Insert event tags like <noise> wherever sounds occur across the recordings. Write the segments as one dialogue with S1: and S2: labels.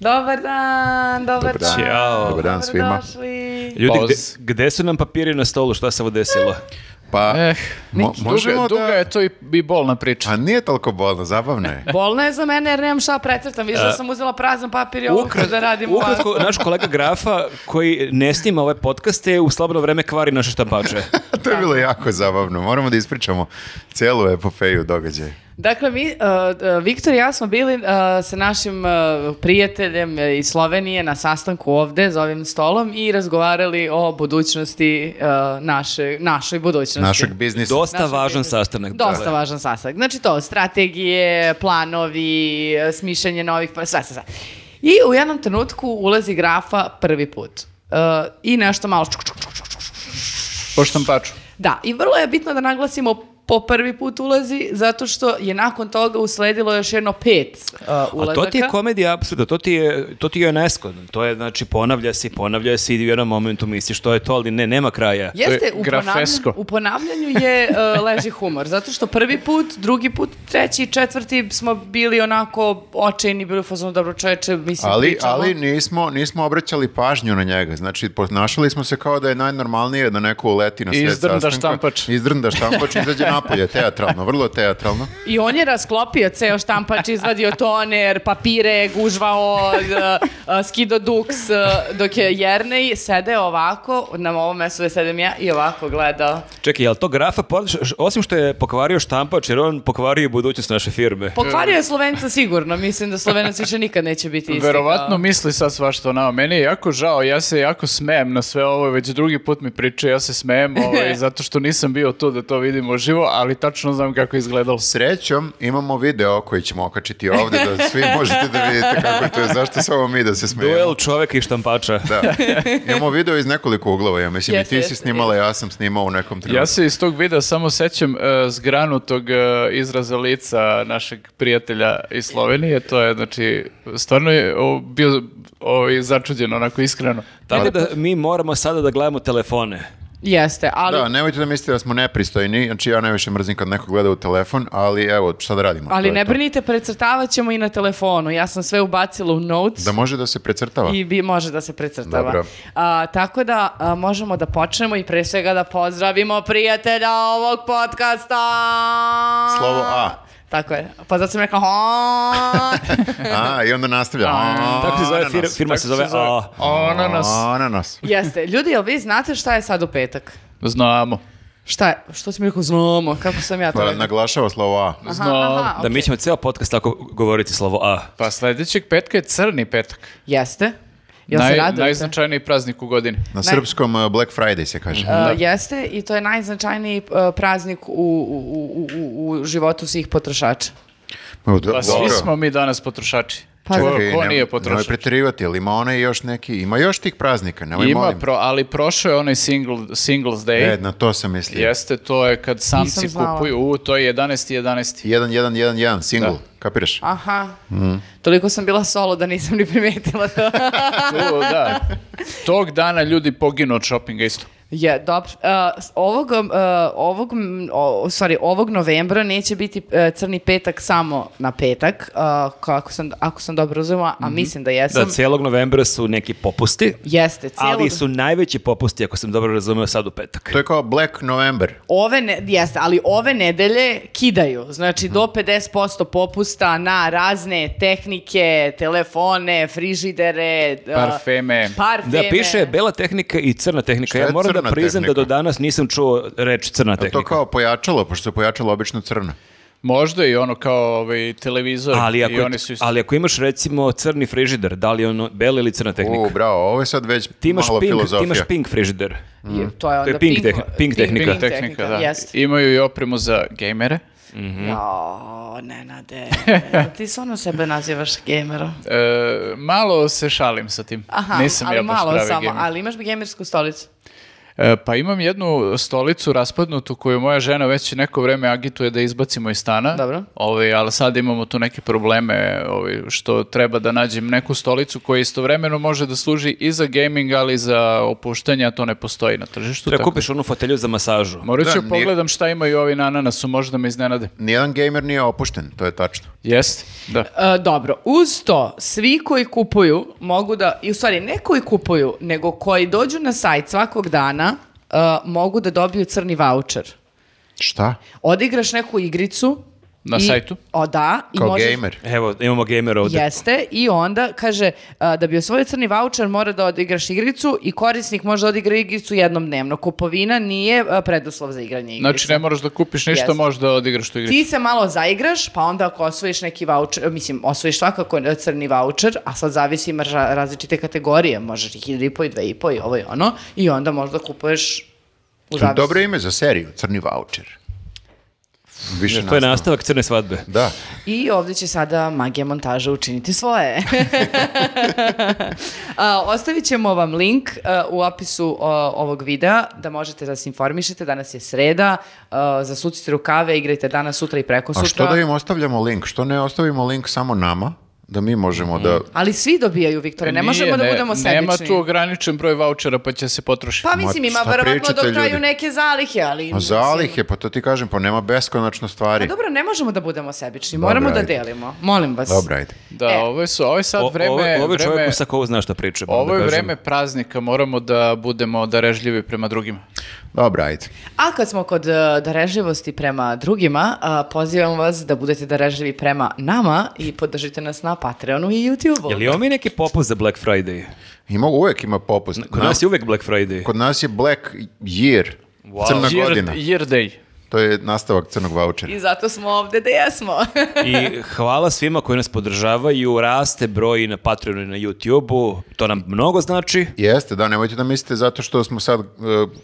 S1: Dobar dan, dobar,
S2: Dobar dan.
S1: dan.
S2: Dobar dan svima.
S1: Dobrodošli.
S3: Ljudi, gde,
S4: Pauz.
S3: gde su nam papiri na stolu? Šta se ovo desilo?
S2: Pa,
S4: Eh,
S2: mo-
S4: duga,
S2: možemo
S4: duga
S2: da...
S4: je to i, i bolna priča.
S2: A nije toliko bolno, zabavno je.
S1: Bolno je za mene jer nemam šta precrtam. Vidiš da sam uzela prazan papir i ovo ću da radim.
S3: E, Ukratko, naš kolega Grafa, koji ne snima ove podcaste, u slobodno vreme kvari naše <laughs> štampače.
S2: to je bilo jako zabavno. Moramo da ispričamo celu epopeju događaja.
S1: Dakle, mi, uh, uh, Viktor i ja smo bili uh, sa našim uh, prijateljem e, iz Slovenije na sastanku ovde za ovim stolom i razgovarali o budućnosti uh, naše, našoj budućnosti.
S2: Našeg biznisa.
S3: Dosta
S1: Naša
S3: važan
S1: budućnost.
S3: sastanak. Dakle.
S1: Dosta
S3: Dale.
S1: važan sastanak. Znači to, strategije, planovi, smišljanje novih, pa sve, sve, sve. I u jednom trenutku ulazi grafa prvi put. Uh, I nešto malo čuk, čuk, čuk, čuk, čuk.
S4: Po štampaču.
S1: Da, i vrlo je bitno da naglasimo po prvi put ulazi, zato što je nakon toga usledilo još jedno pet uh,
S3: A
S1: ulazaka.
S3: to ti je komedija apsurda, to ti je, to ti je UNESCO. To je, znači, ponavlja se i ponavlja se i u jednom momentu misliš to je to, ali ne, nema kraja.
S1: Jeste, u
S4: grafesko.
S1: ponavljanju, u ponavljanju je uh, leži humor, zato što prvi put, drugi put, treći i četvrti smo bili onako očajni, bili u fazonu dobro čoveče, mislim
S2: Ali,
S1: pričamo.
S2: ali nismo, nismo obraćali pažnju na njega. Znači, ponašali smo se kao da je najnormalnije da neko uleti na sred
S4: Izdrnda
S2: sastanka.
S4: štampač.
S2: Izdrnda štampač, izađe napolje, teatralno, vrlo teatralno.
S1: I on je rasklopio ceo štampač, izvadio toner, papire, gužvao, uh, uh, skido duks, uh, dok je Jernej sedeo ovako, na ovom mestu gde sedem ja, i ovako gledao.
S3: Čekaj, je li to Grafa, pod- š- osim što je pokvario štampač, jer on pokvario i budućnost naše firme?
S1: Pokvario je Slovenca sigurno, mislim da Slovenac više nikad neće biti isti.
S4: Verovatno
S1: kao-
S4: misli sad svašta o nama. Meni je jako žao, ja se jako smejem na sve ovo, već drugi put mi priča, ja se
S1: <laughs>
S4: smejem ovaj, zato što nisam bio tu da to vidim uživo, ali tačno znam kako je izgledalo.
S2: Srećom imamo video koji ćemo okačiti ovde da svi možete da vidite kako je to je. Zašto samo mi da se smijemo?
S3: Duel čoveka i štampača.
S2: Da. Imamo video iz nekoliko uglova, ja mislim.
S1: Jeste,
S2: I ti
S1: jeste,
S2: si snimala, ja sam snimao u nekom trenutku.
S4: Ja se iz tog videa samo sećam e, zgranutog e, izraza lica našeg prijatelja iz Slovenije, to je, znači, stvarno je o, bio ovaj, začuđen, onako iskreno.
S3: Tako da mi moramo sada da gledamo telefone.
S1: Jeste, ali...
S2: Da, nemojte da mislite da smo nepristojni, znači ja najviše mrzim kad neko gleda u telefon, ali evo, šta da radimo? to
S1: Ali
S2: je
S1: ne
S2: to.
S1: brinite, precrtavat ćemo i na telefonu. Ja sam sve ubacila u notes
S2: Da može da se precrtava.
S1: i bi, može da se precrtava.
S2: Pa. Dobro.
S1: A, tako da a, možemo da počnemo i pre svega da pozdravimo prijatelja ovog podcasta.
S2: Slovo A.
S1: Tako je. Pa zato sam rekao...
S2: <laughs>
S1: "A."
S2: <laughs> A, i onda nastavlja.
S3: Tako se zove fir-
S2: Ananas.
S3: firma, se zove A.
S4: Ananas.
S2: Ananas.
S1: Jeste. Ljudi, jel vi znate šta je sad u petak?
S4: Znamo.
S1: Šta je? Što si mi rekao? Znamo. Kako sam ja to
S2: Pa,
S1: rekao?
S2: naglašava slovo A.
S1: Aha,
S4: Znamo.
S1: aha,
S3: Da
S1: okej.
S3: mi ćemo ceo podcast tako govoriti slovo A.
S4: Pa sledećeg petka je crni petak.
S1: Jeste. Jel se
S4: Naj-
S1: radujete?
S4: najznačajniji praznik u godini.
S2: Na srpskom uh, Black Friday se kaže.
S1: Uh, Jeste i to je najznačajniji uh, praznik u, u, u, u, u životu svih potrošača.
S2: O, do-
S4: Pa svi
S2: dobro.
S4: smo mi danas potrošači.
S1: Pa
S4: ko,
S2: Čekaj,
S4: ko
S2: nemoj-
S4: nije
S2: Nemoj
S4: potrošač?
S2: preterivati, ali ima onaj još neki, ima još tih praznika, nemoj
S4: Ima,
S2: molim.
S4: pro, ali prošao je onaj single, Singles Day.
S2: E, na to sam mislio.
S4: Jeste, to je kad samci
S1: Nisam znala.
S4: kupuju. U, to je 11.
S1: <laughs>
S4: 11.
S2: 1111, single,
S4: Da.
S2: kapiraš?
S1: Aha. Toliko sam bila solo da nisam ni primetila
S3: <laughs>
S1: to.
S4: Tu, da. Tog dana ljudi poginu od shoppinga isto.
S1: Je, dobro. Uh, s- ovog, um, uh, ovog, mm, o- sorry, ovog novembra neće biti uh, crni petak samo na petak, uh, kako sam, ako sam dobro razumela, a mislim da
S3: Mhm. Da,
S1: jesam.
S3: cijelog novembra su neki popusti,
S1: Jeste, cijelo...
S3: ali su najveći popusti, ako sam dobro razumeo, sad u petak.
S2: To je kao Black November.
S1: Ove ne, jeste, ali ove nedelje kidaju, znači
S3: Mhm.
S1: do 50% popusta na razne tehnike, telefone, frižidere, uh,
S4: Parfeme.
S1: parfeme.
S3: Da, piše bela tehnika i crna tehnika.
S2: je
S3: Ja moram da
S2: crna
S3: priznam da
S2: tehnika?
S3: do danas nisam čuo reč crna
S2: To
S3: tehnika.
S2: kao pojačalo, pošto je pojačalo obično crno.
S4: Možda i ono kao ovaj, televizor
S3: Ali
S4: i
S3: ako,
S4: oni su isto.
S3: ali ako imaš recimo crni frižider, da li je ono bela ili crna tehnika?
S2: U, bravo, ovo je sad već
S3: ti, imaš
S2: malo
S3: pink, ti
S2: filozofija.
S3: imaš pink frižider.
S1: Je, to je onda
S3: pink
S1: pinko-
S3: tehni- pink tehnika.
S4: Pink tehnika, da.
S1: Jeste.
S4: Imaju i opremu za gejmere.
S1: Mhm. Jo, <laughs> Nenade, ti stvarno sebe nazivaš gamerom.
S4: E, malo se šalim sa tim.
S1: Aha,
S4: Nisam
S1: ali
S4: ja baš
S1: malo
S4: pravi
S1: samo,
S4: gamer.
S1: ali imaš gamersku stolicu.
S4: E, pa imam jednu stolicu raspadnutu koju moja žena već neko vreme agituje da izbacimo iz stana.
S1: Dobro.
S4: Ovaj, ali sad imamo tu neke probleme ovaj, što treba da nađem neku stolicu koja istovremeno može da služi i za gaming, ali i za opuštanje, a to ne postoji na tržištu.
S3: Treba
S4: tako
S3: kupiš onu fotelju za masažu.
S4: Morat
S2: Da,
S4: ću
S2: nije-
S4: pogledam šta imaju ovi na ananasu, možda me iznenade.
S2: Nijedan gamer nije opušten, to je tačno.
S4: Jeste, da.
S1: E, dobro, uz to, svi koji kupuju mogu da, i u stvari ne koji kupuju, nego koji dođu na sajt svakog dana, e, mogu da dobiju crni voucher.
S2: Šta?
S1: Odigraš neku igricu.
S4: Na
S1: i-
S4: sajtu?
S1: O da. I
S2: Kao
S1: možeš-
S2: gamer?
S3: Evo, imamo gamer ovde.
S1: Jeste, i onda kaže a, da bi osvojio crni voucher mora da odigraš igricu i korisnik može da odigra igricu jednom dnevno. Kupovina nije a, preduslov za igranje igrice.
S4: Znači ne moraš da kupiš ništa,
S1: Jeste.
S4: možeš da odigraš tu igru.
S1: Ti se malo zaigraš, pa onda ako osvojiš neki voucher, mislim, osvojiš svakako e, crni voucher, a sad zavisi imaš ra- različite kategorije, možeš i 1,5 i 2,5 i ovo i ono, i onda možda kupuješ u zavisnosti.
S2: Dobro ime za seriju, Crni voucher. Više
S3: To je
S2: nastavak.
S3: nastavak crne svadbe.
S2: Da.
S1: I ovdje će sada magija montaža učiniti svoje. <laughs> A, Ostavit ćemo vam link a, u opisu a, ovog videa da možete da se informišete. Danas je sreda, e, a, zasucite rukave, igrajte danas, sutra i preko
S2: A što
S1: sutra.
S2: da im ostavljamo link? Što ne ostavimo link samo nama? Da mi možemo da...
S1: Ali svi dobijaju, Viktore, ne
S4: Nije,
S1: možemo da budemo sebični.
S4: Nema tu ograničen broj vaučera pa će se potrošiti.
S1: Pa mislim,
S2: Ma,
S1: ima
S2: šta
S1: verovatno do
S2: pričate,
S1: kraju
S2: ljudi?
S1: neke zalihe, ali...
S2: Pa
S1: mislim-
S2: zalih je, pa to ti kažem, pa nema beskonačno
S1: Pa
S2: stvari.
S1: dobro, ne možemo da budemo sebični,
S2: Dobro,
S1: moramo da
S2: ajde.
S1: delimo. Molim vas.
S2: Dobro, ajde.
S4: Da,
S1: E.
S4: ovo je, su, ovo je sad
S3: O-
S4: vreme...
S3: ovo, ovo je čovjek
S4: vreme-
S3: u sakovu zna šta priča. moram
S4: Ovo
S3: da
S4: je
S3: kažem.
S4: vreme praznika, moramo da budemo darežljivi prema drugima.
S2: Dobro, ajde.
S1: A kad smo kod e, darežljivosti prema drugima, a, pozivam vas da budete darežljivi prema nama i podržite nas na Patreonu i YouTubeu.
S3: Je li ovo mi neki popust za Black Friday?
S2: Ima, uvek ima popust.
S3: Kod
S2: Na-
S3: nas je uvek Black Friday.
S2: kod nas je Black Year.
S3: Wow.
S2: Crna
S4: Year-
S2: godina.
S4: year day.
S2: To je nastavak crnog vouchera.
S1: I zato smo ovde da jesmo. <laughs>
S3: I hvala svima koji nas podržavaju, raste broj i na Patreonu i na YouTubeu, to nam mnogo znači.
S2: Jeste, da, nemojte da mislite zato što smo sad e,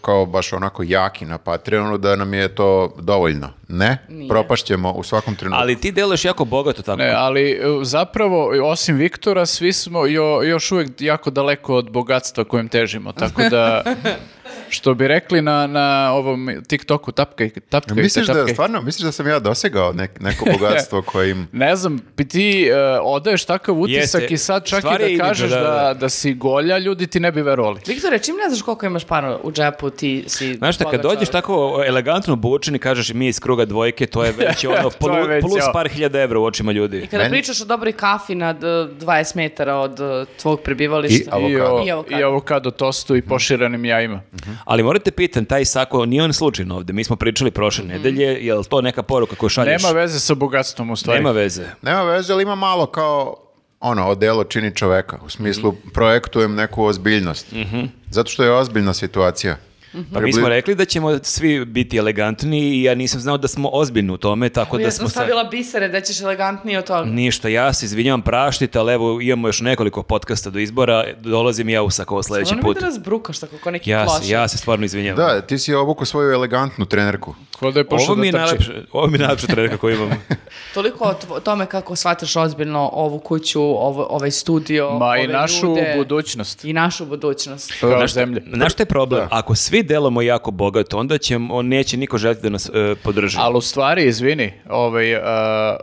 S2: kao baš onako jaki na Patreonu da nam je to dovoljno. Ne, propašćemo u svakom trenutku.
S3: Ali ti deluješ jako bogato tako.
S4: Ne, ali e, zapravo, osim Viktora, svi smo jo- još uvijek jako daleko od bogatstva kojem težimo, tako
S3: <laughs>
S4: da... Što bi rekli na, na ovom TikToku, tapkaj, tapkajte,
S2: Misliš da,
S4: tapkajte.
S2: stvarno, misliš da sam ja dosegao nek- neko bogatstvo koje im...
S4: Ne znam, pi- ti e, odaješ takav utisak
S3: Jeste.
S4: i sad čak
S3: Stvar je
S4: i
S3: imidž,
S4: da kažeš
S3: da,
S4: da,
S3: da.
S4: da, si golja, ljudi ti ne bi verovali.
S1: Viktore, čim ne znaš koliko imaš para u džepu, ti si...
S3: Znaš šta, kad
S1: bogat
S3: dođeš
S1: čovek.
S3: tako elegantno obučen i kažeš mi iz kruga dvojke, to je
S4: <laughs>
S3: već ono
S4: To je
S3: plu-
S4: već,
S3: plus
S4: ja.
S3: par hiljada evra u očima ljudi.
S1: Kada
S2: Meni-
S1: pričaš o dobroj kafi nad e, 20 metara od e, tvog
S2: I
S1: prebivališta.
S4: I,
S2: avokado.
S4: o-
S1: I avokado.
S4: I avokado tostu i poširanim jajima.
S3: Ali morate pitan, taj sako, nije on slučajno ovde. Mi smo pričali prošle nedelje, je li to neka poruka koju šalješ?
S4: Nema veze sa bogatstvom u stvari.
S3: Nema veze.
S2: Nema veze, ali ima malo kao ono, odelo čini čoveka. U smislu, projektujem neku ozbiljnost. Zato što je ozbiljna situacija.
S3: Pa mi smo rekli da ćemo svi biti elegantni i ja nisam znao da smo ozbiljni u tome, tako da
S1: Ja
S3: smo
S1: sam
S3: sad...
S1: stavila bisere da ćeš elegantnije od toga.
S3: Ništa, ja se izvinjavam, praštite, ali evo imamo još nekoliko podcasta do izbora, dolazim i ja u Sakovo sledeći
S1: Ono mi
S3: put.
S1: da nas brukaš tako ko neki
S3: Ja se,
S1: klošar.
S3: ja se stvarno izvinjavam.
S2: Da, ti si obuku svoju elegantnu trenerku.
S4: Ko da je pošao
S3: Ovo mi, je
S4: da trči.
S3: najlepše, ovo mi je najlepša trenerka koju
S4: <laughs>
S3: imam.
S1: Toliko o tvo- tome kako shvataš ozbiljno ovu kuću, ovo, ovaj studio,
S4: Ma i
S1: ove
S4: našu
S1: ljude.
S4: budućnost.
S1: I našu budućnost.
S4: Kao zemlje.
S3: Znaš šta je problem? Ako svi delamo jako bogato, onda će, on neće niko želiti da nas e, podrži.
S4: Ali u stvari, izvini, ovaj, a,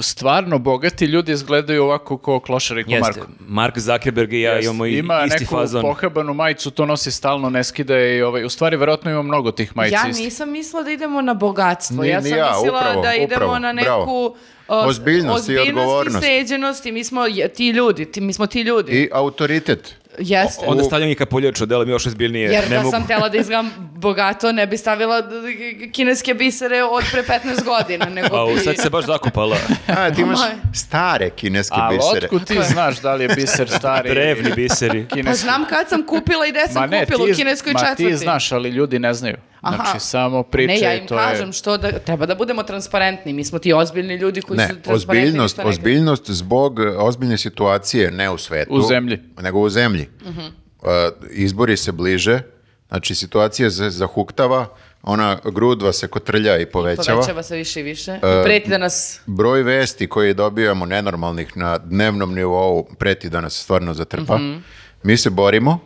S4: stvarno bogati ljudi izgledaju ovako kao klošari ko
S3: Jeste,
S4: Marko.
S3: Mark Zuckerberg i ja
S4: Jeste.
S3: imamo i,
S4: Ima
S3: isti
S4: neku
S3: fazon.
S4: pohabanu majicu, to nosi stalno, ne skida je i ovaj, u stvari verovatno ima mnogo tih majica
S1: Ja
S4: istih.
S1: nisam mislila da idemo na bogatstvo.
S2: Ni-
S1: ja
S2: ni
S1: sam
S2: ja,
S1: mislila
S2: upravo,
S1: da idemo
S2: upravo,
S1: na
S2: bravo.
S1: neku
S2: Ozbiljnost i odgovornost.
S1: i sređenost i mi smo je- ti ljudi, ti, mi smo ti ljudi.
S2: I autoritet.
S1: Jeste.
S3: Onda stavljam i kapuljaču, delam još ozbiljnije.
S1: Jer
S3: ne
S1: da
S3: mogu.
S1: sam tela da izgledam bogato, ne bi stavila d- d- kineske bisere od pre 15
S2: <laughs>
S1: godina. Nego
S3: Au,
S1: bi- Pa
S3: sad se baš zakopala.
S1: <laughs>
S2: A, ti imaš
S1: Moj.
S2: stare kineske
S4: Ali
S2: bisere.
S4: otkud ti znaš da li je
S3: <laughs>
S4: biser stari?
S3: Drevni biseri.
S1: Pa
S4: kineski?
S1: znam kad sam kupila i gde sam kupila u kineskoj
S4: ma
S1: četvrti.
S4: ti znaš, ali ljudi ne znaju.
S1: Aha.
S4: Znači, samo priče
S1: Ne, ja im
S4: i to
S1: kažem
S4: je...
S1: što da, treba da budemo transparentni. Mi smo ti ozbiljni ljudi koji
S2: Ne,
S1: su transparentni.
S2: ozbiljnost,
S1: ništa ne kriju.
S2: ozbiljnost zbog e, ozbiljne situacije, ne u svetu.
S4: U zemlji.
S2: Nego u zemlji.
S1: Mhm.
S2: E, izbori se bliže, znači situacija se zahuktava, ona grudva se kotrlja i povećava.
S1: Povećava se više i više.
S2: E,
S1: I preti da nas...
S2: Broj vesti koje dobijamo
S1: Mhm.
S2: nenormalnih na dnevnom nivou preti da nas stvarno zatrpa. Mi se borimo,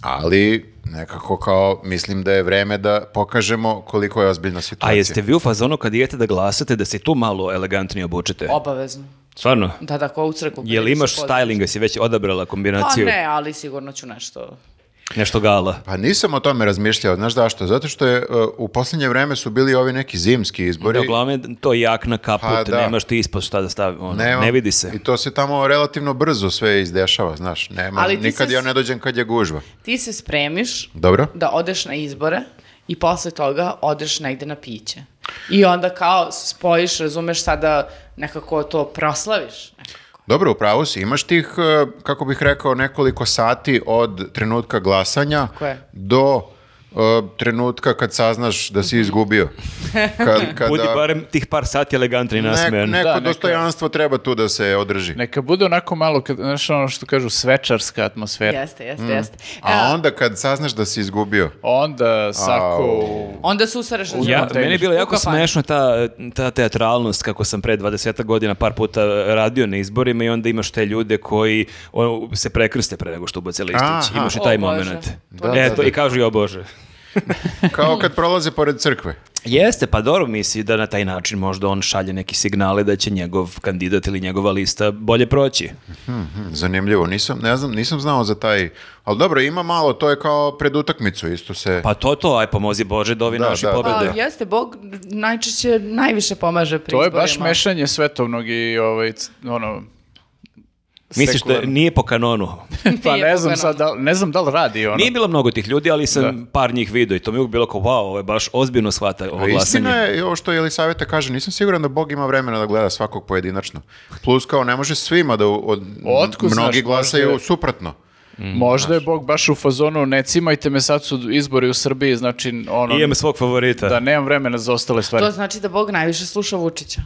S2: ali nekako kao mislim da je vreme da pokažemo koliko je ozbiljna
S3: <laughs> A
S2: situacija.
S3: jeste vi u fazonu kad idete da glasate da se tu malo elegantnije obučete?
S1: Obavezno.
S3: Stvarno?
S1: Da, da, ko u crkvu.
S3: Jel imaš styling, jesi već odabrala
S1: Pa
S3: kombinaciju?
S1: ne, ali sigurno ću nešto.
S3: Nešto gala.
S2: Pa nisam o tome razmišljao, znaš zašto? Zato što je uh, u posljednje vreme su bili ovi neki zimski izbori.
S3: Da, uglavnom je to jakna, kaput,
S2: Pa, da.
S3: nemaš ti ispod šta da stavi, ono,
S2: Nema-
S3: ne vidi se.
S2: I to se tamo relativno brzo sve izdešava, znaš. Nema,
S1: Ali ti
S2: nikad
S1: se
S2: ja
S1: s-
S2: ne dođem kad je gužva.
S1: Ti se spremiš
S2: Dobro?
S1: da odeš na izbore i posle toga odeš negde na piće. I onda kao spojiš, razumeš sada nekako to proslaviš.
S2: Dobro, u pravu si. Imaš tih, e, kako bih rekao, nekoliko sati od trenutka glasanja
S1: je.
S2: do e, trenutka kad saznaš da
S1: <laughs>
S2: si izgubio. Kad, kada
S3: Budi barem tih par sati elegantni
S2: ne-
S3: nasmejan.
S2: neko
S4: Da, neka-
S2: dostojanstvo treba tu da se održi.
S4: Neka bude onako malo, kad, znaš ono što kažu, svečarska atmosfera.
S1: Jeste, jeste, jeste.
S2: A
S1: E,
S2: onda kad saznaš da si izgubio,
S4: Onda sako...
S1: onda se usareš na
S3: Ja,
S1: želju.
S4: kontejner.
S3: meni je bilo
S1: U
S3: jako
S1: kafani.
S3: smešno ta, ta teatralnost kako sam pre 20 godina par puta radio na izborima i onda imaš te ljude koji ono, se prekrste pre nego što ubace listić.
S2: Aha.
S3: Imaš i taj
S1: O Bože.
S3: moment.
S2: To je-
S3: Eto, i kažu jo Bože.
S2: kao kad prolaze pored crkve.
S3: Jeste, pa dobro misli da na taj način možda on šalje neki signale da će njegov kandidat ili njegova lista bolje proći.
S2: Hm, Zanimljivo, nisam, ne znam, nisam znao za taj, ali dobro, ima malo, to je kao pred utakmicu, isto se...
S3: Pa to to, aj pomozi Bože da ovi
S2: Da,
S3: naši
S2: da, da.
S3: pobede.
S1: Pa, jeste, Bog najčešće najviše pomaže pri
S4: To je baš
S1: izborima.
S4: mešanje svetovnog i ovaj, c- ono...
S1: <laughs>
S3: Misliš da
S4: sekularnog.
S3: nije po kanonu?
S4: Pa
S1: Nije
S4: ne znam,
S1: pogledano.
S4: sad, da, li- ne znam da li radi ono.
S3: Nije bilo mnogo tih ljudi, ali sam par njih vidio i to mi je uvijek bilo kao, wow, ovo je baš ozbiljno shvata ovo
S2: A
S3: glasanje.
S2: E, Istina je i ovo što Jelisaveta kaže, nisam siguran da Bog ima vremena da gleda svakog pojedinačno. Plus kao ne može svima da u- od,
S4: Otkud znaš,
S2: mnogi
S4: možda
S2: glasaju
S4: je-
S2: suprotno.
S4: Možda je Bog baš u fazonu, ne cimajte me, sad su izbori u Srbiji, znači ono...
S3: Imam svog favorita.
S4: Da nemam vremena za ostale stvari.
S1: To znači da Bog najviše sluša Vučića.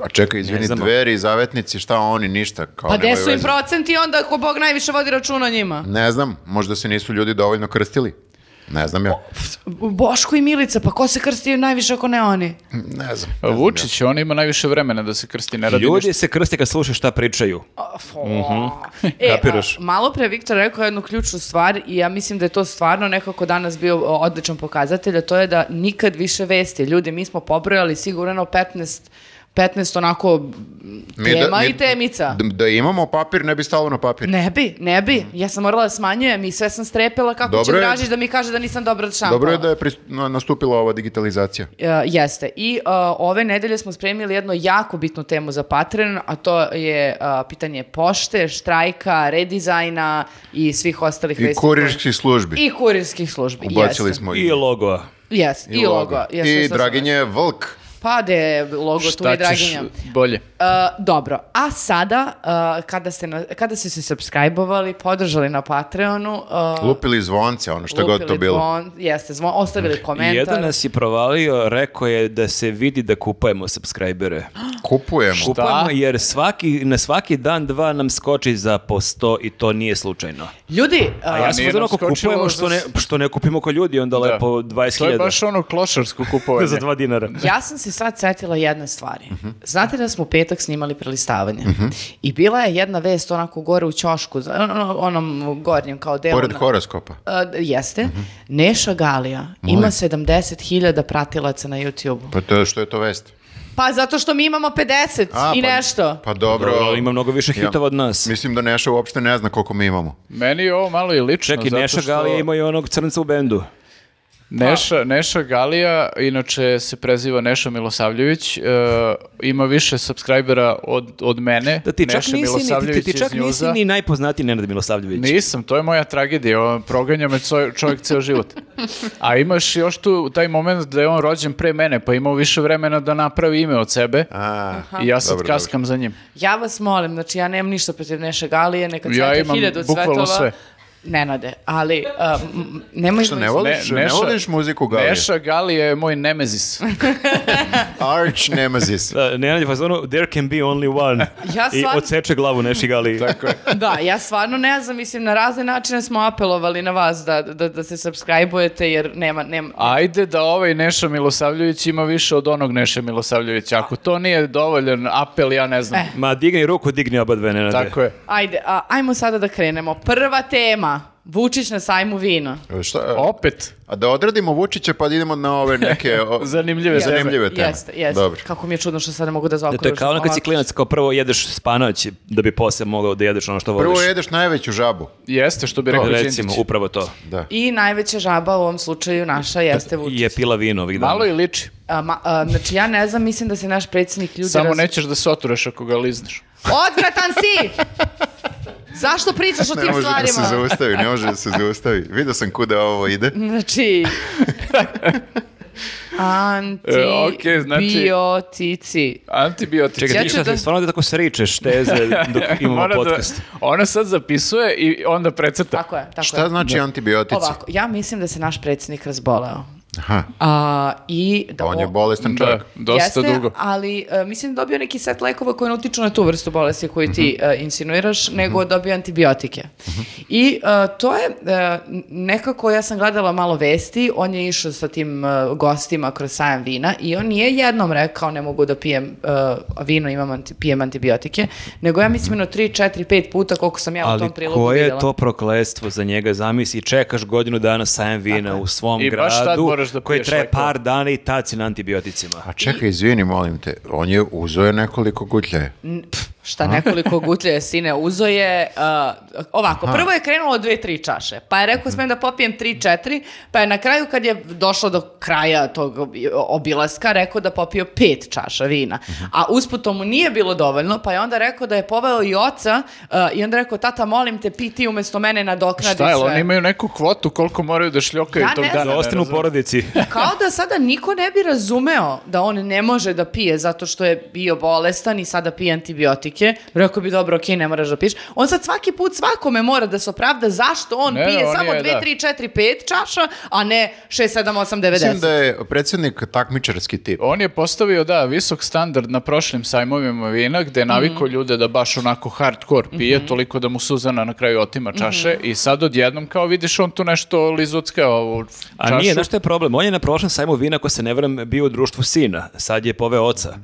S2: A čekaj, izvini,
S3: znamo.
S2: dveri, zavetnici, šta oni, ništa. Kao,
S1: Pa gde
S2: nemaju
S1: su im
S2: veze.
S1: procenti onda ako Bog najviše vodi računa o njima?
S2: Ne znam, možda se nisu ljudi dovoljno krstili. Ne znam ja.
S1: Boško i Milica, pa ko se krsti najviše ako ne oni?
S2: Ne znam.
S4: Vučić, on ima najviše vremena da se krsti, ne radi
S3: Ljudi
S4: ništa.
S3: se krste kad slušaju šta pričaju.
S1: A, fo.
S2: Mhm.
S1: E,
S3: Kapiraš.
S1: a, malo pre Viktor rekao jednu ključnu stvar i ja mislim da je to stvarno nekako danas bio o, odličan pokazatelj, a to je da nikad više vesti. Ljudi, mi smo pobrojali sigurno 15 15 onako
S2: Mi da-
S1: tema
S2: mi-
S1: i temica.
S2: Da, da imamo papir, ne bi stalo na papir.
S1: Ne bi, ne bi. Ja sam morala da smanjujem i sve sam strepila kako
S2: Dobro
S1: će
S2: je-
S1: Dražić da mi kaže da nisam dobro od šampala.
S2: Dobro je da je pris- na- nastupila ova digitalizacija.
S1: E, jeste. I e, ove nedelje smo spremili jednu jako bitnu temu za Patreon, a to je e, pitanje pošte, štrajka, redizajna i svih ostalih
S2: I
S1: vesti
S2: kurirskih službi.
S1: koje- I kurirskih službi.
S2: Ubacili
S1: jeste.
S2: smo
S3: I logoa.
S1: Yes, i, logo. jeste,
S2: I
S1: što sam rekla.
S2: Draginje Vlk.
S1: Pa da je logo tu i
S4: Šta ćeš
S1: Draginja.
S4: bolje?
S1: E, dobro, a sada e, kada, ste na- kada ste se subscribe-ovali, podržali na Patreonu, e,
S2: Lupili zvonce, ono što god to
S1: lupili
S2: bilo.
S1: zvon- jeste, zvon- ostavili komentar.
S3: Jedan nas je provalio, rekao je da se vidi da kupujemo subscribere.
S2: Kupujemo.
S3: Kupujemo jer svaki, na svaki dan dva nam skoči za po 100 i to nije slučajno.
S1: Ljudi,
S3: A
S1: e,
S3: ja sam
S4: nije
S3: ono
S4: nam
S3: ako
S4: skočilo
S3: kupujemo
S4: za
S3: što ne, što ne kupimo ko ljudi, onda
S4: Da.
S3: lepo
S4: To je
S3: 20.000.
S4: baš ono klošarsko kupovanje.
S3: <laughs> za dva dinara.
S1: Ja sam se sad setila jedne stvari. Znate da smo u petak snimali prelistavanje i bila je jedna vest onako gore u ćošku, za- ono- onom gornjem kao delu.
S2: Pored
S1: na-
S2: horoskopa.
S1: A, d- jeste. Neša Galija ima 70.000 pratilaca na YouTube-u.
S2: Pa to, što je to vest?
S1: Pa zato što mi imamo 50
S2: A,
S1: i
S2: pa-
S1: nešto.
S2: Pa dobro.
S3: Dobro, ali ima mnogo više hitova od nas.
S2: Mislim da Neša uopšte ne zna koliko mi imamo.
S4: Meni je ovo malo i lično.
S3: Čekaj,
S4: zato
S3: Neša
S4: što-
S3: Galija ima i onog crnca u bendu.
S4: Neša, Neša Galija, inače se preziva Neša Milosavljević, e, ima više subscribera od, od mene.
S3: Da ti čak
S4: Neša
S3: nisi, ni, ti,
S4: Milosavljević
S3: ti čak
S4: iz
S3: nisi
S4: Njuza.
S3: ni najpoznatiji Nenad Milosavljević.
S4: Nisam, to je moja tragedija, on proganja me co- čovjek ceo život. A imaš još tu taj moment da je on rođen pre mene, pa imao više vremena da napravi ime od sebe
S2: A,
S4: i ja sad
S2: Dobro, dobro.
S4: kaskam za njim.
S1: Ja vas molim, znači ja nemam ništa protiv Neša Galije, neka
S4: Ja
S1: cveta
S4: imam
S1: hiljadu
S4: bukvalno
S1: cvetova.
S4: sve.
S1: Nenade, ali a, m- m- nemoj...
S2: Što ne voliš, ne,
S4: Neša-
S2: voliš muziku Galije?
S4: Neša Galija je moj nemezis.
S2: Arch
S3: <laughs>
S2: Nemesis.
S3: Da, Nenad je u fazonu, there can be only one.
S1: Ja
S3: I
S1: svak-
S3: odseče glavu Neši Galiji.
S1: Da, ja stvarno ne znam, mislim, na razne načine smo apelovali na vas da, da, da se subscribe-ujete, jer nema, nema...
S4: Ajde da ovaj Neša Milosavljević ima više od onog Neše Milosavljevića. Ako to nije dovoljan apel, ja
S3: E.
S4: ne znam.
S1: Eh.
S3: Ma digni ruku, digni oba dve, Nenade.
S4: Tako je.
S1: Ajde, a, ajmo sada da krenemo. Prva tema. tema. Vučić na sajmu vino.
S2: Šta,
S4: Pa Opet.
S2: a da odradimo Vučića pa da idemo na ove neke o-
S4: Zanimljive teme.
S2: zanimljive teme.
S1: Jeste, jeste.
S2: Dobro.
S1: Kako mi je čudno što sad ne mogu da
S3: Da,
S1: zaokružim.
S3: to je kao ono kad si
S1: ovako.
S3: klinac, kao prvo jedeš spanać da bi posle mogao da jedeš ono što voliš.
S2: Prvo jedeš najveću žabu.
S4: Jeste, što bi rekao
S3: Recimo,
S4: Đinđić.
S3: upravo to.
S2: Da.
S1: I najveća žaba u ovom slučaju naša jeste Vučić.
S3: Je pila vino ovih dana.
S4: Malo i liči.
S1: A, ma- a, znači ja ne znam, mislim da se naš predsjednik ljudi...
S4: Samo
S1: raz-
S4: nećeš da se oturaš ako ga lizneš.
S1: Odvratan si! Zašto pričaš o tim
S2: Ne može da se
S1: stvarima?
S2: zaustavi, ne može da se zaustavi. Vidio sam kuda ovo ide.
S1: <laughs> Znači...
S4: E, okej, znači-
S1: Antibiotici.
S4: Antibiotici.
S3: Čekaj,
S1: Ja
S3: ti
S1: ću
S3: šta,
S1: da-
S3: stvarno da tako sričeš teze
S4: <laughs>
S3: dok imamo
S4: Mora da-
S3: podcast.
S4: ona sad zapisuje i onda precrta.
S1: Tako je, tako
S2: Šta
S1: je.
S2: znači antibiotici?
S1: Ovako, ja mislim da se naš predsjednik razboleo.
S2: Aha,
S1: A, I da
S2: on je
S1: o-
S2: bolestan
S4: Da,
S2: čovjek.
S4: dosta
S1: Jeste,
S4: dugo.
S1: ali e, mislim da dobio neki set lekova koji ne utiču na tu vrstu bolesti koju ti
S3: Mhm.
S1: e, insinuiraš, nego dobio antibiotike. I e, to je, e, nekako ja sam gledala malo vesti, on je išao sa tim e, gostima kroz sajam vina i on nije jednom rekao ne mogu da pijem e, vino, imam anti- pijem antibiotike, nego ja mislim ono, jedno 3, 4, 5 puta koliko sam ja u
S3: Ali
S1: tom prilogu
S3: koje je
S1: vidjela.
S3: to prokletstvo za njega, zamisli, čekaš godinu dana sajam vina u svom
S4: I baš tad
S3: gradu,
S4: moraš da
S3: koji
S4: piješ
S3: traje
S4: lekove.
S3: par dana i tad si na antibioticima.
S2: A čekaj, izvini, molim te, on je uzeo je nekoliko gutlje.
S1: N- pf, Šta nekoliko gutlje sine uzo je, uh, ovako, prvo je krenulo dve, tri čaše, pa je rekao smem da popijem tri, četiri, pa je na kraju kad je došlo do kraja tog obi- obilaska, rekao da popio pet čaša vina,
S4: Mhm.
S1: a usput to mu nije bilo dovoljno, pa je onda rekao da je poveo i oca uh, i onda rekao, tata molim te, pi ti umesto mene nadoknadi
S4: Šta je,
S1: sve.
S4: oni imaju neku kvotu koliko moraju da šljokaju
S1: Ja
S4: tog
S1: ne
S4: dana.
S1: znam.
S3: Da
S4: ne
S3: ostane u
S4: razumem.
S3: porodici.
S1: Kao da sada niko ne bi razumeo da on ne može da pije zato što je bio bolestan i sada pije antibiotike. Rekao bi dobro, okej, ne moraš da piješ. On sad svaki put svakome mora da se opravda zašto on
S4: Ne, ne,
S1: pije
S4: on
S1: samo
S4: je,
S1: 2,
S4: da.
S1: 3, 4, 5 čaša, a ne 6, 7, 8, 9,
S2: Mislim
S1: 10.
S2: da je predsjednik takmičarski tip.
S4: On je postavio, da, visok standard na prošlim sajmovima vina, gde je naviko
S1: Mhm.
S4: ljude da baš onako hardcore pije, toliko da mu Suzana na kraju otima čaše
S1: Mhm.
S4: i sad odjednom kao vidiš on tu nešto lizucka ovu čašu.
S3: A nije, znaš što je problem? On je na prošlom sajmu vina, ako se ne varam, bio u društvu sina. Sad je poveo oca.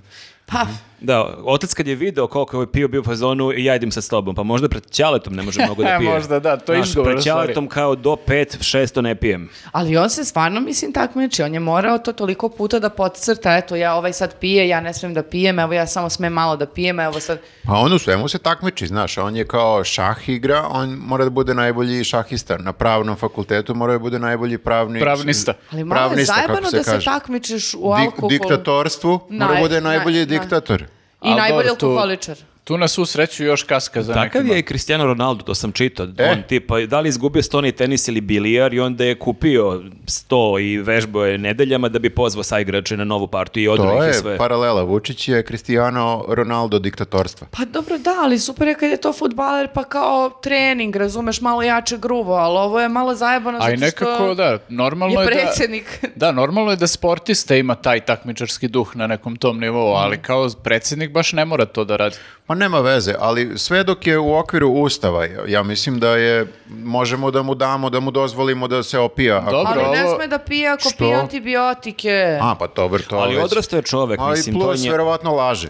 S1: Pa,
S3: Da, otac kad je video koliko je pio, bio u fazonu i ja idem sad s tobom. Pa možda pred ćaletom ne može mnogo da
S4: <laughs> E,
S3: pije.
S4: možda da, to je
S3: Znaš,
S4: izgovor,
S3: Pred
S4: u stvari.
S3: ćaletom kao do pet, šesto ne pijem.
S1: ali on se stvarno, mislim, takmiči. On je morao to toliko puta da podcrta. Eto, ja ovaj sad pije, ja ne smem da pijem, evo ja samo smem malo da pijem, evo sad...
S2: Pa on u svemu se takmiči, znaš, on je kao šah igra, on mora da bude najbolji šahista. Na pravnom fakultetu mora da bude najbolji pravni...
S4: Pravnista.
S1: Ali malo je
S2: pravnista, kako
S1: zajebano da se
S2: kaže.
S1: takmičiš u
S2: Dik-
S1: alkoholu.
S2: diktatorstvu mora
S1: Naj-
S2: da bude
S1: naj-
S2: najbolji
S1: naj-
S2: diktator.
S1: I
S4: A,
S1: najbolji
S4: dobro, tu-
S1: alkoholičar.
S4: Tu na svu sreću još kaska za
S3: Takav
S4: nekima.
S3: je i Cristiano Ronaldo, to sam čitao.
S2: E.
S3: On tipa, da li izgubio stoni tenis ili bilijar i onda je kupio sto i vežbao je nedeljama da bi pozvao sa igrače na novu partiju i
S2: To
S3: odao ih je sve.
S2: je
S4: pa-
S2: paralela. Vučić je Cristiano Ronaldo diktatorstva.
S1: Pa dobro, da, ali super je kad je to futbaler pa kao trening, razumeš, malo jače grubo, ali ovo je malo zajebano
S4: A i
S1: zato što
S4: nekako, da, normalno
S1: je
S4: je,
S1: predsjednik.
S4: <laughs> da... Da, normalno je da sportista ima taj takmičarski duh na nekom tom nivou, ali kao predsjednik baš ne mora to da radi.
S2: Pa nema veze, ali sve dok je u okviru ustava, ja mislim da je, možemo da mu damo, da mu dozvolimo da se opija. ako-
S4: Dobro,
S1: ali ne
S4: ovo-
S1: sme da pije ako
S2: Što?
S1: pije antibiotike.
S2: A, pa dobro, to
S3: Ali
S2: već-
S3: odrastao je čovek,
S2: Ali
S3: mislim, to je
S2: plus,
S3: nje...
S2: verovatno laže.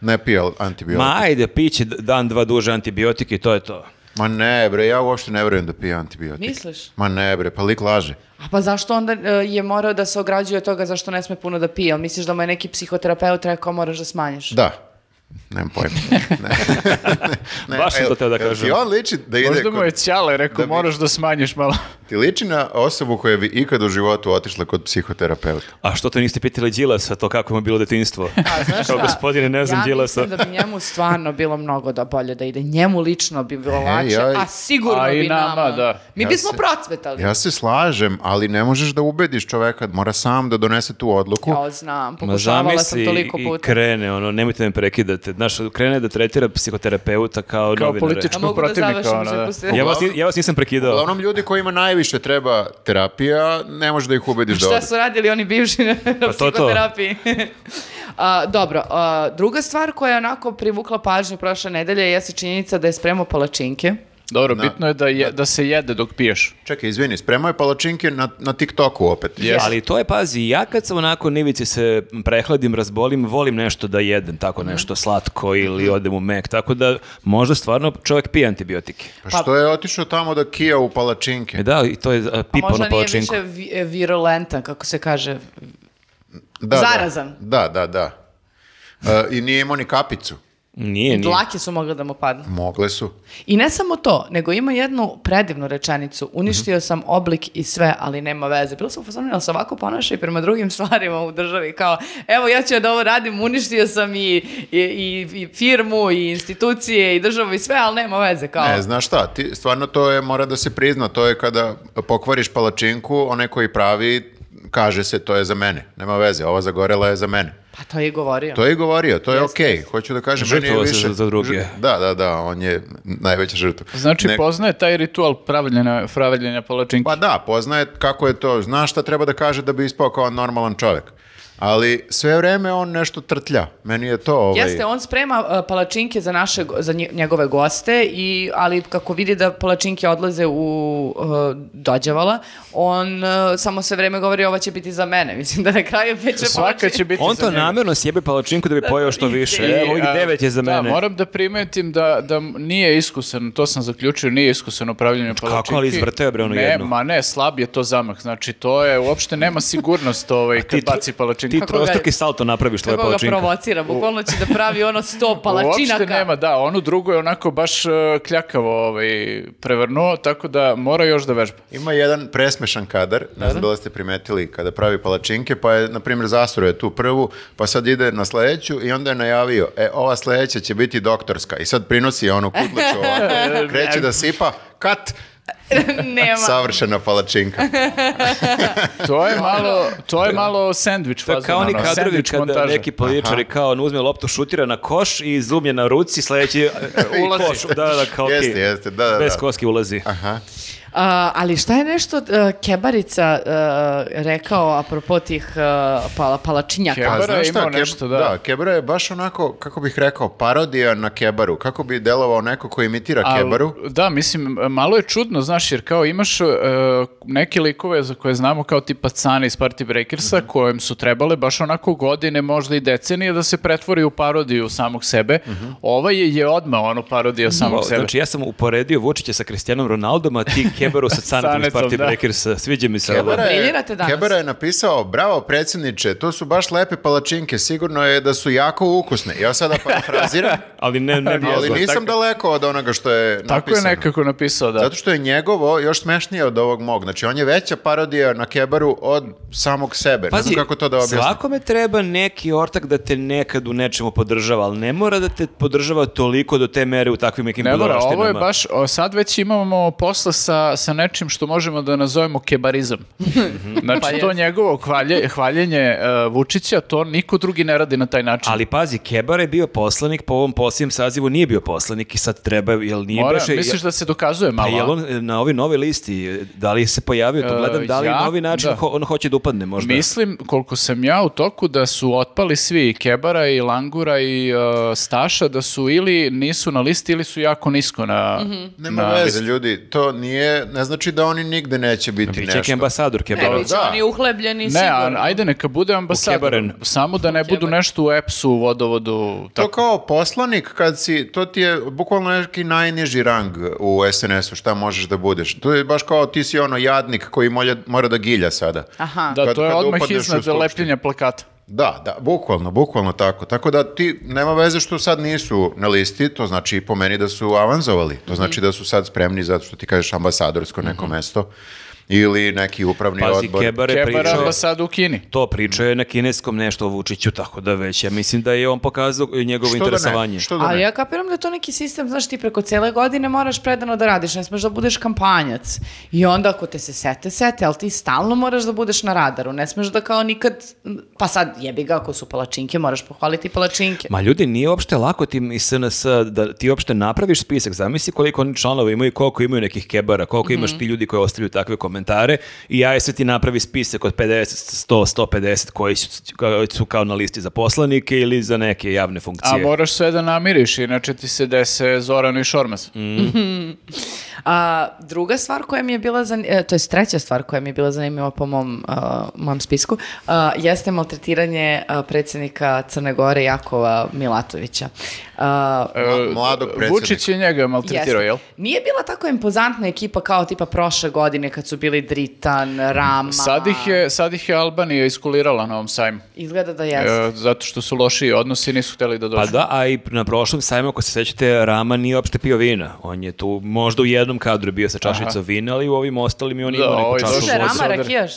S2: Ne pije antibiotike.
S3: Ma
S2: Ma...
S3: ajde, pići dan, dva duže antibiotike i to je to.
S2: ne bre, ja uopšte ne verujem da pije antibiotike.
S1: Misliš?
S2: Ma ne bre, pa lik laže.
S1: A pa zašto onda e, je morao da se ograđuje od toga zašto ne sme puno da pije? Ali misliš da mu je neki psihoterapeut rekao moraš da
S2: <laughs>
S1: smanjiš?
S2: Da. Nemam
S3: <laughs>
S2: pojma. Ne. <laughs> Ne,
S3: Baš sam
S2: jel-
S3: to teo da
S2: jel ti
S3: kažem.
S2: on liči da ide
S4: Možda mu
S2: kod-
S4: je ćale, rekao,
S2: da bi-
S4: moraš da smanjiš malo.
S2: Ti liči na osobu koja bi ikad u životu otišla kod psihoterapeuta.
S3: A što to niste pitali Đilasa, to kako mu je bilo detinjstvo?
S1: A, znaš
S3: Kao
S1: šta?
S3: gospodine, ne znam
S1: ja
S3: Đilasa.
S1: mislim da bi njemu stvarno bilo mnogo da bolje da ide. Njemu lično bi bilo lakše,
S2: ja-
S1: a sigurno
S4: A i
S1: bi nama.
S4: nama, da.
S1: Mi
S2: Ja
S1: bismo
S2: se-
S1: procvetali.
S2: Ja se slažem, ali ne možeš da ubediš čoveka, mora sam da donese tu odluku.
S1: Ja znam,
S3: Ma
S1: pokušavala sam
S3: zamisli
S1: toliko
S3: i
S1: puta.
S3: krene, ono, nemojte me prekidati. Znaš, krene da tretira psihoterapeuta kao,
S4: Kao
S3: novinare.
S1: A
S4: političkog
S1: mogu da
S4: protivnika,
S1: završim,
S4: ono, da.
S1: zapusti-
S3: Ja vas, ni- ja vas nisam prekidao.
S2: Uglavnom, ljudi kojima najviše treba terapija, ne možeš da ih ubediš da
S1: Šta
S2: odu.
S1: su radili oni
S3: <laughs>
S1: bivši na, na
S3: Pa to, to. <laughs>
S1: psihoterapiji. A, dobro, a, druga stvar koja je onako privukla pažnju prošle nedelje jeste činjenica da je spremao palačinke.
S4: Dobro, bitno je da, je da se jede dok piješ.
S2: Čekaj, izvini, spremao je palačinke na, na TikToku opet.
S4: Jeste.
S3: Ali to je, pazi, ja kad sam onako nivici se prehladim, razbolim, volim nešto da jedem, tako
S1: Mhm.
S3: nešto slatko ili odem u mek, tako da možda stvarno čovjek pije antibiotike.
S2: Pa što je otišao tamo da kija u palačinke?
S3: E da, i to je a, pipa
S1: Možda
S3: na
S1: nije
S3: palačinku.
S1: više vi- e, virulentan, kako se kaže.
S2: Da,
S1: Zarazan.
S2: Da, da, da. E, I nije imao ni kapicu.
S3: Nije, nije.
S1: Dlake su mogle da mu padnu.
S2: Mogle su.
S1: I ne samo to, nego ima jednu predivnu rečenicu. Uništio sam oblik i sve, ali nema veze. Bilo sam upozornila da se ovako ponaša i prema drugim <laughs> stvarima u državi. Kao, evo ja ću da ovo radim, uništio sam i, i, i, i firmu, i institucije, i državu i sve, ali nema veze. Kao,
S2: Ne, znaš šta, ti, stvarno to je, mora da se prizna, to je kada pokvariš palačinku, onaj koji pravi, kaže se to je za mene, nema veze, ova zagorela je za mene.
S1: pa to je i govorio.
S4: ovaj
S2: To je i govorio, to je okej, hoću da kažem, meni je
S3: Žrtvovao se
S2: više-
S3: za- za druge.
S2: Žr- Da, da, da, on je najveća žrtva.
S4: Znači,
S2: Ne-
S4: poznaje taj ritual pravljenja, pravljenja palačinki.
S2: Pa da, poznaje kako je to, zna šta treba da kaže da bi ispao kao normalan čovjek. Ali sve vreme on nešto trtlja. Meni je to ovaj...
S1: Jeste, on sprema uh, palačinke za naše go- za nje- njegove goste i ali kako vidi da palačinke odlaze u uh, dođavala, on uh, samo sve vreme govori ova će biti za mene. <laughs> Mislim da na kraju peče
S4: Svaka će biti
S3: On
S4: za
S3: to
S4: njega.
S3: namjerno sjebe palačinku da bi pojeo što više.
S1: I-
S3: Evo, ovih
S4: a,
S3: E, devet je za
S4: Da,
S3: mene.
S4: moram da primetim da, da m- nije iskusan, to sam zaključio, nije iskusan u pravljenju palačinki.
S3: ali izvrteo je, bre, ono
S4: ne,
S3: jednu.
S4: Ma ne, slab je to zamah, znači to je, uopšte nema
S3: <laughs>
S4: sigurnost ovaj, kad
S3: tro-
S4: baci palačinki.
S3: Ti
S1: Kako ga-
S3: trostruki salto napraviš tvoje
S1: Kako ga
S3: palačinka.
S1: provocira, bukvalno će da pravi ono
S4: <laughs>
S1: sto palačinaka.
S4: Uopšte
S1: <laughs>
S4: nema, da, onu drugu je onako baš uh, kljakavo ovaj, prevrnuo, tako da mora još da vežba.
S2: Ima jedan presmešan kadar, ne znam da li ste primetili, kada pravi palačinke, pa je, na primjer, zasuro je tu prvu, pa sad ide na sledeću i onda je najavio, e, ova sledeća će biti doktorska. I sad prinosi onu kudlicu
S4: <laughs>
S2: ovako, kreće da sipa, kat,
S1: nema.
S2: savršena
S4: <laughs>
S2: palačinka.
S4: To
S3: <laughs>
S4: je malo, to je malo sandvič
S3: To je
S4: fazon,
S3: kao oni
S4: ono,
S3: kadrovi
S4: sandvič
S3: kada
S4: montaža.
S3: neki političari kao on uzme loptu, šutira na koš i zoom je na
S2: <laughs>
S3: ruci, sledeći e, u
S4: Ulazi.
S3: koš. Da, da, kao okej.
S2: Jeste, jeste, da, da,
S3: Bez
S2: da.
S3: koski ulazi.
S2: Aha.
S1: A, Uh, ali šta je nešto uh, Kebarica uh, rekao apropo tih uh, pala, palačinjaka?
S4: Kebara
S2: A Pa znaš
S4: je
S2: šta,
S4: imao
S2: Keb-
S4: nešto, da.
S2: Kebra je baš onako, kako bih rekao, parodija na Kebaru. Kako bi delovao neko koji imitira
S4: Al-
S2: Kebaru?
S4: Da, mislim, malo je čudno, znaš, jer kao imaš e, neke likove za koje znamo kao tipa Cane iz Party Breakersa,
S3: Mhm.
S4: kojem su trebale baš onako godine, možda i decenije da se pretvori u parodiju samog sebe. Ovaj je, je odmah ono parodija samog
S3: Wow,
S4: sebe.
S3: Mhm. Znači, ja sam uporedio Vučića sa Cristianom Ronaldom, a ti Keberu
S4: <laughs>
S3: sa Canetom iz
S4: Canetom,
S3: Party
S4: da.
S3: Breakersa. Sviđa mi se ovo.
S1: Kebara-
S2: je,
S1: Briljirate danas.
S2: Kebara je napisao, bravo predsjedniče, to su baš lepe palačinke, sigurno je da su jako ukusne. Ja sada parafraziram,
S3: Ali ne, ne bi
S2: ali
S3: jezio.
S2: nisam daleko od onoga što je napisano.
S4: Tako je nekako napisao, da.
S2: Zato što je njegovo još smešnije od ovog mog. Znači, on je veća parodija na Kebaru od samog sebe. ne znam kako to da objasnim.
S3: svakome treba neki ortak da te nekad u nečemu podržava, ali ne mora da te podržava toliko do te mere u takvim nekim
S4: Ne mora,
S3: budalaštinama.
S4: ovo je baš, o, sad već imamo posla sa, sa nečim što možemo da nazovemo kebarizam.
S3: Mhm.
S4: znači to njegovo hvalje, hvaljenje e, Vučića, to niko drugi ne radi na taj način.
S3: Ali pazi, Kebar je bio poslanik, po ovom posljednjem sazivu nije bio poslanik i sad treba, jel nije
S4: Mora,
S3: beše...
S4: misliš da se dokazuje
S3: Pa
S4: malo?
S3: jel
S4: a?
S3: on e, na ovoj novoj listi, e, da li se pojavio, to
S4: E,
S3: gledam, da li
S4: ja-
S3: na ovaj način
S4: da.
S3: ho- on hoće da upadne možda?
S4: Mislim, koliko sam ja u toku, da su otpali svi i Kebara i Langura i e, Staša, da su ili nisu na listi ili su jako nisko na...
S1: Mhm.
S2: Nema
S4: na
S2: veze,
S4: listi.
S2: ljudi. To nije, ne znači da oni nigde neće biti
S3: Biće neki
S2: nešto.
S3: ambasador
S1: Ne,
S3: Kebara.
S1: bit će
S2: da.
S1: oni uhlebljeni
S4: Ne,
S1: sigurno.
S4: a, ajde neka bude ambasador,
S3: Kebaren.
S4: samo da ne budu
S1: Kebaren.
S4: nešto u EPS-u, u
S2: To
S4: vodovodu, tako.
S2: kao poslanik, kad si, to ti je bukvalno neki najniži rang u SNS-u, šta možeš da budeš. To je baš kao ti si ono jadnik koji molja, mora da gilja sada.
S1: Aha.
S4: Da,
S2: Kad-
S4: to je
S2: kad
S4: odmah
S2: upadneš u
S4: iznad
S2: skupštinu.
S4: lepljenja plakata.
S2: Da, da, bukvalno, bukvalno tako. Tako da ti, nema veze što sad nisu na listi, to znači i po meni da su avanzovali. To
S1: Mhm.
S2: znači da su sad spremni zato što ti kažeš ambasadorsko neko mesto ili neki upravni
S3: Pazi,
S2: odbor.
S3: Kebar je
S4: Kebara
S3: pričao...
S4: ambasada u Kini.
S3: To pričao je na kineskom nešto o Vučiću, tako da već, ja mislim da je on pokazao e, njegovo
S2: Što da
S3: interesovanje.
S2: ne? Što da
S1: Ali
S2: ne?
S1: ja kapiram da je to neki sistem, znaš, ti preko cele godine moraš predano da radiš, ne smeš da budeš kampanjac. I onda ako te se sete, sete, ali ti stalno moraš da budeš na radaru, ne smeš da kao nikad, pa sad jebi ga ako su palačinke, moraš pohvaliti palačinke.
S3: Ma ljudi, nije uopšte lako tim iz SNS da ti
S1: Mhm.
S3: uopšte napraviš spisak. Zamisli koliko oni članova imaju, koliko imaju nekih kebara, koliko imaš ti ljudi koji ostavljaju takve komentare i AS ti napravi spisak od 50, 100, 150 koji su, koji su kao na listi za poslanike ili za neke javne
S4: A
S3: funkcije.
S4: moraš sve da namiriš, inače ti se dese Zoranu i Šormaz.
S2: Mm.
S1: A, druga stvar koja mi je bila, zan... e, to je treća stvar koja mi je bila zanimljiva po mom, a, mom spisku, a, jeste maltretiranje a, predsjednika Crne Gore Jakova Milatovića. A,
S4: E,
S2: mladog
S4: Vučić je njega maltretirao,
S1: jeste.
S4: jel?
S1: Nije bila tako impozantna ekipa kao tipa prošle godine kad su bili Dritan, Rama.
S4: Sad ih, je, sad ih je Albanija iskulirala na ovom sajmu.
S1: Izgleda da
S4: E,
S1: jeste.
S4: zato što su loši odnosi i nisu hteli da dođu.
S3: Pa da, a i na prošlom sajmu, ako se sećate, Rama nije uopšte pio vina. On je tu možda u jednom kadru bio sa čašicom vina, ali u ovim ostalim je on
S4: Da,
S3: imao neku
S4: ovaj
S3: čašu
S4: došao
S1: Slušaj,
S4: je
S3: vode.
S1: Rama
S4: Sodar. <laughs>
S1: rakijaš?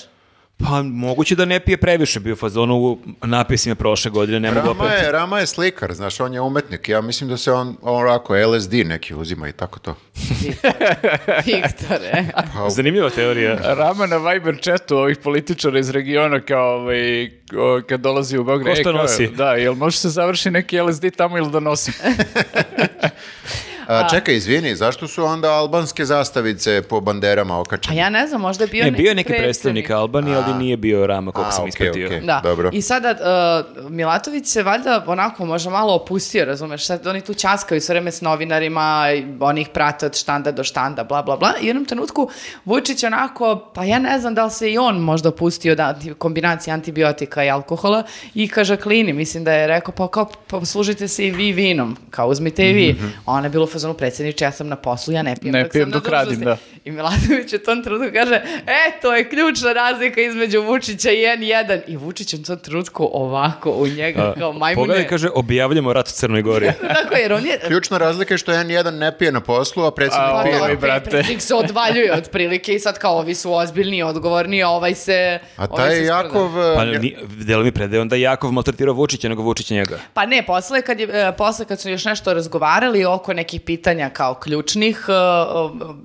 S3: Pa moguće da ne pije previše, bio u fazonu u napisima prošle godine, ne mogu
S2: Rama
S3: opet.
S2: je, Rama je slikar, znaš, on je umetnik. Ja mislim da se on, on rako LSD neki uzima i tako to.
S1: Viktore.
S4: Pa-
S3: Zanimljiva teorija.
S4: Rama na Viber chatu ovih političara iz regiona kao ovaj, o, kad dolazi u Beograd.
S3: Ko šta
S4: e, kao,
S3: nosi?
S4: Da, jel može se završi neki LSD tamo ili da nosim?
S2: A, čekaj, izvini, zašto su onda albanske zastavice po banderama
S1: A
S2: okačene?
S1: Pa ja ne znam, možda je bio
S3: Ne,
S1: neki
S3: bio je neki predstavnik Albanije, ali nije bio Rama, koliko
S2: A,
S3: sam
S2: okej,
S3: ispratio.
S2: okej.
S1: Da.
S2: Dobro.
S1: I sada uh, Milatović se valjda onako možda malo opustio, razumeš, sad oni tu časkaju sve vreme s novinarima, i oni ih prate od štanda do štanda, bla, bla, bla. I u jednom trenutku Vučić onako, pa ja ne znam da li se i on možda opustio od anti- kombinacije antibiotika i alkohola i kaže klini, mislim da je rekao, pa kao poslužite se i vi vinom, kao uzmite i vi. Ona je bila u fazonu predsjedniče, ja sam na poslu, ja ne pijem.
S4: Mhm. Ne
S1: dok
S4: pijem
S1: sam
S4: dok
S1: na
S4: radim,
S1: dužnosti."
S4: da.
S1: I Milatović u tom trenutku kaže, e, to je ključna razlika između Vučića i N1. I Vučić u tom trenutku ovako u njega, kao majmune.
S3: Pogledaj, kaže, objavljamo rat Crnoj
S2: <laughs>
S3: Gori.
S1: <laughs> Tako, jer on je...
S2: Ključna razlika je što N1 ne pije na poslu, a predsjednik
S4: A,
S1: Pa
S2: pije.
S1: dobro,
S4: Pili,
S1: pre-
S4: brate.
S1: predsjednik se odvaljuje otprilike i sad kao ovi su ozbiljni, odgovorni, a ovaj se...
S2: A
S1: ovaj
S2: taj
S1: se sprda.
S2: Jakov... e,
S3: Pa
S2: nje-
S3: ni, delo mi predaje onda Jakov maltretirao Vučića, nego Vučić njega.
S1: Pa ne, posle kad, je, e, posle kad su još nešto razgovarali oko nekih pitanja kao ključnih, e, e,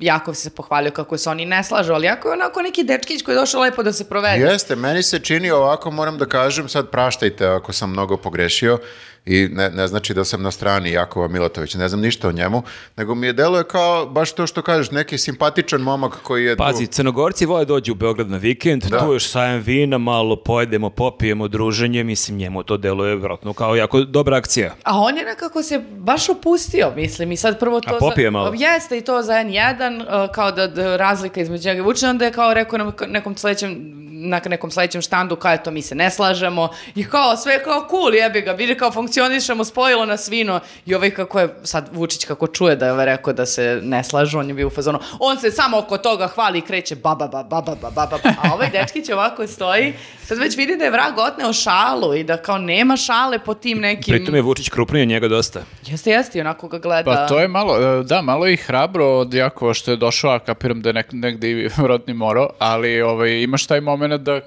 S1: Jakov se pohvalio kako se oni ne slažu, ali Jakov je onako neki dečkić koji je došao lepo da se provede.
S2: Jeste, meni se čini ovako, moram da kažem, sad praštajte ako sam mnogo pogrešio i ne, ne znači da sam na strani Jakova Milatovića, ne znam ništa o njemu, nego mi je deluje kao, baš to što kažeš, neki simpatičan momak koji je
S3: Pazi,
S2: tu.
S3: Crnogorci vole dođu u Beograd na vikend,
S2: Da.
S3: tu još sajem vina, malo pojedemo, popijemo, druženje, mislim, njemu to deluje vjerojatno kao jako dobra akcija.
S1: A on je nekako se baš opustio, mislim, i sad prvo to...
S3: A popio je
S1: za-
S3: malo.
S1: Jeste i to za N1, uh, kao da, da razlika između njega i Vučića, onda je kao rekao na nekom sledećem na nekom sledećem štandu kao eto mi se ne slažemo i kao sve je kao cool jebi ga, vidi kao funkcionišemo, spojilo nas vino i ovaj kako je sad Vučić kako čuje da je ovaj rekao da se ne slažu, on je bio u fazonu, on se samo oko toga hvali i kreće ba ba ba ba ba ba ba ba, a ovaj dečkić ovako stoji, sad već vidi da je vrag otneo šalu i da kao nema šale po tim nekim
S3: Pritom je Vučić krupnio njega dosta.
S1: Jeste, jeste, i onako ga gleda.
S4: <laughs> Pa to je malo, e, da, malo je i hrabro od Jakova što je došao, a kapiram da je nek, negde i <laughs> rodni moro, ali ovaj, imaš taj moment da e,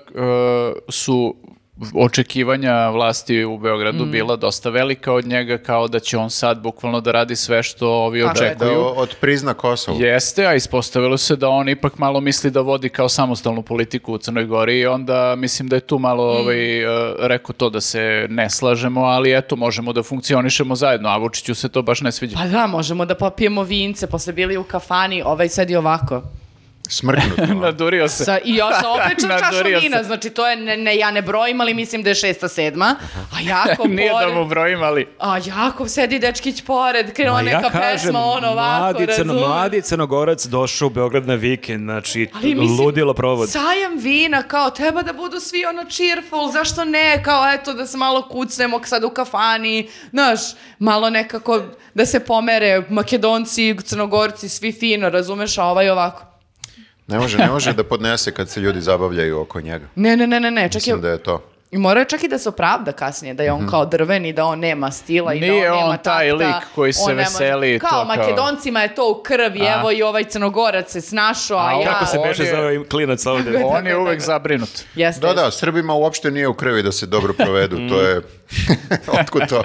S4: su očekivanja vlasti u Beogradu bila dosta velika od njega, kao da će on sad bukvalno da radi sve što ovi
S1: Tako je.
S2: Da
S4: očekuju.
S2: o- otprizna Kosovo.
S4: Jeste, a ispostavilo se da on ipak malo misli da vodi kao samostalnu politiku u Crnoj Gori i onda mislim da je tu malo
S1: Mm.
S4: ovaj, e, rekao to da se ne slažemo, ali eto, možemo da funkcionišemo zajedno, a Vučiću se to baš ne sviđa.
S1: Pa da, možemo da popijemo vince, posle bili u kafani, ovaj sad i ovako.
S2: Smrknut. ono.
S4: <laughs> Nadurio se.
S1: Pa, Sa, I još sa opečom
S4: <laughs> Nadorio
S1: čašom
S4: se.
S1: vina, znači to je, ne, ne, ja ne brojim, ali mislim da je šesta, sedma. A Jakov
S4: <laughs> Nije da
S1: pored,
S4: mu
S1: <laughs>
S4: brojim, ali...
S1: a Jakov sedi dečkić pored, krenula
S3: Ma
S1: neka pesma, on ovako,
S3: mladi, crno,
S1: razumeš?
S3: mladi Crnogorac došao u Beograd na vikend, znači,
S1: Ali mislim,
S3: ludilo provod.
S1: Sajam vina, kao treba da budu svi ono cheerful, zašto ne, kao eto da se malo kucnemo sad u kafani, znaš, malo nekako da se pomere makedonci, crnogorci, svi fino, razumeš, a ovaj ovako.
S2: Ne može, ne može da podnese kad se ljudi zabavljaju oko njega.
S1: Ne, ne, ne, ne, ne, čak je,
S2: Mislim da je to.
S1: i morao je čak i da se opravda kasnije, da je on kao drven i da on nema stila i da on
S4: Mhm. Nije
S1: nema
S4: on taj
S1: takta,
S4: lik koji se
S1: on ne može-
S4: veseli i to
S1: Kao,
S4: kao-
S1: makedoncima je to u krvi,
S4: A.
S1: evo i ovaj crnogorac se snašao, a,
S4: A
S1: ja...
S3: Kako se
S4: on
S3: beše
S4: je-
S3: zove klinac ovdje?
S4: On je uvek zabrinut.
S1: Jeste,
S2: Da,
S1: jeste.
S2: da, Srbima uopšte nije u krvi da se dobro provedu, to je... <laughs> Otkud to?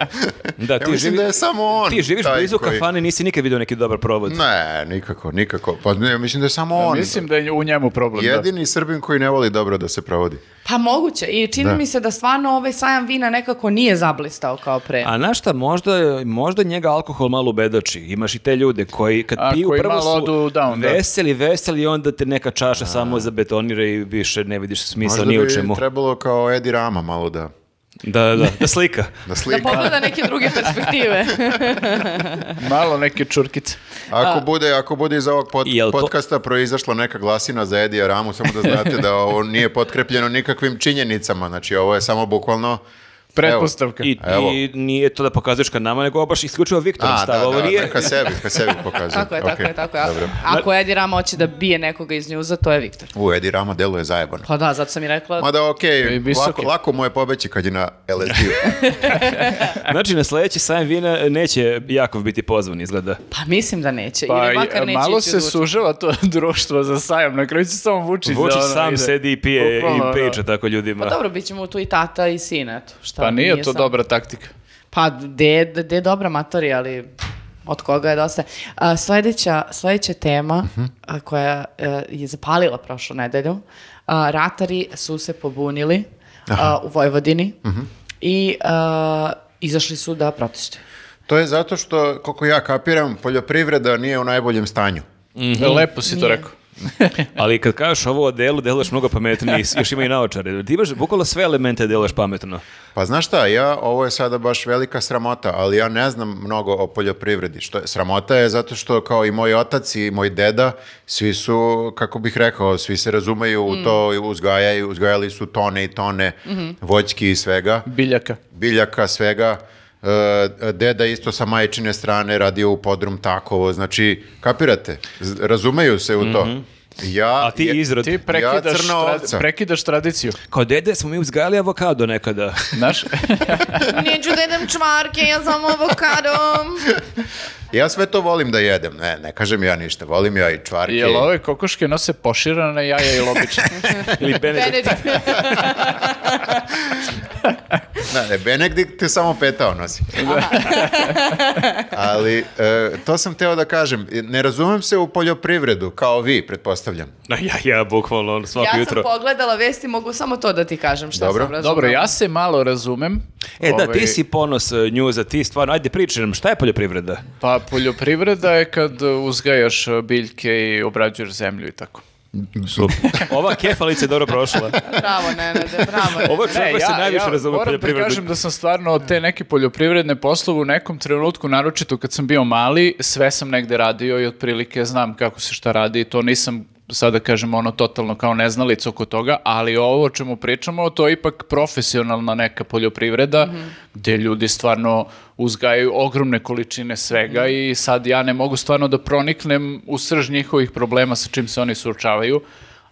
S3: Mm. Da,
S2: ja
S3: ti
S2: mislim
S3: živi-
S2: da je samo on.
S3: Ti živiš
S2: taj
S3: blizu
S2: koji-
S3: kafane, nisi nikad vidio neki dobar provod.
S2: Ne, nikako, nikako. Pa ne, mislim da je samo on.
S4: Mislim da je u njemu problem. da.
S2: Jedini Srbin koji ne voli dobro da se provodi.
S1: Pa moguće. I čini
S2: Da.
S1: mi se se da stvarno ovaj sajam vina nekako nije zablistao kao pre.
S3: A znaš šta, možda, možda njega alkohol malo ubedači. Imaš i te ljude koji kad
S4: A,
S3: piju
S4: koji
S3: prvo
S4: malo
S3: su
S4: odu down, da.
S3: veseli, veseli i onda te neka čaša samo zabetonira i više ne vidiš smisla
S2: Možda
S3: ni u
S2: bi
S3: čemu.
S2: trebalo kao Edi Rama malo da,
S3: Da, da, da, da
S2: <laughs>
S3: slika.
S2: da
S1: Da
S2: slika.
S4: <laughs>
S1: pogleda neke druge perspektive.
S2: <laughs>
S4: Malo neke čurkice.
S2: Ako bude, ako bude iz ovog pod,
S3: Jel to-
S2: podcasta proizašla neka glasina za Edija Ramu, samo da znate da ovo nije potkrepljeno nikakvim činjenicama. Znači, ovo je samo bukvalno...
S4: Pretpostavka.
S3: I,
S2: E, Evo.
S3: I nije to da pokazuješ ka nama, nego baš isključivo Viktor
S2: A,
S3: stav.
S2: da,
S3: Ovo
S2: da,
S3: nije-
S2: da, ka sebi, ka sebi pokazujem.
S1: tako je, tako
S2: Okej,
S1: je, tako je. A-
S2: Dobro.
S1: Ako Edi Rama hoće da bije nekoga iz njuza, to je Viktor.
S2: U, Edi Rama deluje zajebano.
S1: Pa da, zato sam i rekla...
S2: Mada okej,
S4: visoki.
S2: lako, lako mu je pobeći kad je na LSD-u.
S3: Znači, na sledeći sajam vina neće Jakov biti pozvan, izgleda.
S1: Pa mislim da neće.
S4: Pa,
S1: Ili makar
S4: i-
S1: neće
S4: malo
S1: ići
S4: se
S1: u zvučnik.
S4: sužava to <laughs> društvo za sajam, na kraju će samo Vučić. da
S3: Vučić
S4: ono
S3: sam
S4: ide.
S3: sedi i pije
S4: Bukvalno,
S3: i
S4: ono.
S3: priča tako ljudima.
S1: Pa dobro, bit ćemo tu i tata i sin, eto. Šta,
S4: Pa nije to
S1: sam-
S4: dobra taktika.
S1: Pa, de, de, de dobra matori, ali od koga je dosta. A, sledeća, sledeća tema a, koja e, je zapalila prošlu nedelju, a, ratari su se pobunili a, u Vojvodini i a, izašli su da <laughs> protestuju.
S2: To je zato što, koliko ja kapiram, poljoprivreda nije u najboljem stanju. Mhm.
S4: E, Lepo si to
S1: Nije.
S4: rekao.
S3: Ali kad kažeš ovo o delu, deluješ mnogo pametnije, i još ima i naočare. Ti imaš bukvalno sve elemente deluješ pametno.
S2: Pa znaš šta, ja, ovo je sada baš velika sramota, ali ja ne znam mnogo o poljoprivredi. Što je, sramota je zato što kao i moj otac i moj deda, svi su, kako bih rekao, svi se razumeju
S1: Mm.
S2: u to, i uzgajaju, uzgajali su tone i tone
S1: Mhm.
S2: voćki i svega,
S4: Biljaka.
S2: biljaka, svega. E, Deda isto sa majčine strane radio u podrum takovo, znači, kapirate, Z- razumeju se u to. Ja,
S3: Mhm. A ti
S2: je-
S3: izrod.
S4: Ti prekidaš,
S2: crna
S4: tra-
S2: ovca.
S4: prekidaš tradiciju.
S3: Kao dede smo mi uzgajali avokado nekada.
S4: Znaš?
S2: <laughs>
S4: <laughs>
S1: Neću da jedem čvarke, ja samo avokadom.
S2: Ja sve to volim da jedem, ne, ne kažem ja ništa, volim ja i čvarke. i-
S4: Jel ove kokoške nose poširana jaja i lobiče?
S3: Ili Benedikt.
S1: Benedikt.
S2: Da, ne, Benedikt je samo petao nosi. <laughs> Ali, e, to sam teo da kažem, ne razumem se u poljoprivredu, kao vi, pretpostavljam.
S3: Na, ja, ja, bukvalno, ono, svako
S1: ja sam
S3: jutro.
S1: pogledala vesti, mogu samo to da ti kažem šta
S2: Dobro.
S1: sam razumela.
S4: Dobro, ja se malo razumem.
S3: E, da,
S4: Ovaj,
S3: ti si ponos e, njuza, ti stvarno, ajde pričaj nam, šta je poljoprivreda?
S4: Pa poljoprivreda je kad uzgajaš e, biljke i obrađuješ zemlju i tako.
S3: Ova kefalica je dobro prošla.
S1: Bravo, Nenade, bravo. Nenade.
S3: Ovo čovjek koji se najviše razume u
S4: moram da
S3: poljoprivredu.
S4: kažem da sam stvarno od te neke poljoprivredne poslove u nekom trenutku, naročito kad sam bio mali, sve sam negde radio i otprilike znam kako se šta radi i to nisam sada kažem ono totalno kao neznalica oko toga, ali ovo o čemu pričamo to je ipak profesionalna neka poljoprivreda
S3: Mhm.
S4: gdje ljudi stvarno uzgajaju ogromne količine svega
S3: Mhm.
S4: i sad ja ne mogu stvarno da proniknem u srž njihovih problema sa čim se oni suočavaju,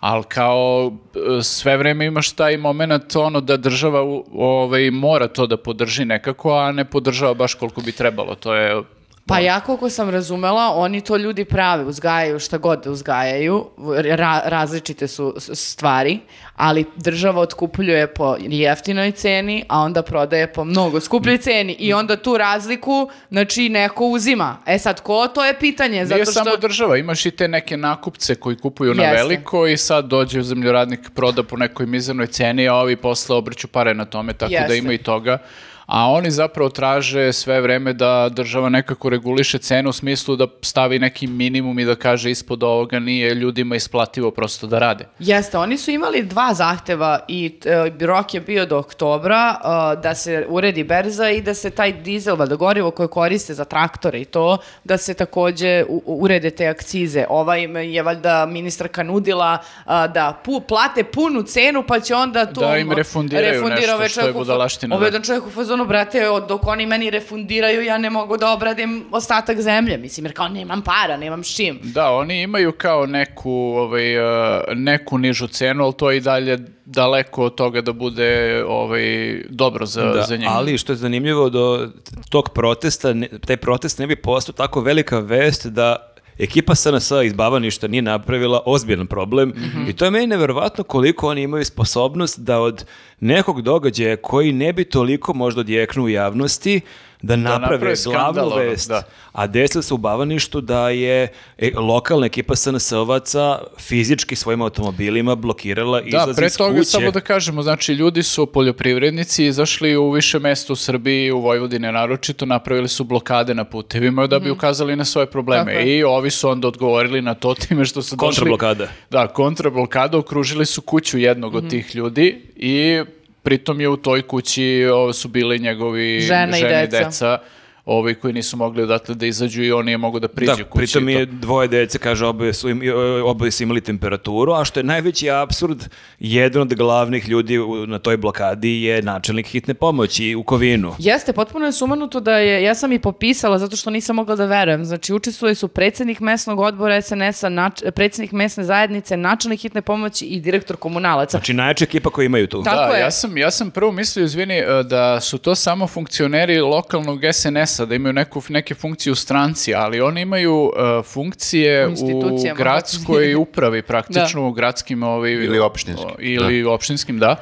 S4: ali kao e, sve vreme imaš taj moment ono da država u- ovaj, mora to da podrži nekako, a ne podržava baš koliko bi trebalo. To je
S1: Pa ja koliko sam razumela, oni to ljudi prave, uzgajaju šta god da uzgajaju, ra- različite su s- stvari, ali država otkupljuje po jeftinoj ceni, a onda prodaje po mnogo skupljoj ceni i onda tu razliku, znači neko uzima. E sad, ko to je pitanje? Zato
S4: Nije
S1: što...
S4: samo država, imaš i te neke nakupce koji kupuju na
S1: Jeste.
S4: veliko i sad dođe zemljoradnik, proda po nekoj mizernoj ceni, a ovi posle obrću pare na tome, tako da
S1: Jeste.
S4: ima i toga. A oni zapravo traže sve vreme da država nekako reguliše cenu u smislu da stavi neki minimum i da kaže ispod ovoga nije ljudima isplativo prosto da rade.
S1: Jeste, oni su imali dva zahteva i e, rok je bio do oktobra e, da se uredi berza i da se taj dizel, valjda gorivo koje koriste za traktore i to, da se takođe u- u- urede te akcize. Ova im je valjda ministarka nudila a, da pu, plate punu cenu pa će onda to... ovaj
S4: Da im refundiraju nešto, što je budalaština,
S1: Ovo
S4: da.
S1: jedan čovjek u fazonu, brate, od- dok oni meni refundiraju ja ne mogu da obradim ostatak zemlje. Mislim, jer kao nemam para, nemam s čim.
S4: Da, oni imaju kao neku, ovaj, eh, neku nižu cenu, ali to je i dalje daleko od toga da bude ovaj, dobro za,
S3: Da,
S4: za njih.
S3: ali što je zanimljivo do tog protesta, ne- taj protest ne bi postao tako velika vest da ekipa SNS iz Bavaništa nije napravila ozbiljan problem
S4: Mhm.
S3: i to je meni neverovatno koliko oni imaju sposobnost da od nekog događaja koji ne bi toliko možda odjeknu u javnosti da naprave
S4: naprave
S3: glavnu
S4: skandal, ono,
S3: vest.
S4: da.
S3: A desilo se u Bavaništu da je e, lokalna ekipa SNS-ovaca fizički svojim automobilima blokirala
S4: Da,
S3: izlaz
S4: pre
S3: iz
S4: toga
S3: kuće.
S4: samo da kažemo, znači ljudi su poljoprivrednici izašli u više mesta u Srbiji, u Vojvodine naročito, napravili su blokade na putevima da bi ukazali na svoje probleme
S1: Mhm. Tako je.
S4: i ovi su onda odgovorili na to time što su došli...
S3: Kontrablokada.
S4: Da, kontrablokada, okružili su kuću jednog
S1: Mhm.
S4: od tih ljudi i pritom je u toj kući o, su bili njegovi
S1: Žena i
S4: žene
S1: deca.
S4: ovi koji nisu mogli odatle da izađu i on nije mogao da priđe
S3: da,
S4: kući.
S3: pritom
S4: i to.
S3: je dvoje dece, kaže, oboje su, im, oboje su imali temperaturu, a što je najveći apsurd, jedan od glavnih ljudi u- na toj blokadi je načelnik hitne pomoći u Kovinu.
S1: Jeste, potpuno je sumanuto da je, ja sam i popisala zato što nisam mogla da verujem. Znači, učestvovali su predsjednik mesnog odbora SNS-a, nač, predsjednik mesne zajednice, načelnik hitne pomoći i direktor komunalaca.
S3: Znači, najjača ekipa koju imaju tu.
S1: Tako
S4: da,
S1: je.
S4: ja sam, ja sam prvo mislio, izvini, e, da su to samo funkcioneri lokalnog SNS-a, da imaju neku, neke funkcije u stranci, ali oni imaju e, funkcije u
S1: Institucijama.
S4: gradskoj upravi, praktično u gradskim... Ovi,
S2: Ili opštinskim.
S4: o, Ili opštinskim, da.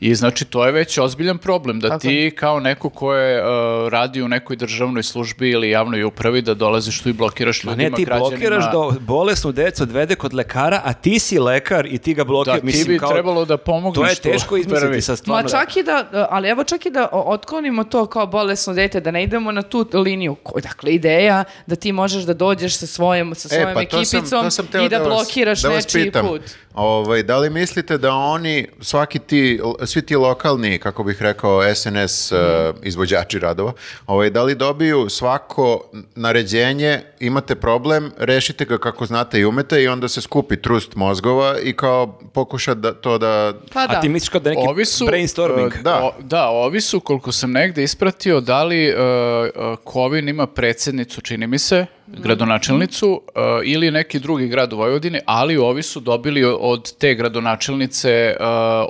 S4: I znači to je već ozbiljan problem da
S1: Tako
S4: ti kao neko ko je e, radi u nekoj državnoj službi ili javnoj upravi da dolaziš tu i blokiraš
S3: Ma
S4: ljudima,
S3: ne, ti
S4: građanima.
S3: blokiraš da bolesnu decu odvede kod lekara, a ti si lekar i ti ga
S4: Da,
S3: blokiraš.
S4: ti bi trebalo da
S3: To
S4: pomogneš
S3: je
S4: tu
S3: teško izmisliti
S4: prvi.
S3: sa
S1: Ma
S3: stvarno.
S1: čak i da, e, ali evo čak i da o- otklonimo to kao bolesno dete, da ne idemo na tu liniju. Ko- Dakle, ideja da ti možeš da dođeš sa svojom, sa svojom
S2: E, pa to sam-
S1: ekipicom
S2: to sam teo
S1: i da,
S2: vas-
S1: blokiraš
S2: da vas
S1: nečiji
S2: pitam.
S1: put.
S2: Ovaj, da li mislite da oni, svaki ti, svi ti lokalni, kako bih rekao, SNS
S1: Mhm.
S2: eh, izvođači radova, ovaj, da li dobiju svako naređenje, imate problem, rešite ga kako znate i umete i onda se skupi trust mozgova i kao pokuša da, to da...
S1: Pa da.
S3: A ti misliš kao da je neki
S4: Ovi su,
S3: brainstorming.
S2: Da.
S4: e, da. da, ovi su, koliko sam negde ispratio, da li e, e, Kovin ima predsednicu, čini mi se, gradonačelnicu, e, ili neki drugi grad u Vojvodini, ali ovi su dobili o- od te gradonačelnice e,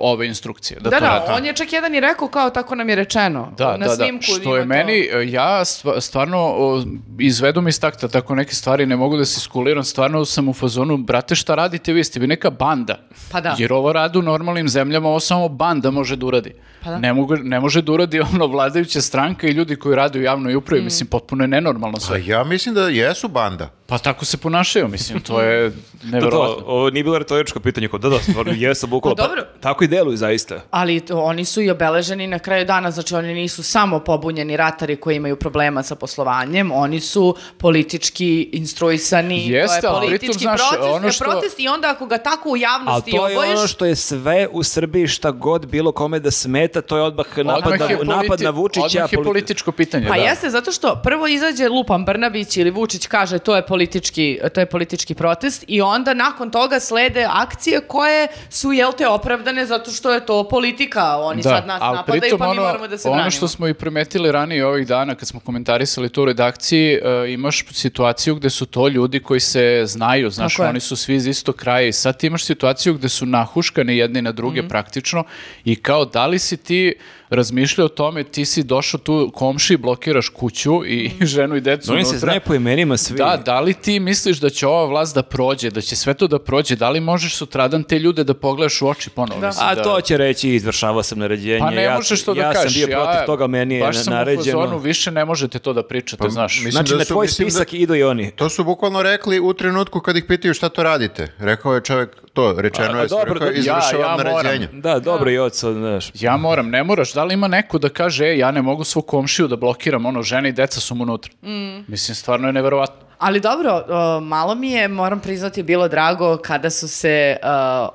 S4: ove instrukcije. Da,
S1: Da,
S4: to
S1: da,
S4: rade.
S1: on je čak jedan i rekao kao tako nam je rečeno.
S4: Da,
S1: na
S4: da, da.
S1: snimku
S4: Što
S1: ima
S4: je
S1: to.
S4: meni, e, ja stva- stvarno o, izvedom iz takta tako neke stvari, ne mogu da se iskuliram, stvarno sam u fazonu, brate šta radite vi, ste vi neka banda.
S1: Pa da.
S4: Jer ovo radi u normalnim zemljama, ovo samo banda može da uradi.
S1: Pa da.
S4: Ne, mogu, ne može da uradi <laughs> ono vladajuća stranka i ljudi koji rade u javnoj
S1: Mm.
S4: upravi, mislim, potpuno je nenormalno
S2: Pa
S4: sve.
S2: ja mislim da jesu banda.
S4: Pa tako se ponašaju, mislim, to
S3: <laughs>
S4: je
S3: Da, da,
S4: nevjerovatno.
S3: ovo nije bilo retoričko pitanje. kao Da, da, stvarno, jesu bukvalo.
S1: Pa dobro.
S3: tako i deluju zaista.
S1: Ali to- oni su i obeleženi na kraju dana, znači oni nisu samo pobunjeni ratari koji imaju problema sa poslovanjem, oni su politički instruisani,
S4: Jeste,
S1: to je
S4: ali
S1: politički
S4: pritom, znaš,
S1: proces,
S4: ono
S1: je
S4: što-
S1: protest i onda ako ga tako u
S3: Ali
S1: javnosti
S3: to je
S1: obojiš,
S3: ono što je sve u Srbiji šta god bilo kome da smeta, to je odmah napad, na,
S4: Odmah je
S3: napad na
S4: politi-
S3: Vučića.
S4: Odmah je
S3: politi-
S4: političko pitanje,
S1: Pa
S4: da.
S1: jeste, zato što prvo izađe Lupan Brnabić ili Vučić kaže to je politički, to je politički protest i onda nakon toga slede akcije koje su, jel te, opravdane zato što je to politika. Oni sad nas
S4: ali
S1: napadaju
S4: pritom
S1: pa mi
S4: ono-
S1: moramo da se
S4: ono
S1: branimo.
S4: što smo i primetili ranije ovih dana kad smo komentarisali to u redakciji, e, imaš situaciju gde su to ljudi koji se znaju, znaš,
S1: Tako je.
S4: oni su svi iz istog kraja i sad ti imaš situaciju gde su nahuškani jedni na druge
S1: Mhm.
S4: praktično i kao da li si ti razmišljao o tome, ti si došao tu komši, blokiraš kuću i
S1: Mhm.
S4: <laughs> ženu i decu
S3: No, oni se
S4: unutra.
S3: znaju po imenima svi.
S4: Da, da li ti misliš da će ova vlast da prođe, da će sve to da prođe, da li možeš sutradan te ljude da pogledaš u oči ponovno? mislim,
S3: A
S4: da-
S3: to će reći, izvršavao sam naređenje.
S4: pa ne
S3: ja,
S4: možeš to da
S3: ja
S4: kažeš.
S3: sam bio protiv
S4: ja-
S3: toga, meni je
S4: baš
S3: na-
S4: sam u
S3: naređeno.
S4: fazonu, više ne možete to da pričate, znaš.
S2: mislim
S3: Znači,
S2: da
S3: na
S2: su-
S3: tvoj
S2: mislim da-
S3: spisak idu i oni.
S2: To su bukvalno rekli u trenutku kad ih pitaju šta to radite. Rekao je čovjek to, rečeno
S3: A,
S2: je,
S3: dobro,
S2: rekao je,
S3: ja-
S2: izvršavam
S4: ja moram.
S2: naređenje.
S3: Da, dobro i oca, znaš.
S4: Ja moram, ne moraš. Da li ima neko da kaže, e, ja ne mogu svog komšiju da blokiram, ono, žene i deca su mu unutra.
S1: Mm.
S4: Mislim, stvarno je neverovatno.
S1: Ali dobro, o, malo mi je, moram priznati, bilo drago kada su se uh,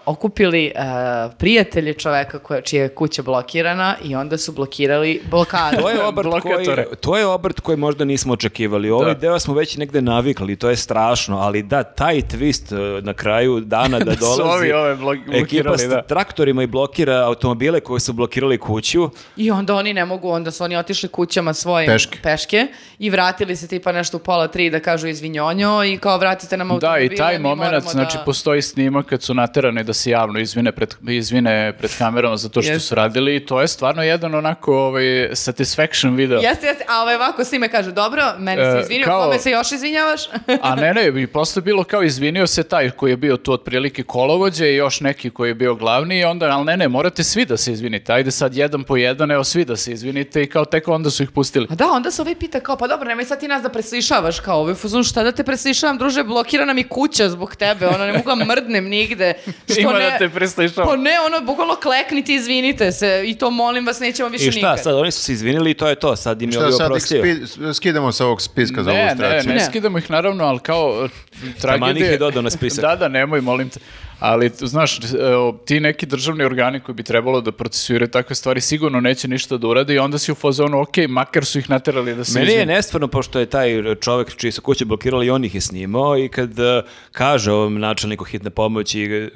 S1: okupili uh, prijatelji čoveka koja, čija je kuća blokirana i onda su blokirali blokadu.
S3: To <laughs> je obrt koji,
S4: Blokatore.
S3: to je obrt koji možda nismo očekivali. Ovaj
S4: Da.
S3: deo smo već negde navikli, to je strašno, ali da, taj twist e, na kraju <laughs> dana da,
S4: Da su
S3: dolazi
S4: ovi ove blok-
S3: ekipa
S4: blokirali,
S3: s
S4: da.
S3: traktorima i blokira automobile koji su blokirali kuću,
S1: I onda oni ne mogu, onda su oni otišli kućama svojim
S2: Peške.
S1: i vratili se tipa nešto u pola tri da kažu iz Vinjonjo i kao vratite nam
S4: Da,
S1: automobile.
S4: i taj
S1: mi
S4: moment,
S1: moramo
S4: znači,
S1: da-
S4: postoji snimak kad su naterani da se javno izvine pred, izvine pred kamerama za to što
S1: Jeste.
S4: su radili i to je stvarno jedan onako ovaj, satisfaction video.
S1: Jeste, jeste, a ovaj ovako svime kaže, dobro, meni se
S4: E,
S1: izvinio,
S4: kao-
S1: kome se još izvinjavaš?
S4: A ne, ne, i posle bilo kao izvinio se taj koji je bio tu otprilike kolovođe i još neki koji je bio glavni i onda, ali ne, ne, morate svi da se izvinite, ajde sad jedan po jedan, evo svi da se izvinite i kao tek onda su ih pustili.
S1: A da, onda se ovaj pita kao, pa dobro, nemoj sad ti nas da preslišavaš, kao ovaj fuzon, šta da te preslišavam, druže, blokira nam i kuća zbog tebe, ono, ne mogu da mrdnem
S4: <laughs>
S1: nigde. Što
S4: Ima
S1: ne-
S4: da te preslišava.
S1: Pa ne, ono, bukvalno kleknite, izvinite se i to molim vas, nećemo više
S3: I šta,
S1: nikad.
S3: sad oni su se izvinili i to je to, sad im je
S2: Šta
S3: ovi
S2: sad ih
S3: oprostio.
S2: spi- skidamo sa ovog spiska za
S4: Ne, ne,
S2: ilustraciju?
S4: ne,
S1: Ne.
S4: skidamo ih naravno, ali kao e,
S3: Taman ih
S4: tragedije...
S3: je dodao na spisak.
S4: da, da, nemoj, molim te. Ali, t- znaš, e, o, ti neki državni organi koji bi trebalo da procesuiraju takve stvari sigurno neće ništa da urade i onda si u fazonu, ok, makar su ih naterali da se
S3: Meni je
S4: izvine."
S3: nestvarno, pošto je taj čovek čiji su kuće blokirali, on ih je snimao i kad eh, kaže ovom načelniku hitne pomoći eh,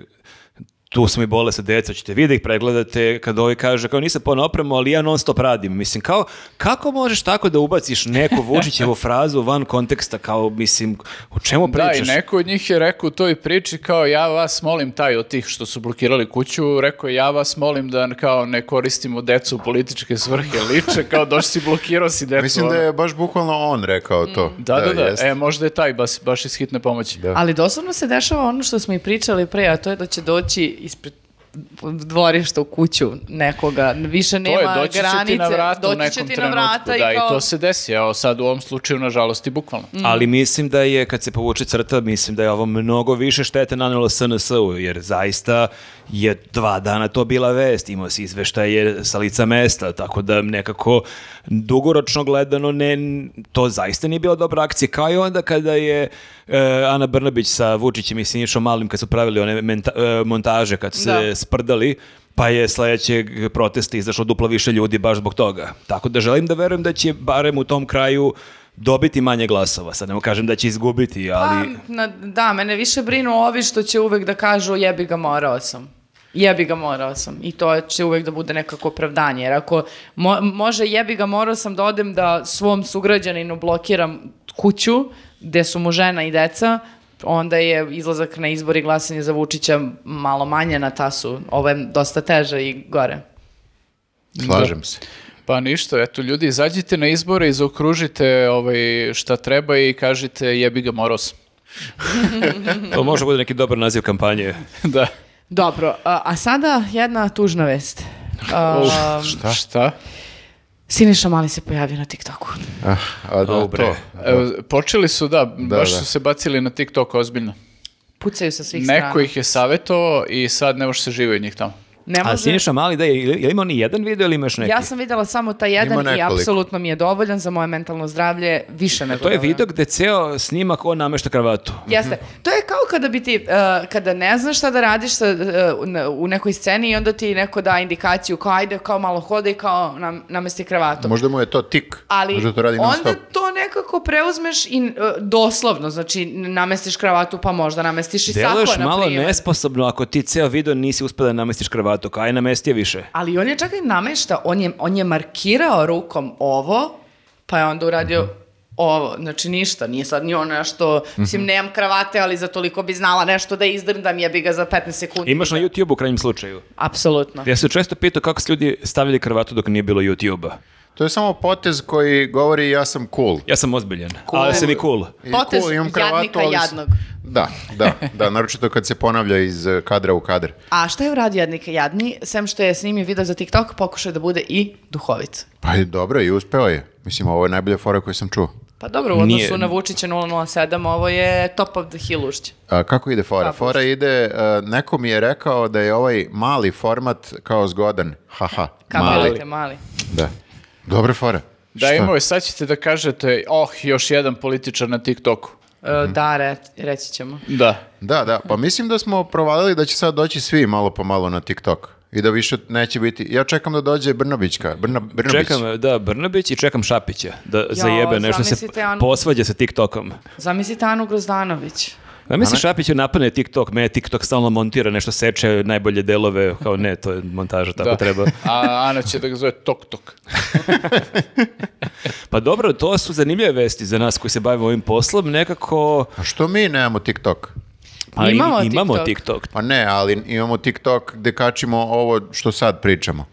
S3: tu su mi bole sa deca, ćete vi da ih pregledate, kad ovi kaže, kao nisam ponovno opremu, ali ja non stop radim. Mislim, kao, kako možeš tako da ubaciš neku
S4: <laughs>
S3: Vučićevu frazu van konteksta, kao, mislim, o čemu
S4: Da,
S3: pričaš?
S4: i neko od njih je rekao u toj priči kao ja vas molim, taj od tih što su blokirali kuću, rekao je, ja vas molim da kao ne koristimo decu u političke svrhe liče, kao došli si blokirao si decu.
S2: Mislim da
S4: ono.
S2: je baš bukvalno on rekao
S4: Mm.
S2: to.
S4: Da, da, da.
S2: jest.
S4: E, možda je taj baš, baš iz hitne pomoći.
S2: Da.
S1: Ali doslovno se dešava ono što smo i pričali pre, a to je da će doći ispred dvorišta u kuću nekoga, više
S4: To
S1: nema
S4: je, doći će
S1: granice,
S4: ti na vrata u
S1: doći će
S4: nekom
S1: ti
S4: trenutku.
S1: na vrata
S4: da, i,
S1: kao...
S4: to se desi, evo sad u ovom slučaju, nažalost, i bukvalno.
S3: Mm. Ali mislim da je, kad se povuče crta, mislim da je ovo mnogo više štete nanelo SNS-u, jer zaista je dva dana to bila vest, imao si izveštaje sa lica mesta, tako da nekako dugoročno gledano ne, to zaista nije bila dobra akcija, kao i onda kada je e, Ana Brnabić sa Vučićem i Sinišom Malim, kad su pravili one menta- e, montaže, kad su se
S1: Da.
S3: sprdali, pa je sledećeg protesta izašlo duplo više ljudi baš zbog toga. Tako da želim da verujem da će barem u tom kraju dobiti manje glasova. Sad nemo kažem da će izgubiti, ali...
S1: Pa, na- da, mene više brinu ovi što će uvek da kažu jebi ga morao sam. Jebi ga morao sam. I to će uvek da bude nekako opravdanje. Jer ako mo- može jebi ga morao sam da odem da svom sugrađaninu blokiram kuću gde su mu žena i deca, onda je izlazak na izbor i glasanje za Vučića malo manje na tasu. Ovo je dosta teže i gore.
S2: Slažem se.
S4: Pa ništa, eto ljudi, izađite na izbore i zaokružite ovaj, šta treba i kažite jebi ga morao sam.
S3: <laughs> To može bude neki dobar naziv kampanje.
S4: <laughs> da.
S1: Dobro, a, a sada jedna tužna vest. A,
S4: šta? Šta?
S1: Siniša Mali se pojavio na TikToku.
S2: Ah, a da,
S3: Au, bre.
S2: to.
S4: E, počeli su, da, baš
S2: da.
S4: su se bacili na TikTok ozbiljno.
S1: Pucaju sa svih strana.
S4: Neko ih je savjetovao i sad ne može se živio od njih tamo.
S1: Ne
S3: A
S1: može-
S3: Siniša Mali, da, je, je li imao ni jedan video ili imaš neki?
S1: Ja sam vidjela samo taj jedan i
S2: nekoliko.
S1: apsolutno mi je dovoljan za moje mentalno zdravlje, više nego
S3: To je
S1: dovoljan.
S3: video Mhm. gde ceo snimak on namešta kravatu.
S1: Jeste. To je kao kada bi ti, uh, kada ne znaš šta da radiš sa, uh, u ne- u nekoj sceni i onda ti neko da indikaciju kao ajde, kao malo hode i kao nam, namesti kravatu.
S2: Možda mu je to tik.
S1: Ali
S2: Možda to radi non
S1: onda
S2: stop.
S1: to nekako preuzmeš i uh, doslovno, znači n- namestiš kravatu pa možda namestiš i sako,
S3: Deluješ
S1: na
S3: malo
S1: primjer.
S3: nesposobno ako ti ceo video nisi uspela da namestiš kravatu, kao aj namesti je više.
S1: Ali on je čak i namešta, on je, on je markirao rukom ovo, pa je onda uradio ovo, znači ništa, nije sad ni ono nešto, mislim, nemam kravate, ali za toliko bi znala nešto da izdrndam, jebi ga za 15 sekundi.
S3: Imaš na YouTube u krajnjem slučaju.
S1: Apsolutno.
S3: Ja sam često pitao kako su ljudi stavljali kravatu dok nije bilo YouTube-a.
S2: To je samo potez koji govori ja sam cool.
S3: Ja sam ozbiljan, ali sam i cool.
S2: I
S1: Potez
S2: cool, imam kravatu,
S1: jadnika
S2: ali s-
S1: jadnog.
S2: Da, da,
S1: <laughs>
S2: da, naročito kad se ponavlja iz eh, kadra u kadar.
S1: A šta je uradio Jadnik Jadni, sem što je snimio video za TikTok, pokušao je da bude i duhovit.
S2: Pa je dobro i uspeo je. Mislim, ovo je najbolja fora koju sam čuo.
S1: Pa dobro, u odnosu
S3: Nije.
S1: na Vučića 007, ovo je top of the hill ušće.
S2: A, kako ide fora?
S1: Kako?
S2: Fora ide, eh, neko mi je rekao da je ovaj mali format kao zgodan. Haha,
S1: Kako
S2: mali.
S1: velite, mali.
S2: Da. Dobra fora.
S4: Da,
S2: Šta?
S4: imao je, sad ćete da kažete, oh, još jedan političar na TikToku.
S1: E, Da, re, reći ćemo.
S4: Da.
S2: Da, da, pa mislim da smo provalili da će sad doći svi malo po malo na TikTok i da više neće biti. Ja čekam da dođe Brnabićka, Brna, Brnabić.
S3: Čekam, da, Brnabić i čekam Šapića da zajebe nešto se
S1: zamislite, Anu.
S3: posvađa sa TikTokom.
S1: Zamislite Anu Grozdanović.
S3: A misliš Šapiću napadne TikTok, mene TikTok stalno montira, nešto seče najbolje delove, kao ne, to je montaža, tako
S4: Da. <laughs>
S3: treba.
S4: A Ana će da ga zove Tok Tok.
S3: Pa dobro, to su zanimljive vesti za nas koji se bavimo ovim poslom, nekako...
S2: A Pa što mi nemamo TikTok?
S3: Pa
S1: Imamo
S3: i- imamo
S1: TikTok.
S3: TikTok.
S2: Pa ne, ali imamo TikTok gde kačimo ovo što sad pričamo.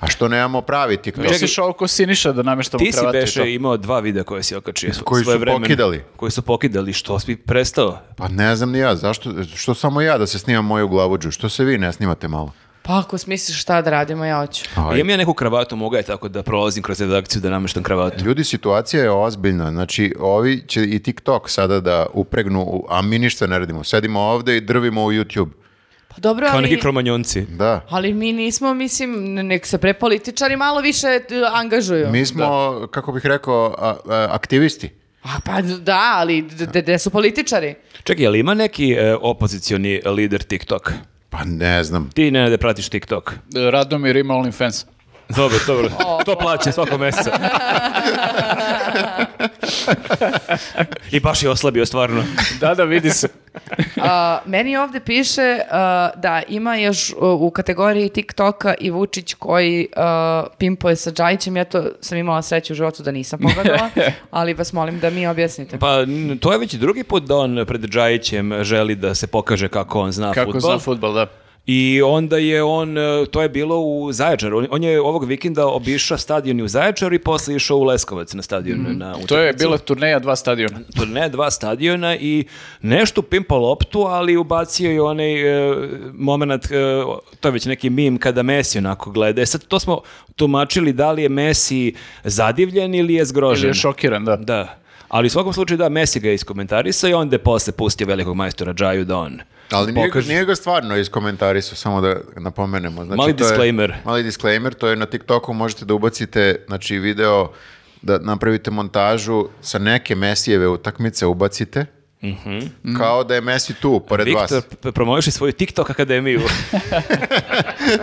S2: A što nemamo pravi TikTok?
S4: Misliš ovo ko Siniša da namještamo
S3: Ti si
S4: kravate i to?
S3: Beše imao dva videa koje si okačio svo-
S2: Koji su
S3: svoje vremena.
S2: pokidali.
S3: Koji su pokidali, što si prestao?
S2: Pa ne znam ni ja, zašto, što samo ja da se snimam moju glavuđu, što se vi ne snimate malo?
S1: Pa ako smisliš šta da radimo, ja hoću.
S2: Aj.
S3: Imam ja neku kravatu, mogu je tako da prolazim kroz redakciju da namještam kravatu.
S2: Ljudi, situacija je ozbiljna, znači ovi će i TikTok sada da upregnu, u- a mi ništa ne radimo, sedimo ovde i drvimo u YouTube.
S1: Pa dobro,
S3: Kao neki
S1: ali,
S3: kromanjonci.
S2: Da.
S1: ali mi nismo, mislim, ne- nek se prepolitičari malo više e, angažuju.
S2: Mi smo, kako bih rekao, a- a- aktivisti.
S1: A pa da, ali gde su političari?
S3: Čekaj, je li ima neki e, opozicioni lider TikTok?
S2: Pa ne znam.
S3: Ti ne da pratiš TikTok.
S4: Radomir ima OnlyFans.
S3: Dobro, dobro. to plaće svako mjeseca. I baš je oslabio stvarno.
S4: Da, da, vidi se.
S1: A, meni ovdje piše a, da ima još u- u kategoriji TikToka i Vučić koji a, pimpuje sa Džajićem. Ja to sam imala sreću u životu da nisam pogledala, ali vas molim da mi objasnite.
S3: Pa n- to je već drugi put da on pred Džajićem želi da se pokaže kako on zna
S4: Kako
S3: fudbal.
S4: zna futbal, da.
S3: I onda je on, e, to je bilo u Zaječaru. On, on je ovog vikenda obišao stadion i u Zaječaru i posle išao u Leskovac na stadion. Na
S4: Mhm. To je
S3: utakmicu.
S4: bila turneja dva stadiona.
S3: turne dva stadiona i nešto pimpa loptu, ali ubacio je onaj e, moment, to je već neki mim kada Messi onako gleda. E sad to smo tumačili da li je Messi zadivljen ili je zgrožen.
S4: Ili je šokiran, da.
S3: Da. Ali u svakom slučaju da, Messi ga je iskomentarisao i onda je posle pustio velikog majstora Džaju da on
S2: Ali nije,
S3: pokaže.
S2: nije ga stvarno iz komentari su, samo da napomenemo. Znači,
S3: Mali
S2: to je-
S3: disclaimer.
S2: mali disclaimer, to je na TikToku možete da ubacite znači, video, da napravite montažu sa neke Mesijeve utakmice, ubacite, kao da je Messi tu, pored
S3: Mhm. Viktor
S2: vas.
S3: p- promoviše svoju TikTok akademiju.
S2: <laughs>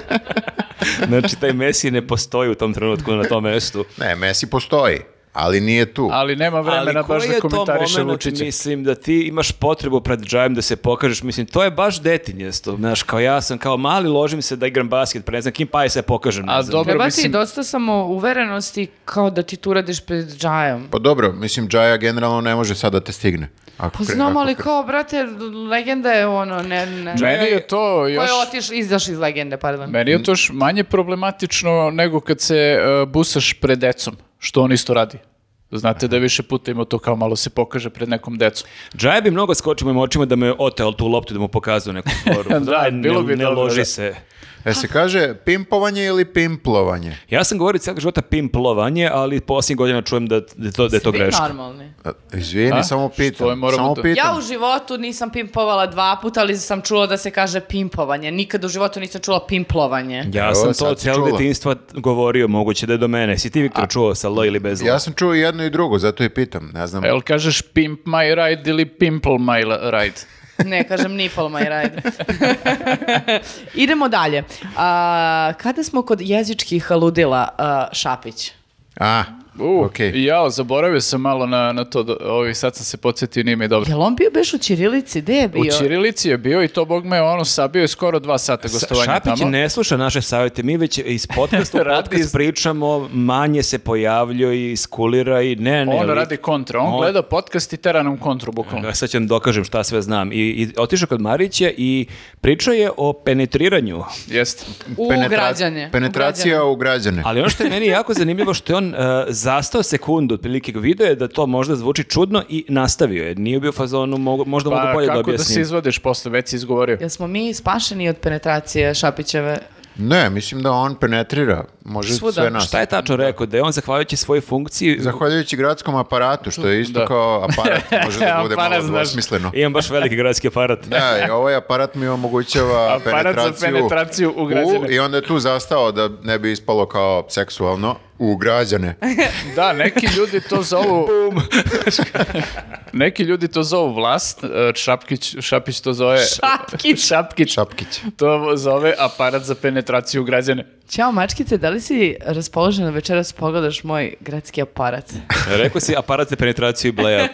S3: znači, taj Messi ne postoji u tom trenutku na tom mestu.
S2: Ne, Messi postoji, ali nije tu.
S4: Ali nema vremena
S3: Ali
S4: baš
S3: koji
S4: da
S3: je to
S4: komentariše
S3: moment,
S4: Vučića.
S3: mislim, da ti imaš potrebu pred džajem da se pokažeš, mislim, to je baš detinjesto, znaš, kao ja sam kao mali, ložim se da igram basket, pa ne znam kim, pa i se pokažem, ne
S4: A
S3: znam.
S4: dobro,
S1: Treba ti
S4: mislim,
S1: dosta samo uverenosti kao da ti tu radiš pred Džajom.
S2: Pa dobro, mislim, Džaja generalno ne može sad da te stigne. Ako
S1: Pa
S2: kre-
S1: znam,
S2: ako
S1: ali
S2: kre-
S1: kao, brate, legenda je ono, ne, ne.
S4: meni je to
S1: Ko
S4: još...
S1: je otiš, izaš iz legende, pardon.
S4: Meni je to još manje problematično nego kad se e, busaš pred decom, što on isto radi. Znate da je više puta ima to kao malo se pokaže pred nekom decom.
S3: Džaja bi mnogo skočio mojim očima da me oteo tu loptu, da mu pokazao neku foru.
S4: <laughs> Da,
S3: Džaj, ne-
S4: bilo bi
S3: ne
S4: dobro,
S3: loži
S4: da.
S3: se.
S2: E se kaže pimpovanje ili pimplovanje?
S3: Ja sam govorio cijelog života pimplovanje, ali posljednjih godina čujem da, da, je to, da je to
S1: Svi
S3: greška.
S1: normalni.
S2: A, Izvini,
S4: A?
S2: samo
S4: Što je,
S2: pitam.
S4: moramo
S2: samo
S4: to-
S2: pitam.
S1: Ja u životu nisam pimpovala dva puta, ali sam čula da se kaže pimpovanje. Nikad u životu nisam čula pimplovanje.
S3: Ja
S2: Evo,
S3: sam
S2: sad
S3: to
S2: si
S3: cijelo
S2: čula.
S3: detinjstvo govorio, moguće da je do mene. Si ti, Viktor, čuo sa L ili bez L?
S2: Ja sam čuo i jedno i drugo, zato i pitam. Ne znam,
S4: Jel kažeš pimp my ride ili pimple my la- ride?
S1: Ne, kažem nipple my
S4: <laughs>
S1: ride. Idemo dalje. A, kada smo kod jezičkih ludila, a, Šapić?
S2: A,
S4: U,
S2: okej.
S4: jao, zaboravio sam malo na, na to, do- ovi, sad sam se podsjetio, nije mi dobro.
S1: Jel on bio beš u Čirilici? Gde je bio?
S4: U Čirilici je bio i to, bog me, ono, sabio je skoro dva sata gostovanja
S3: Šapić
S4: tamo.
S3: ne sluša naše savjete, mi već iz podcasta
S4: <laughs>
S3: u
S4: Radi
S3: podcast
S4: iz-
S3: pričamo, manje se pojavljuje i skulira i ne, ne.
S4: On
S3: ali-
S4: Ono radi kontra, on,
S3: On-
S4: gleda podcast i tera nam kontru, bukvalno.
S3: Ja sad ću vam dokažem šta sve znam. I, i otišao kod Marića i pričao je o penetriranju.
S4: Jeste.
S1: U
S2: Penetra-
S1: građanje.
S2: Penetracija u građane.
S3: Ali ono što je meni jako zanimljivo što je on e, zastao sekundu, otprilike video je da to možda zvuči čudno i nastavio je. Nije bio u fazonu, mogu, možda mogu
S4: Pa
S3: bolje da
S4: kako da
S3: objasnim.
S4: se izvadiš posle, već si izgovorio.
S1: Jel smo mi spašeni od penetracije Šapićeve?
S2: Ne, mislim da on penetrira, može
S1: Svuda.
S2: sve nas.
S3: Šta je tačno rekao? Da je on zahvaljujući svojoj funkciji...
S2: Zahvaljujući gradskom aparatu, što je isto
S4: Da.
S2: kao
S4: <laughs>
S2: aparat, može da bude
S4: Aparat,
S2: malo
S4: znaš.
S2: dvosmisleno.
S3: Imam baš veliki gradski
S4: <laughs>
S3: aparat.
S2: Da, i ovaj aparat mi omogućava
S4: Aparat za
S2: penetraciju,
S4: penetraciju u građane.
S2: I onda je tu zastao da ne bi ispalo kao seksualno, ugrađene.
S4: Da, neki ljudi to
S3: <laughs>
S4: zovu... neki ljudi to zovu vlast, e, Šapkić, Šapić to zove...
S1: Šapkić.
S4: <laughs> Šapkić.
S2: Šapkić.
S4: To zove aparat za penetraciju građane.
S1: Ćao mačkice, da li si raspoložena večeras pogledaš moj gradski
S2: <laughs>
S1: aparat?
S3: Rekao si aparat za penetraciju bleja.
S4: E,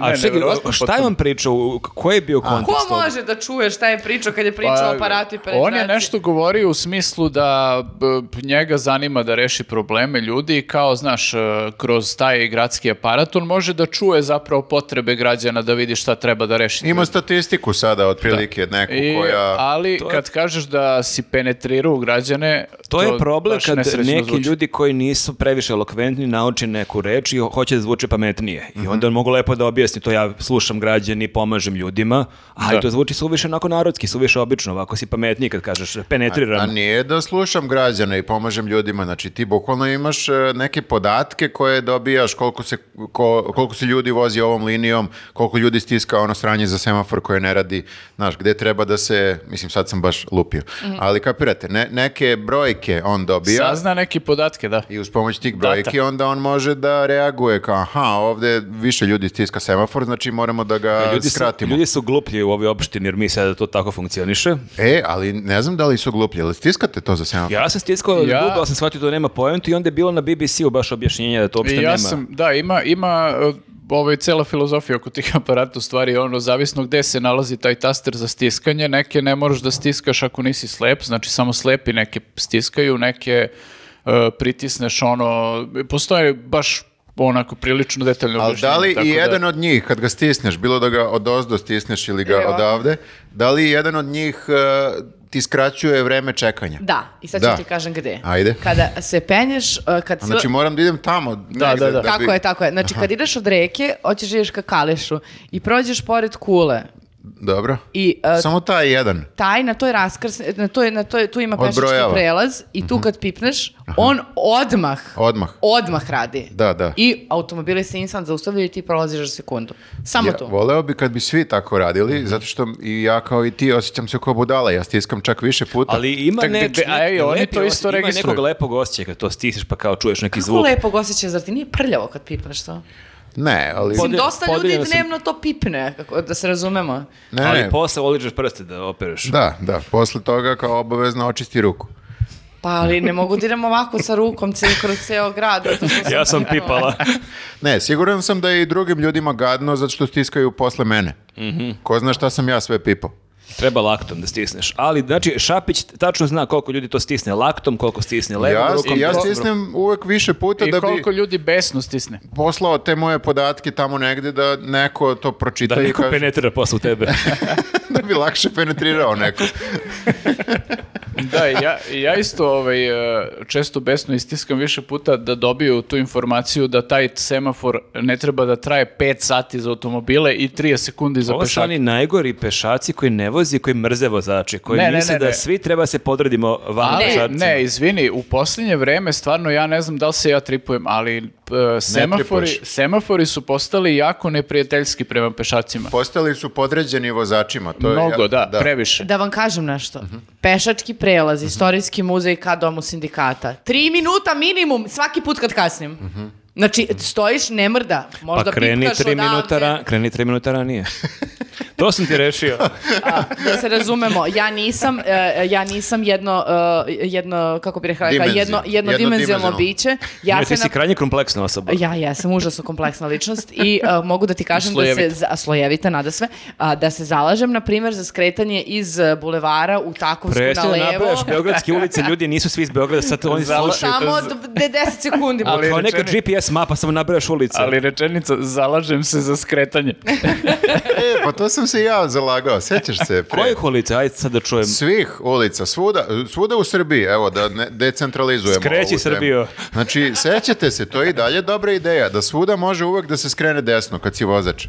S3: A
S4: ne,
S3: čekaj,
S4: nevjerovatno
S3: šta je
S4: potpuno.
S3: on pričao? U- Koji je bio kontekst?
S1: Ko
S3: toga?
S1: može da čuje šta je pričao kad je pričao
S4: Pa,
S1: o aparatu i
S4: On je
S1: penetraciji?
S4: nešto govorio u smislu da b, njega zanima da reši probleme ljudi i kao, znaš, e, kroz taj gradski aparat on može da čuje zapravo potrebe građana da vidi šta treba da reši.
S2: Ima statistiku sada, otprilike, neku
S4: I,
S2: koja...
S4: E, ali
S3: To je-
S4: kad kažeš da si penetrirao građane,
S3: To je problem
S4: baš
S3: kad
S4: nesrećno
S3: neki
S4: zvuči.
S3: ljudi koji nisu previše elokventni nauče neku reč i hoće da zvuče pametnije.
S4: Mhm.
S3: I onda on mogu lepo da objasni to ja slušam građani, pomažem ljudima, ali
S4: Da.
S3: to zvuči suviše onako narodski, suviše obično, ovako si pametniji kad kažeš penetriram.
S2: A nije da slušam građane i pomažem ljudima, znači ti bukvalno imaš e, neke podatke koje dobijaš koliko se, ko- koliko se ljudi vozi ovom linijom, koliko ljudi stiska ono sranje za semafor koje ne radi, znaš, gde treba da se, mislim sad sam baš lupio,
S3: Mhm.
S2: ali kapirate, ne- neke brojke on dobija.
S4: Sazna neke podatke, da.
S2: I uz pomoć tih brojki onda on može da reaguje kao aha, ovde više ljudi stiska semafor, znači moramo da ga
S3: Ljudi su,
S2: skratimo.
S3: ljudi su gluplji u ovoj opštini jer mi sada to tako funkcioniše.
S2: E, ali ne znam da li su gluplji, ali stiskate to za semafor?
S3: Ja sam stiskao
S4: Ja-
S3: ja... sam shvatio da nema poentu i onda je bilo na BBC-u baš objašnjenje da to uopšte
S4: I
S3: nema.
S4: ja sam, da, ima, ima e, ovo je cela filozofija oko tih <laughs> aparata u stvari ono, zavisno gde se nalazi taj taster za stiskanje, neke ne moraš da stiskaš ako nisi slep, znači samo slepi neke stiskaju, neke e, pritisneš ono, postoje baš onako prilično detaljno
S2: Ali da li i
S4: objašnjenje, tako da-
S2: jedan od njih, kad ga stisneš, bilo da ga odozdo stisneš ili ga
S1: Evo.
S2: odavde, da li jedan od njih e, ti skraćuje vreme čekanja?
S1: Da, i sad
S2: Da.
S1: ću ti kažem gde.
S2: Ajde.
S1: Kada se penješ, uh, kad
S2: A
S1: si...
S2: Znači moram da idem tamo. negde
S4: da, da.
S2: bi-
S1: Tako je, tako je. Znači, kad ideš od reke, hoćeš da ideš ka Kalešu i prođeš pored kule
S2: Dobro.
S1: i uh,
S2: Samo taj jedan.
S1: taj na toj raskrs, na toj, na toj, tu ima pešački
S2: Odbrojava. Mhm.
S1: prelaz i tu kad pipneš, on odmah,
S2: Odmah.
S1: odmah radi.
S2: Da, da.
S1: I automobili se instant zaustavljaju i ti prolaziš za sekundu. Samo
S2: Ja,
S1: tu.
S2: voleo bi kad bi svi tako radili,
S4: Mhm.
S2: zato što i ja kao i ti osjećam se kao budala, ja stiskam čak više
S4: Pa,
S2: puta.
S3: Ali ima
S4: Tak,
S3: neč,
S4: gde- a ej, oni
S3: lepi
S4: to
S3: os-
S4: isto
S3: Ima
S4: registruju.
S3: nekog lepog osjećaja kad to stisneš pa kao čuješ neki
S1: Kako
S3: zvuk.
S1: lepo osjećaj, zar ti nije prljavo kad pipneš to?
S2: Ne, ali...
S1: Mislim,
S3: Pode-
S1: dosta ljudi
S3: podeljeno sam-
S1: dnevno to pipne, kako, da se razumemo.
S2: Ne,
S3: ali
S2: ne,
S3: posle oližeš prste da opereš.
S2: Da, da, posle toga kao obavezno očisti ruku.
S1: Pa ali ne mogu da idem ovako sa rukom cijel kroz ceo grad. zato što
S3: Ja sam pipala.
S2: Ne, siguran sam da je i drugim ljudima gadno zato što stiskaju posle mene.
S4: Mhm.
S2: Ko zna šta sam ja sve pipao.
S3: Treba laktom da stisneš. Ali, znači, Šapić tačno zna koliko ljudi to stisne laktom, koliko stisne levom
S2: ja,
S3: rukom.
S2: ja
S3: to-
S2: stisnem uvek više puta
S4: I
S2: da bi
S4: koliko ljudi besno stisne.
S2: poslao te moje podatke tamo negde da neko to pročita
S3: Da
S2: i
S3: neko
S2: kaže
S3: penetrira posle tebe.
S2: <laughs> da bi lakše penetrirao neko.
S4: Da, ja, ja isto ovaj, e, često besno istiskam više puta da dobiju tu informaciju da taj semafor ne treba da traje 5 sati za automobile i 30 sekundi za
S3: Ovo su
S4: pešake.
S3: oni najgori pešaci koji ne vozi, koji mrze vozači, koji
S4: Ne, ne,
S3: misle
S4: ne,
S3: da
S4: ne.
S3: svi treba se podredimo van
S4: Ali,
S3: pešacima.
S4: ne, izvini, u posljednje vreme stvarno ja ne znam da li se ja tripujem, ali e, semafori,
S2: tripuješ.
S4: semafori su postali jako neprijateljski prema pešacima.
S2: Postali su podređeni vozačima. To je-
S4: Mnogo, da,
S2: da.
S4: previše.
S1: Da vam kažem nešto.
S3: Mhm.
S1: Pešački prelaz, istorijski muzej ka domu sindikata. Tri minuta minimum svaki put kad kasnim. Znači, stojiš, ne mrda. Možda
S3: Mhm. Pa kreni
S1: pipkaš
S3: tri,
S1: odavde.
S3: minuta ra- kreni tri minuta
S4: <laughs>
S3: ranije. to sam ti rešio.
S1: A, da se razumemo, ja nisam, e, ja nisam jedno, e, jedno kako bih rekla,
S2: Dimenzija.
S1: jedno, jedno
S2: Jednodimenzionalno.
S1: dimenzionalno biće. Ja
S3: Ja
S1: se
S3: ti si
S1: na-
S3: krajnje kompleksna osoba.
S1: Ja jesam užasno kompleksna ličnost i uh, mogu da ti kažem da
S4: Slojevita.
S1: se za- slojevita nada sve, a, da se zalažem na primjer za skretanje iz uh, bulevara u Takovsku
S3: Prestani
S1: na
S3: da
S1: levo.
S3: nabrajaš beogradske ulice, ljudi nisu svi iz Beograda, sad oni
S4: Zala-
S3: slušaju.
S1: Samo
S4: to
S1: d- de- 10 sekundi.
S4: Ali-
S3: Kao neka
S4: rečeni-
S3: GPS mapa, samo nabrajaš ulice.
S4: Ali rečenica, zalažem se za skretanje.
S2: E, pa to sam se i ja zalagao, sećaš se. pre-
S3: Kojih ulica? Ajde sad da čujem.
S2: Svih ulica, svuda, svuda u Srbiji, evo da ne, decentralizujemo.
S3: Skreći
S2: ovu temu.
S3: Srbijo.
S2: Znači, sećate se, to je i dalje dobra ideja, da svuda može uvek da se skrene desno kad si vozač.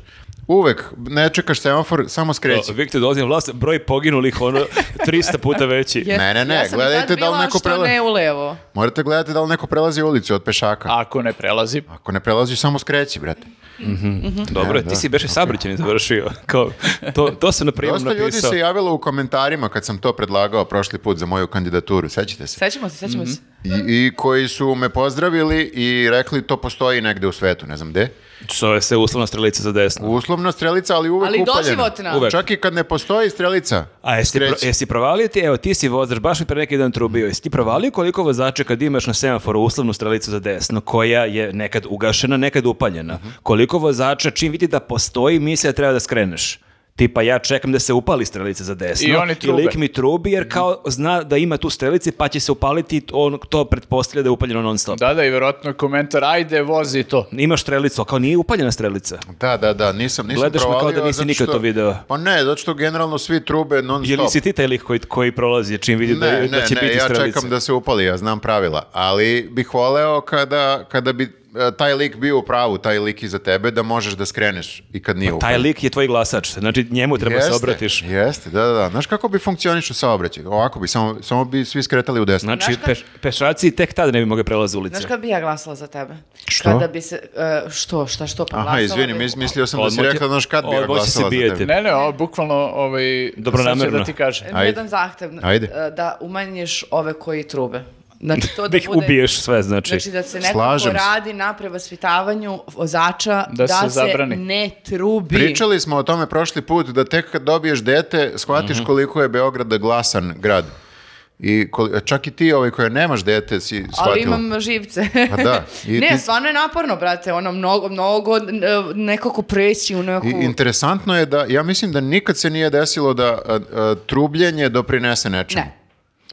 S2: Uvek, ne čekaš semafor, samo skreći.
S3: Viktor dolazi na vlast, broj poginulih ono 300 puta veći.
S1: Jeste,
S2: <laughs> Ne, ne, ne,
S1: ja sam i
S2: gledajte
S1: tad
S2: da li
S1: bila
S2: neko
S1: što
S2: prele-
S1: ne u levo.
S2: Morate gledati da li neko prelazi ulicu od pešaka.
S4: Ako ne prelazi,
S2: Ako ne prelazi, samo skreći, brate.
S3: Dobro, ti si beše sabrićeni završio. Kao, to, to sam na prijemu
S2: Dosta ljudi
S3: napisao.
S2: se javilo u komentarima kad sam to predlagao prošli put za moju kandidaturu, sećate se?
S1: Sećamo se, sećamo se.
S2: I, i koji su me pozdravili i rekli to postoji negde u svetu, ne znam gde.
S3: Što je se uslovna strelica za desno.
S2: Uslovna strelica, ali uvek
S1: Ali
S2: upaljena.
S1: doživotna.
S3: Uvek.
S2: Čak i kad ne postoji strelica.
S3: A jesi, pro,
S2: skreći.
S3: jesi provalio ti, evo ti si vozač, baš mi pre neki dan trubio, jesi ti provalio koliko vozača kad imaš na semaforu uslovnu strelicu za desno, koja je nekad ugašena, nekad upaljena, koliko vozača čim vidi da postoji misle da treba da skreneš? Tipa ja čekam da se upali strelica za desno
S4: I oni trube.
S3: lik mi trubi jer kao zna da ima tu strelici pa će se upaliti, on to pretpostavlja da je upaljeno non stop.
S4: da, da, i vjerojatno je komentar, ajde, vozi to.
S3: Imaš strelicu, a kao nije upaljena strelica.
S2: Da, da, da, nisam, nisam
S3: Gledaš me kao
S2: provalio.
S3: da nisi
S2: zato
S3: nikad
S2: što-
S3: to video.
S2: Pa ne, zato što generalno svi trube non
S3: Je li
S2: stop.
S3: si ti taj lik koji, koji prolazi čim vidi da,
S2: Ne,
S3: da
S2: ne,
S3: će
S2: ne,
S3: biti
S2: ja
S3: strelica?
S2: čekam da se upali, ja znam pravila. Ali bih voleo kada, kada bi e, taj lik bio u pravu, taj lik iza tebe, da možeš da skreneš i kad nije upaljen.
S3: Pa Taj lik je tvoj glasač, znači njemu treba se
S2: Jeste,
S3: obratiš.
S2: Jeste, da, da, da. Znaš kako bi funkcionišu saobraćaj? Ovako bi, samo, samo bi svi skretali u desno.
S3: Znači,
S1: Znaš kad-
S3: peš- pešaci tek tada ne bi mogli prelaziti ulice.
S1: Znaš kad bi ja glasala za tebe?
S2: Što?
S1: Kada bi se, e, što, šta, što, pa
S2: Aha,
S1: glasala
S2: izvini,
S1: bi-
S2: mis- mislio sam da si
S3: Odmoć-
S2: rekla, znaš kad bi ja
S3: odmoć se
S2: glasala za
S3: bijete.
S2: tebe.
S4: Ne, ne, ovo, bukvalno, ovaj, sad će
S3: Dobronamerno.
S4: da ti kažem.
S2: Ajde.
S1: Jedan zahtev.
S2: Ajde.
S1: e, Da umanjiš ove koji trube. Znači, to
S3: Da
S1: da
S3: ih
S1: bude...
S3: ubiješ sve, znači.
S1: Znači da se nekako
S2: Slažem se.
S1: radi na prevaspitavanju vozača da,
S4: Da se
S1: se,
S4: zabrani.
S1: ne trubi.
S2: Pričali smo o tome prošli put da tek kad dobiješ dete
S3: Mhm.
S2: shvatiš koliko je Beograd glasan grad. I koli- čak i ti ovaj koji nemaš dete si shvatila.
S1: Ali imam živce.
S2: Pa
S1: <laughs>
S2: da, i
S1: ne,
S2: ti-
S1: stvarno je naporno, brate. Ono, mnogo, mnogo n- nekako preći u neku...
S2: I interesantno je da, ja mislim da nikad se nije desilo da a, a, trubljenje doprinese nečemu.
S1: Ne.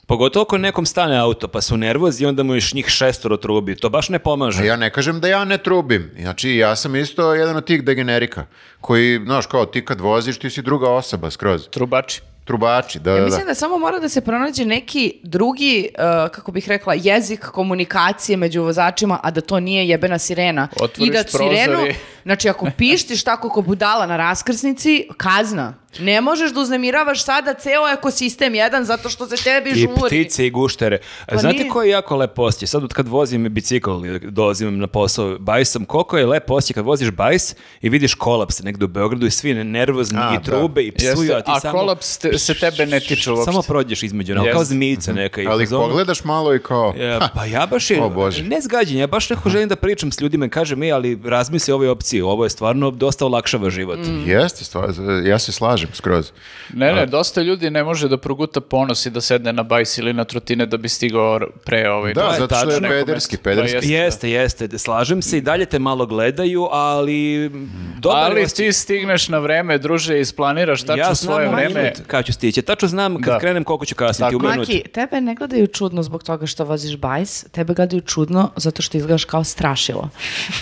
S3: Pogotovo ako nekom stane auto, pa su nervozi i onda mu još njih šestoro trubi. To baš ne
S2: A
S3: pomaže.
S2: Ja ne kažem da ja ne trubim. Znači, ja sam isto jedan od tih degenerika koji, znaš, kao ti kad voziš, ti si druga osoba skroz.
S4: Trubači.
S2: Trubači, da, da, da.
S1: Mislim da samo mora da se pronađe neki drugi, eh, kako bih rekla, jezik komunikacije među vozačima, a da to nije jebena sirena.
S4: Otvoriš
S1: I da sirenu,
S4: prozor i-
S1: <laughs> znači ako pištiš tako ko budala na raskrsnici, kazna. Ne možeš da uznemiravaš sada ceo ekosistem jedan zato što se tebi
S3: I
S1: žuri.
S3: ptice i guštere.
S1: Pa
S3: Znate
S1: nije.
S3: koji je jako lep osjećaj? Sad od kad vozim bicikl ili dolazim na posao bajsom, koliko je lep osjećaj kad voziš bajs i vidiš kolaps negdje u Beogradu i svi nervozni
S2: A,
S3: i trube i psuju,
S4: Jeste,
S3: a ti
S4: a
S3: samo...
S4: kolaps te- se tebe ne tiče uopšte.
S3: Samo prođeš između, nas,
S4: Jeste. Mhm.
S3: kao zmijica neka. i
S2: Ali
S3: u fazonu-
S2: pogledaš malo i kao...
S3: E,
S2: ha,
S3: pa ja baš je,
S2: O Bože.
S3: ne zgađen, ja baš neko želim da pričam s ljudima i kažem, e, ali razmisli o ovoj opciji, ovo je stvarno dosta olakšava život.
S2: Mm. Jeste, stvar, ja se slažem skroz.
S4: Ne, ne, dosta ljudi ne može da proguta ponos i da sedne na bajs ili na trotine da bi stigao r- pre ovaj...
S2: Da,
S4: do-
S2: zato što je
S4: neko
S2: pederski,
S4: mesto.
S2: pederski.
S4: Da, jeste, da.
S3: Jeste, jeste, slažem se i dalje te malo gledaju, ali dobar je
S4: Ali
S3: osjećaj.
S4: ti stigneš na vreme, druže, isplaniraš tačno
S3: ja znam
S4: svoje
S3: u
S4: vreme.
S3: minut Kad ću stići, tačno znam kad
S4: Da.
S3: krenem koliko ću kasniti
S4: Tako.
S3: u minut.
S1: Maki, tebe ne gledaju čudno zbog toga što voziš bajs, tebe gledaju čudno zato što izgledaš kao strašilo.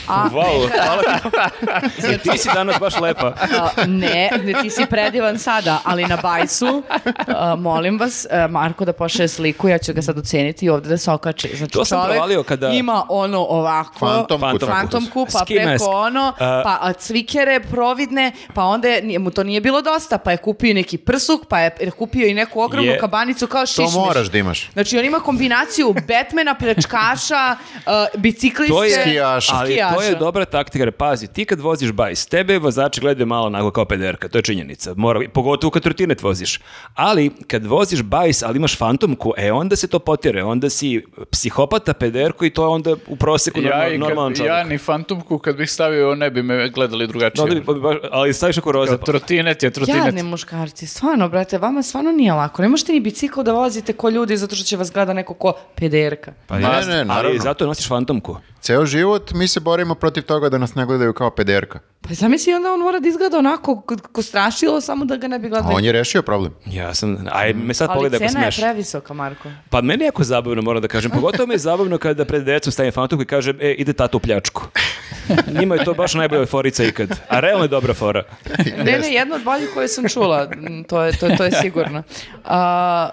S1: A
S4: <laughs>
S3: Wow, hvala ti. E, ti si danas baš lepa.
S1: A, ne, ne, ti si predivan sada, ali na bajsu, a, molim vas, e, Marko da pošle sliku, ja ću ga sad oceniti i ovdje da se okači. Znači,
S3: To sam
S1: čovek
S3: provalio kada-
S1: ima ono ovako...
S2: Fantom
S3: Fantom
S2: kut.
S3: kut.
S1: Fantom kupa
S3: Ski mask.
S1: preko ono,
S3: A-
S1: pa a, cvikere providne, pa onda je- nije- mu to nije bilo dosta, pa je kupio i neki prsuk, pa je kupio i neku ogromnu
S3: Je.
S1: kabanicu kao
S2: To
S1: šišmiš.
S2: moraš da imaš.
S1: Znači, on ima kombinaciju Batmana, pljačkaša, uh, bicikliste.
S3: To je-
S2: Skijaša.
S3: Ali to je dobra taktika, jer pazi, ti kad voziš bajs, tebe vozači gledaju malo onako kao pederka, to je činjenica, Mora, pogotovo kad trotinet voziš. Ali kad voziš bajs, ali imaš fantomku, e onda se to potire, onda si psihopata pederko i to je onda u proseku
S4: Ja, i
S3: normal,
S4: kad-
S3: normalan čovjek.
S4: ja ni fantomku kad bih stavio ne bi me gledali drugačije.
S3: Da, onda bi- pa bi baš- ali staviš ako roze.
S4: Evo, Trotinet je trotinet.
S1: Jadni muškarci, stvarno, brate, vama stvarno nije lako. Ne možete ni bicikl da vozite ko ljudi zato što će vas gleda neko ko pederka.
S3: Pa
S2: Ne,
S3: jeste,
S2: ne,
S3: ali
S2: naravno.
S3: zato nosiš fantomku.
S2: Ceo život mi se borimo protiv toga da nas ne gledaju kao pederka.
S1: Pa zamisli onda on mora da izgleda onako ko, ko strašilo samo da ga ne bi
S2: A
S1: gledali.
S2: on je rešio problem.
S3: Ja sam, aj me sad
S1: Ali
S3: pogledaj ako
S1: cena je
S3: smeš.
S1: previsoka,
S3: <laughs>
S1: Marko.
S3: Pa meni je jako zabavno, moram da kažem. Pogotovo mi je zabavno kada pred decom stavim fantomku i kažem, e, ide tata u
S1: <laughs>
S3: pljačku. Njima je to baš najbolja forica ikad. A realno je dobra fora.
S1: Ne, ne, jedna od boljih koje sam čula, m, to je, to, to je sigurno. A,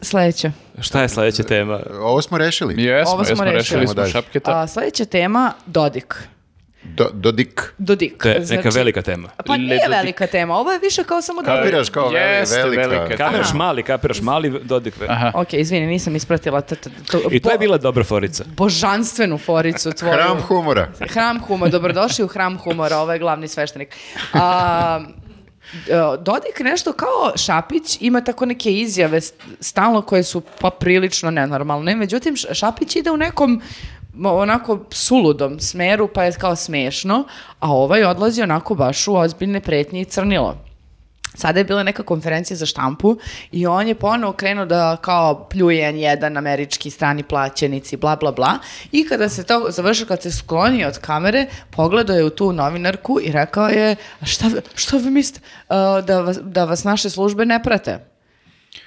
S1: sledeća.
S3: Šta je sledeća tema?
S2: Ovo smo rešili.
S4: Jesmo,
S1: Ovo smo
S4: jesmo,
S1: rešili.
S4: rešili
S2: Ajmo
S4: smo
S2: dalje.
S4: šapketa.
S1: A, sledeća tema, Dodik.
S2: Do, dodik.
S1: Dodik.
S3: To je neka
S1: znači-
S3: velika tema.
S1: Pa
S4: Le
S1: nije
S4: Dodik.
S1: velika tema, ovo je više kao samo da...
S2: Kapiraš kao veli-
S4: Jeste,
S2: velika.
S4: velika.
S3: Kapiraš mali, kapiraš mali, Dodik ve-
S4: Aha.
S1: Ok, izvini, nisam ispratila t- t- to-
S3: I to je
S1: bo-
S3: bila dobra forica.
S1: božanstvenu foricu tvoju.
S2: Hram humora.
S1: <laughs> Hram humor, dobrodošli u Hram humora, ovo je glavni sveštenik. A, e, Dodik nešto kao Šapić ima tako neke izjave st- stalno koje su pa prilično nenormalne, međutim Š- Šapić ide u nekom mo- onako suludom smeru pa je kao smešno, a ovaj odlazi onako baš u ozbiljne pretnje i crnilo. Sada je bila neka konferencija za štampu i on je ponovo krenuo da kao pljuje jedan američki strani plaćenici, bla, bla, bla. I kada se to završilo, kad se sklonio od kamere, pogledao je u tu novinarku i rekao je, "A šta, vi- šta vi mislite, a, da, vas, da vas naše službe ne prate?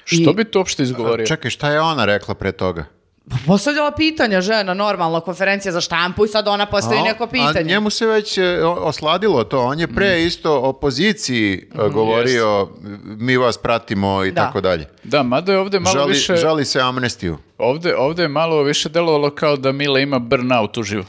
S4: Što bi to uopšte izgovorio?
S2: Čekaj, šta je ona rekla pre toga?
S1: Pa Postavljala pitanja žena, normalna konferencija za štampu i sad ona postavi
S2: A on-
S1: neko
S2: A
S1: pitanje.
S2: njemu se već e, o- osladilo to. On je pre
S4: Mm.
S2: isto opoziciji
S4: Mhm.
S2: e, govorio mi vas pratimo i
S1: Da.
S2: tako dalje.
S4: Da, mada je ovdje malo
S2: Žali,
S4: više...
S2: žali se amnestiju.
S4: Ovdje, ovdje je malo više delovalo kao da Mila ima burnout u živu.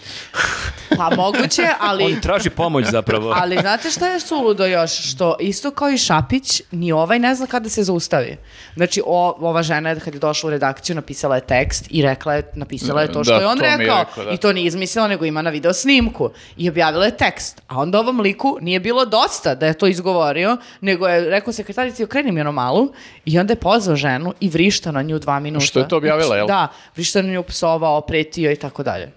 S1: Pa moguće,
S2: <laughs>
S1: ali...
S3: On traži pomoć zapravo.
S1: Ali
S4: <laughs>
S1: znate šta je suludo još? Što isto kao i Šapić, ni ovaj ne zna kada se zaustavi. Znači, o, ova žena je kad je došla u redakciju, napisala je tekst i rekla je, napisala je to što
S4: Da,
S1: je on
S4: to mi je
S1: rekao.
S4: rekao, da.
S1: I to nije izmislila, nego ima na video snimku. I objavila je tekst. A onda ovom liku nije bilo dosta da je to izgovorio, nego je rekao sekretarici, okreni mi ono malu. I onda je pozvao ženu i vrišta na nju dva minuta. Znači,
S4: Što je to objavila, jel?
S1: Da, vrišta na nju psovao, pretio i tako dalje.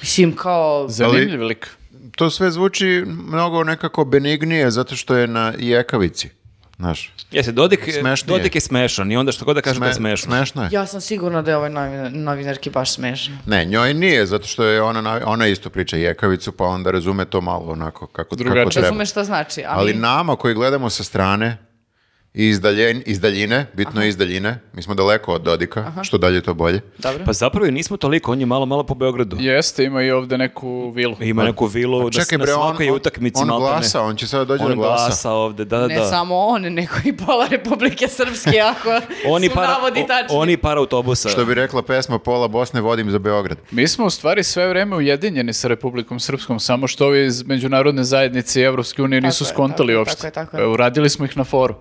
S1: Mislim, kao...
S4: Zanimljiv lik.
S2: To sve zvuči mnogo nekako benignije zato što je na jekavici. Znaš,
S3: Jeste, Dodik, je-
S2: Smešnije.
S3: Dodik je smešan i onda što god da kažem da je
S2: sme-
S3: smešno.
S2: smešno je.
S1: Ja sam sigurna da je ovoj novinar- novinarki baš smešan.
S2: Ne, njoj nije, zato što je ona, navi- ona isto priča jekavicu, pa onda razume to malo onako kako, kako
S4: Drugačije.
S2: treba.
S1: Razumeš šta znači, a
S2: Ali
S1: mi-
S2: nama koji gledamo sa strane i iz, daljen- iz daljine, bitno je iz daljine, mi smo daleko od Dodika, što dalje to bolje.
S1: Dobro.
S3: Pa zapravo i nismo toliko, on je malo, malo po Beogradu.
S4: Jeste, ima i ovdje neku vilu.
S3: Ima neku vilu, na,
S2: Pa- Čekaj
S3: na
S2: bre, on,
S3: svakoj utakmici
S2: on
S3: maltene.
S2: glasa, on će sada doći
S3: On
S2: da glasa.
S3: glasa ovde, da, da,
S1: ne
S3: da.
S1: samo on, nego i pola Republike Srpske, ako
S3: Oni
S1: su
S3: para,
S1: navodi
S3: o-
S1: tačni.
S3: oni para autobusa.
S2: Što bi rekla pesma Pola Bosne vodim za Beograd.
S4: Mi smo u stvari sve vrijeme ujedinjeni sa Republikom Srpskom, samo što ovi iz međunarodne zajednice i Evropske unije nisu
S1: je,
S4: skontali
S1: tako je,
S4: uopšte.
S1: tako je, tako je. Mm.
S4: E, Uradili smo ih na foru.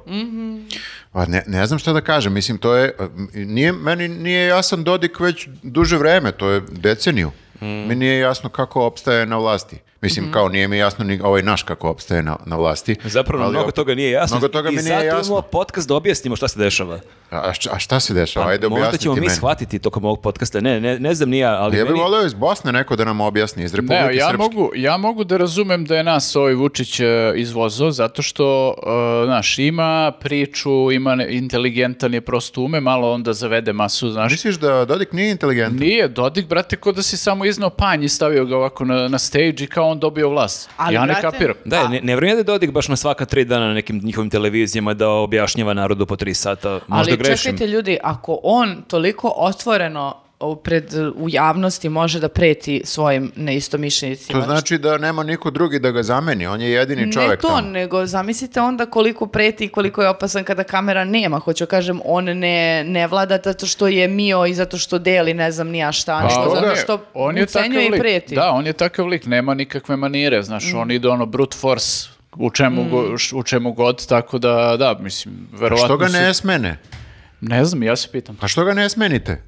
S2: Pa ne, ne znam šta da kažem, mislim to je, nije, meni nije jasan Dodik već duže vreme, to je deceniju.
S3: Hmm.
S2: Mi nije jasno kako opstaje na vlasti. Mislim, kao nije mi jasno ni ovaj naš kako opstaje na, na vlasti.
S3: Zapravo
S2: Ali
S3: mnogo
S2: op-
S3: toga nije jasno.
S2: Mnogo toga
S3: I
S2: mi nije
S3: zato
S2: jasno.
S3: imamo podcast da objasnimo šta se dešava. Pa
S2: A, šta- a šta se dešava? Pa Ajde
S3: Možda
S2: objasniti
S3: ćemo mi
S2: meni.
S3: shvatiti tokom ovog podcasta. Ne, ne, ne znam ni ja, ali
S2: Ja bih
S3: meni-
S2: voleo iz Bosne neko da nam objasni, iz Republike
S4: Ne, ja
S2: Srpske.
S4: mogu, ja mogu da razumem da je nas ovaj Vučić e, izvozao zato što, e, znaš, ima priču, ima ne- inteligentan je prosto ume, malo onda zavede masu, znaš.
S2: Misliš da Dodik nije inteligentan?
S4: Nije, Dodik, brate, ko da si samo iznao panj i stavio ga ovako na, na stage i kao on dobio vlast.
S1: Ali,
S4: ja ne
S1: brate,
S4: kapiram.
S3: Da, ne, ne vjerujem da je Dodik baš na svaka tri dana na nekim njihovim televizijama da objašnjava narodu po tri sata. Možda
S1: Ali
S3: grešim.
S1: čekajte ljudi, ako on toliko otvoreno u- pred, u javnosti može da preti svojim neistomišljenicima.
S2: To znači da nema niko drugi da ga zameni, on je jedini
S1: Ne
S2: čovjek
S1: to,
S2: tamo.
S1: nego zamislite onda koliko preti i koliko je opasan kada kamera nema. Hoću kažem, on ne, ne vlada zato što je mio i zato što deli ne znam ni ja šta,
S4: Pa,
S1: nego
S4: on
S1: zato
S4: je-
S1: što
S4: on je takav
S1: ucenjuje i Mm.
S4: lik.
S1: preti.
S4: Da, on je takav lik, nema nikakve manire, znaš, on ide ono brute force u čemu,
S1: Mm.
S4: go- š- u čemu god, tako da, da, mislim, verovatno
S2: Što ga ne
S4: su-
S2: smene?
S4: Ne znam, ja se pitam.
S2: Pa što ga ne smenite?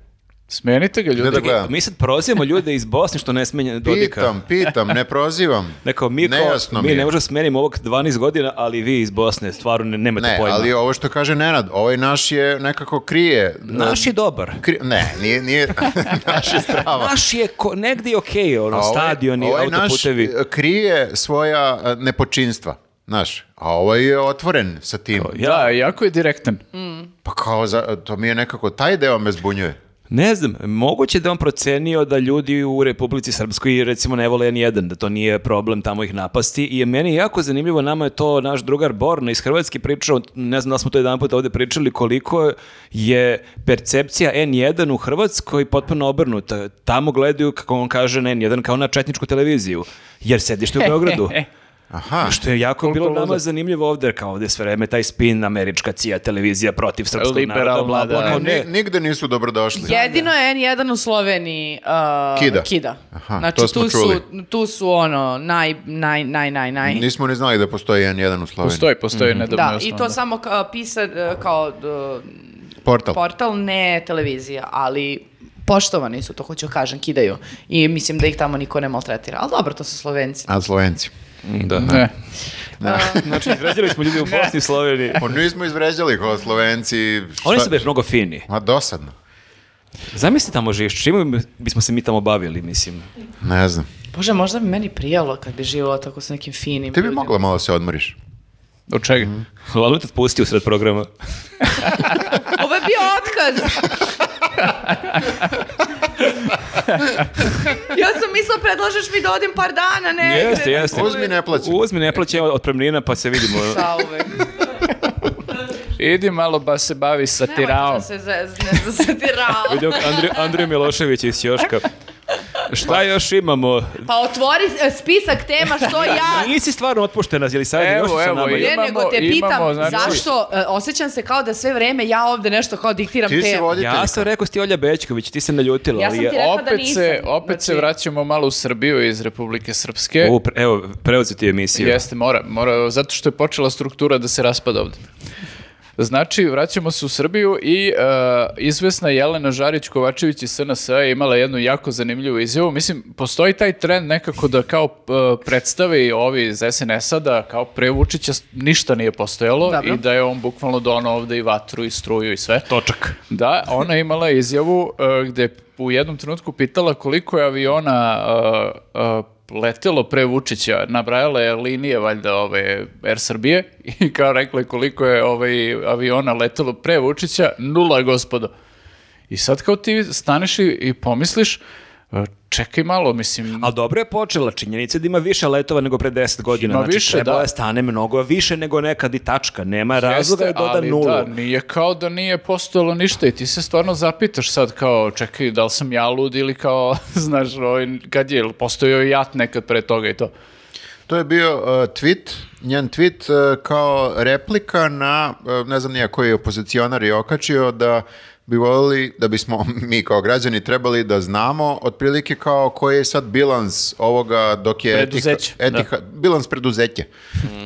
S4: Smenite ga, ljudi.
S2: da gledam.
S3: Mi sad prozivamo ljude iz Bosne što
S2: <laughs>
S3: ne smenja Dodika.
S2: Pitam, pitam, ne prozivam.
S3: <laughs> Neko, mi, kao-
S2: Nejasno mi
S3: mi
S2: je.
S3: ne možemo smenimo ovog 12 godina, ali vi iz Bosne stvarno ne, nemate
S2: Ne,
S3: pojma.
S2: ali ovo što kaže Nenad, ovaj naš je nekako krije.
S3: Naš je dobar.
S2: Kri- ne, nije, nije <laughs> naš je strava.
S3: Naš je ko, negdje je okej, ono,
S2: A ovaj-
S3: stadioni,
S2: ovaj naš,
S3: autoputevi.
S2: e, krije svoja e, nepočinstva. Znaš, a ovaj je otvoren sa tim.
S3: Ja-
S4: Da, jako je direktan.
S1: Mm.
S2: Pa kao, za, to mi je nekako, taj deo me zbunjuje.
S3: Ne znam, moguće da je on procenio da ljudi u Republici Srpskoj recimo ne vole N1, da to nije problem tamo ih napasti i meni je jako zanimljivo, nama je to naš drugar Borna iz Hrvatske pričao, ne znam da li smo to jedan put ovdje pričali, koliko je percepcija N1 u Hrvatskoj potpuno obrnuta.
S4: <laughs>
S3: Tamo gledaju, kako on kaže, na N1 kao na četničku televiziju, jer sedište u Beogradu.
S2: Aha.
S3: Što je jako
S4: Koliko
S3: bilo nama
S4: ludo.
S3: zanimljivo ovdje, kao ovdje sve vreme taj spin, američka cija, televizija protiv srpskog naroda,
S4: Liberalna,
S3: bla, bla,
S4: da.
S3: kao ne.
S2: Pa Ni- Nigde nisu dobrodošli.
S1: Jedino je N1 u Sloveniji uh,
S2: Kida.
S1: kida.
S2: Aha,
S1: znači,
S2: to smo
S1: tu
S2: čuli.
S1: Su, tu su ono, naj, naj, naj, naj, naj.
S2: Nismo ni znali da postoji jedan jedan u Sloveniji.
S4: Postoji, postoji
S2: Mhm.
S4: nedavno je
S1: da, i
S4: osnovan,
S1: to
S4: da.
S1: samo ka, pisa e, kao d-
S2: Portal.
S1: portal, ne televizija, ali poštovani su, to hoću kažem, kidaju. I mislim da ih tamo niko ne maltretira. Ali dobro, to su Slovenci.
S2: A Slovenci.
S3: Da.
S4: Ne.
S3: Znači, izređali smo ljudi u Bosni i Sloveniji.
S2: Pa nismo izvređali kao Slovenci.
S3: Oni
S2: šta-
S3: su baš mnogo fini.
S2: Ma dosadno.
S3: Zamisli tamo živiš, čime bismo se mi tamo bavili, mislim.
S2: Ne znam.
S1: Bože, možda bi meni prijalo kad bi živjela tako s nekim finim
S2: Ti bi
S1: ljudima.
S2: mogla malo se odmoriš.
S4: Od čega?
S2: Mhm.
S3: Lalo te pusti u sred programa.
S1: Ovo je bio otkaz. ja sam mislila predlažeš mi da odim par dana, E, ne?
S3: Jeste, jeste.
S2: Uzmi ne plaći.
S3: Uzmi, ne plaći, evo, otpremnina, pa se vidimo.
S1: Sa uvek.
S4: Idi malo ba se
S1: ovaj
S4: bavi
S1: Nemojte
S4: satiraom.
S1: da se zezne za
S3: <laughs>
S1: satiraom.
S3: Vidimo Andri, Andriju Milošević iz Ćoška. Šta još imamo?
S1: Pa otvori e, spisak tema što ja...
S3: Nisi stvarno otpuštena, je li sad
S4: Evo,
S3: još sa
S4: evo,
S3: nama?
S4: je.
S1: Ne, nego te
S4: Imamo-
S1: pitam
S4: imamo, znači-
S1: zašto e, osjećam se kao da sve vreme ja ovde nešto kao diktiram
S2: Ti si
S1: temu.
S2: voditelj.
S3: Ja sam rekao, si ti Olja Bećković, ti se naljutila.
S1: Ja
S3: ali
S1: sam
S3: je-
S1: ti rekla da
S4: Opet
S1: nisam.
S4: se, opet se
S1: Znači,
S4: vraćamo malo u Srbiju iz Republike Srpske.
S3: Ovo, pre- evo, preuzeti emisiju.
S4: Jeste, mora, mora, zato što je počela struktura da se raspada ovdje. Znači, vraćamo se u Srbiju i e, izvesna Jelena Žarić-Kovačević iz SNS je imala jednu jako zanimljivu izjavu. Mislim, postoji taj trend nekako da kao e, predstave i ovi iz SNS-a da kao pre Vučića s- ništa nije postojalo
S1: Dobro.
S4: i da je on bukvalno donao ovde i vatru i struju i sve.
S3: Točak.
S4: Da, ona je imala izjavu e, gde je u jednom trenutku pitala koliko je aviona e, e, letelo pre Vučića, nabrajala je linije valjda ove Air Srbije <laughs> i kao rekla je koliko je ovaj aviona letelo pre Vučića, nula gospodo. I sad kao ti staneš i, i pomisliš, e, čekaj malo, mislim...
S3: Ali dobro je počela činjenica da ima više letova nego pre 10 godina.
S4: Ima
S3: znači,
S4: više,
S3: trebala
S4: da.
S3: je stane mnogo više nego nekad i tačka. Nema razloga da
S4: Jeste,
S3: doda
S4: ali
S3: nulu.
S4: Da, nije kao da nije postojalo ništa i ti se stvarno zapitaš sad kao, čekaj, da li sam ja lud ili kao, <laughs> znaš, ovaj, kad je, jel postojao i jat nekad pre toga i to.
S2: To je bio uh, tweet, njen tweet uh, kao replika na, uh, ne znam nija koji je opozicionar je okačio da bi voljeli, da bismo <laughs> mi kao građani trebali da znamo otprilike kao koji je sad bilans ovoga dok je Etihad-
S4: Preduzeće, da.
S2: Etihad- bilans preduzeće,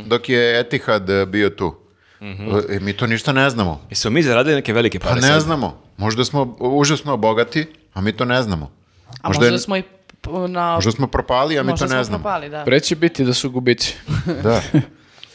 S2: dok je Etihad uh, bio tu. Uh, i mi to ništa ne znamo.
S3: Jesu mi zaradili neke velike
S2: Pa
S3: pare
S2: ne
S3: sad?
S2: znamo. Možda smo užasno bogati, a mi to ne znamo.
S1: A možda,
S2: je-
S1: smo i p- na...
S2: možda smo propali, a mi
S1: možda
S2: to ne
S1: smo
S2: znamo.
S1: propali, da.
S4: Pre će biti da su gubići.
S2: Da.
S1: <laughs>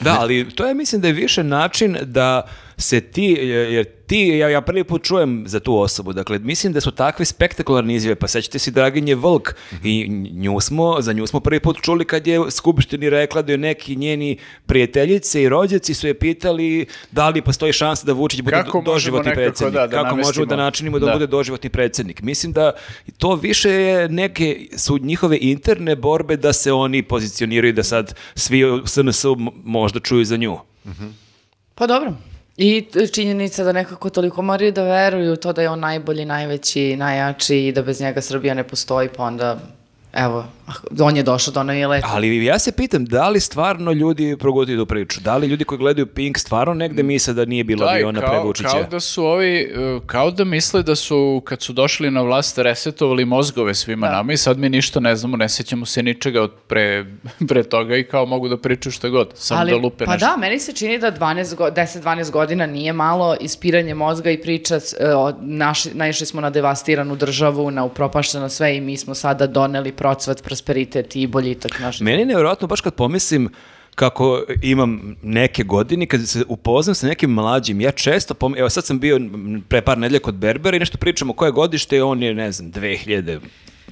S3: Da, ali to je mislim da je više način da se ti, jer jer ti, ja, ja prvi put čujem za tu osobu, dakle mislim da su takve spektakularne izjave, pa sećate si Draginje Volk i nju smo, za nju smo prvi put čuli kad je Skupštini rekla da je neki njeni prijateljice i rođaci su je pitali da li postoji šansa da Vučić bude
S4: Kako
S3: do- doživotni
S4: možemo nekako,
S3: predsjednik,
S4: da, da
S3: kako možemo
S4: namestimo.
S3: da načinimo da,
S4: Da.
S3: bude doživotni predsjednik. Mislim da to više je neke su njihove interne borbe da se oni pozicioniraju da sad svi u SNS -u mo- možda čuju za nju.
S1: Pa dobro. I t- činjenica da nekako toliko moraju da veruju u to da je on najbolji, najveći, najjači i da bez njega Srbija ne postoji, pa onda, evo, ah, on je došao do ono i leta.
S3: Ali ja se pitam da li stvarno ljudi progutaju tu priču? Da li ljudi koji gledaju Pink stvarno negde misle da nije bilo
S4: Da, i
S3: aviona pre
S4: kao,
S3: Vučića?
S4: kao da su ovi, e, kao da misle da su, kad su došli na vlast, resetovali mozgove svima nama i sad mi ništa ne znamo, ne sjećamo se ničega od pre, <laughs> pre toga i kao mogu da pričaju šta god, samo
S1: Ali-
S4: da lupe
S1: pa
S4: nešto.
S1: da, meni se čini da 12 go- 10-12 godina nije malo ispiranje mozga i priča, s- e, o- naši- naišli smo na devastiranu državu, na upropašteno sve i mi smo sada doneli procvat, prosperitet i boljitak naš.
S3: Meni je nevjerojatno baš kad pomislim kako imam neke godine, kad se upoznam sa nekim mlađim, ja često, pom- evo sad sam bio m, pre par nedlja kod Berbera i nešto pričamo koje godište, on je, ne znam, 2000,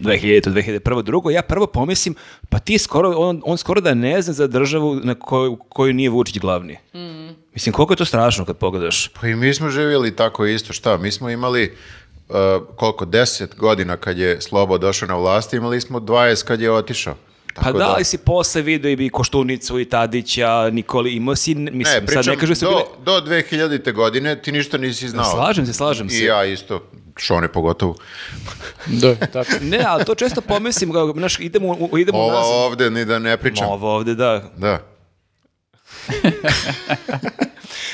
S3: 2000, 2001, drugo, ja prvo pomislim, pa ti skoro, on, on skoro da ne zna za državu na koju, koju nije Vučić glavni. Mislim, koliko je to strašno kad pogledaš?
S2: Pa i mi smo živjeli tako isto, šta? Mi smo imali uh, koliko, deset godina kad je Slobo došao na vlast, imali smo 20 kad je otišao.
S3: Pa da, ali si posle video i bi Koštunicu i Tadića, Nikoli, imao si, n- mislim,
S2: Ne, pričam,
S3: sad ne kažu da su
S2: do,
S3: bile...
S2: do 2000. godine ti ništa nisi znao.
S3: Slažem se, slažem se.
S2: I ja isto. Šone pogotovo.
S4: Da, tako.
S3: Ne, ali to često pomislim, kao, znaš, idemo, u- idemo
S2: Ova
S3: nazad.
S2: ovde, ni da ne pričam.
S3: Ma, Ovo ovde, da.
S2: Da.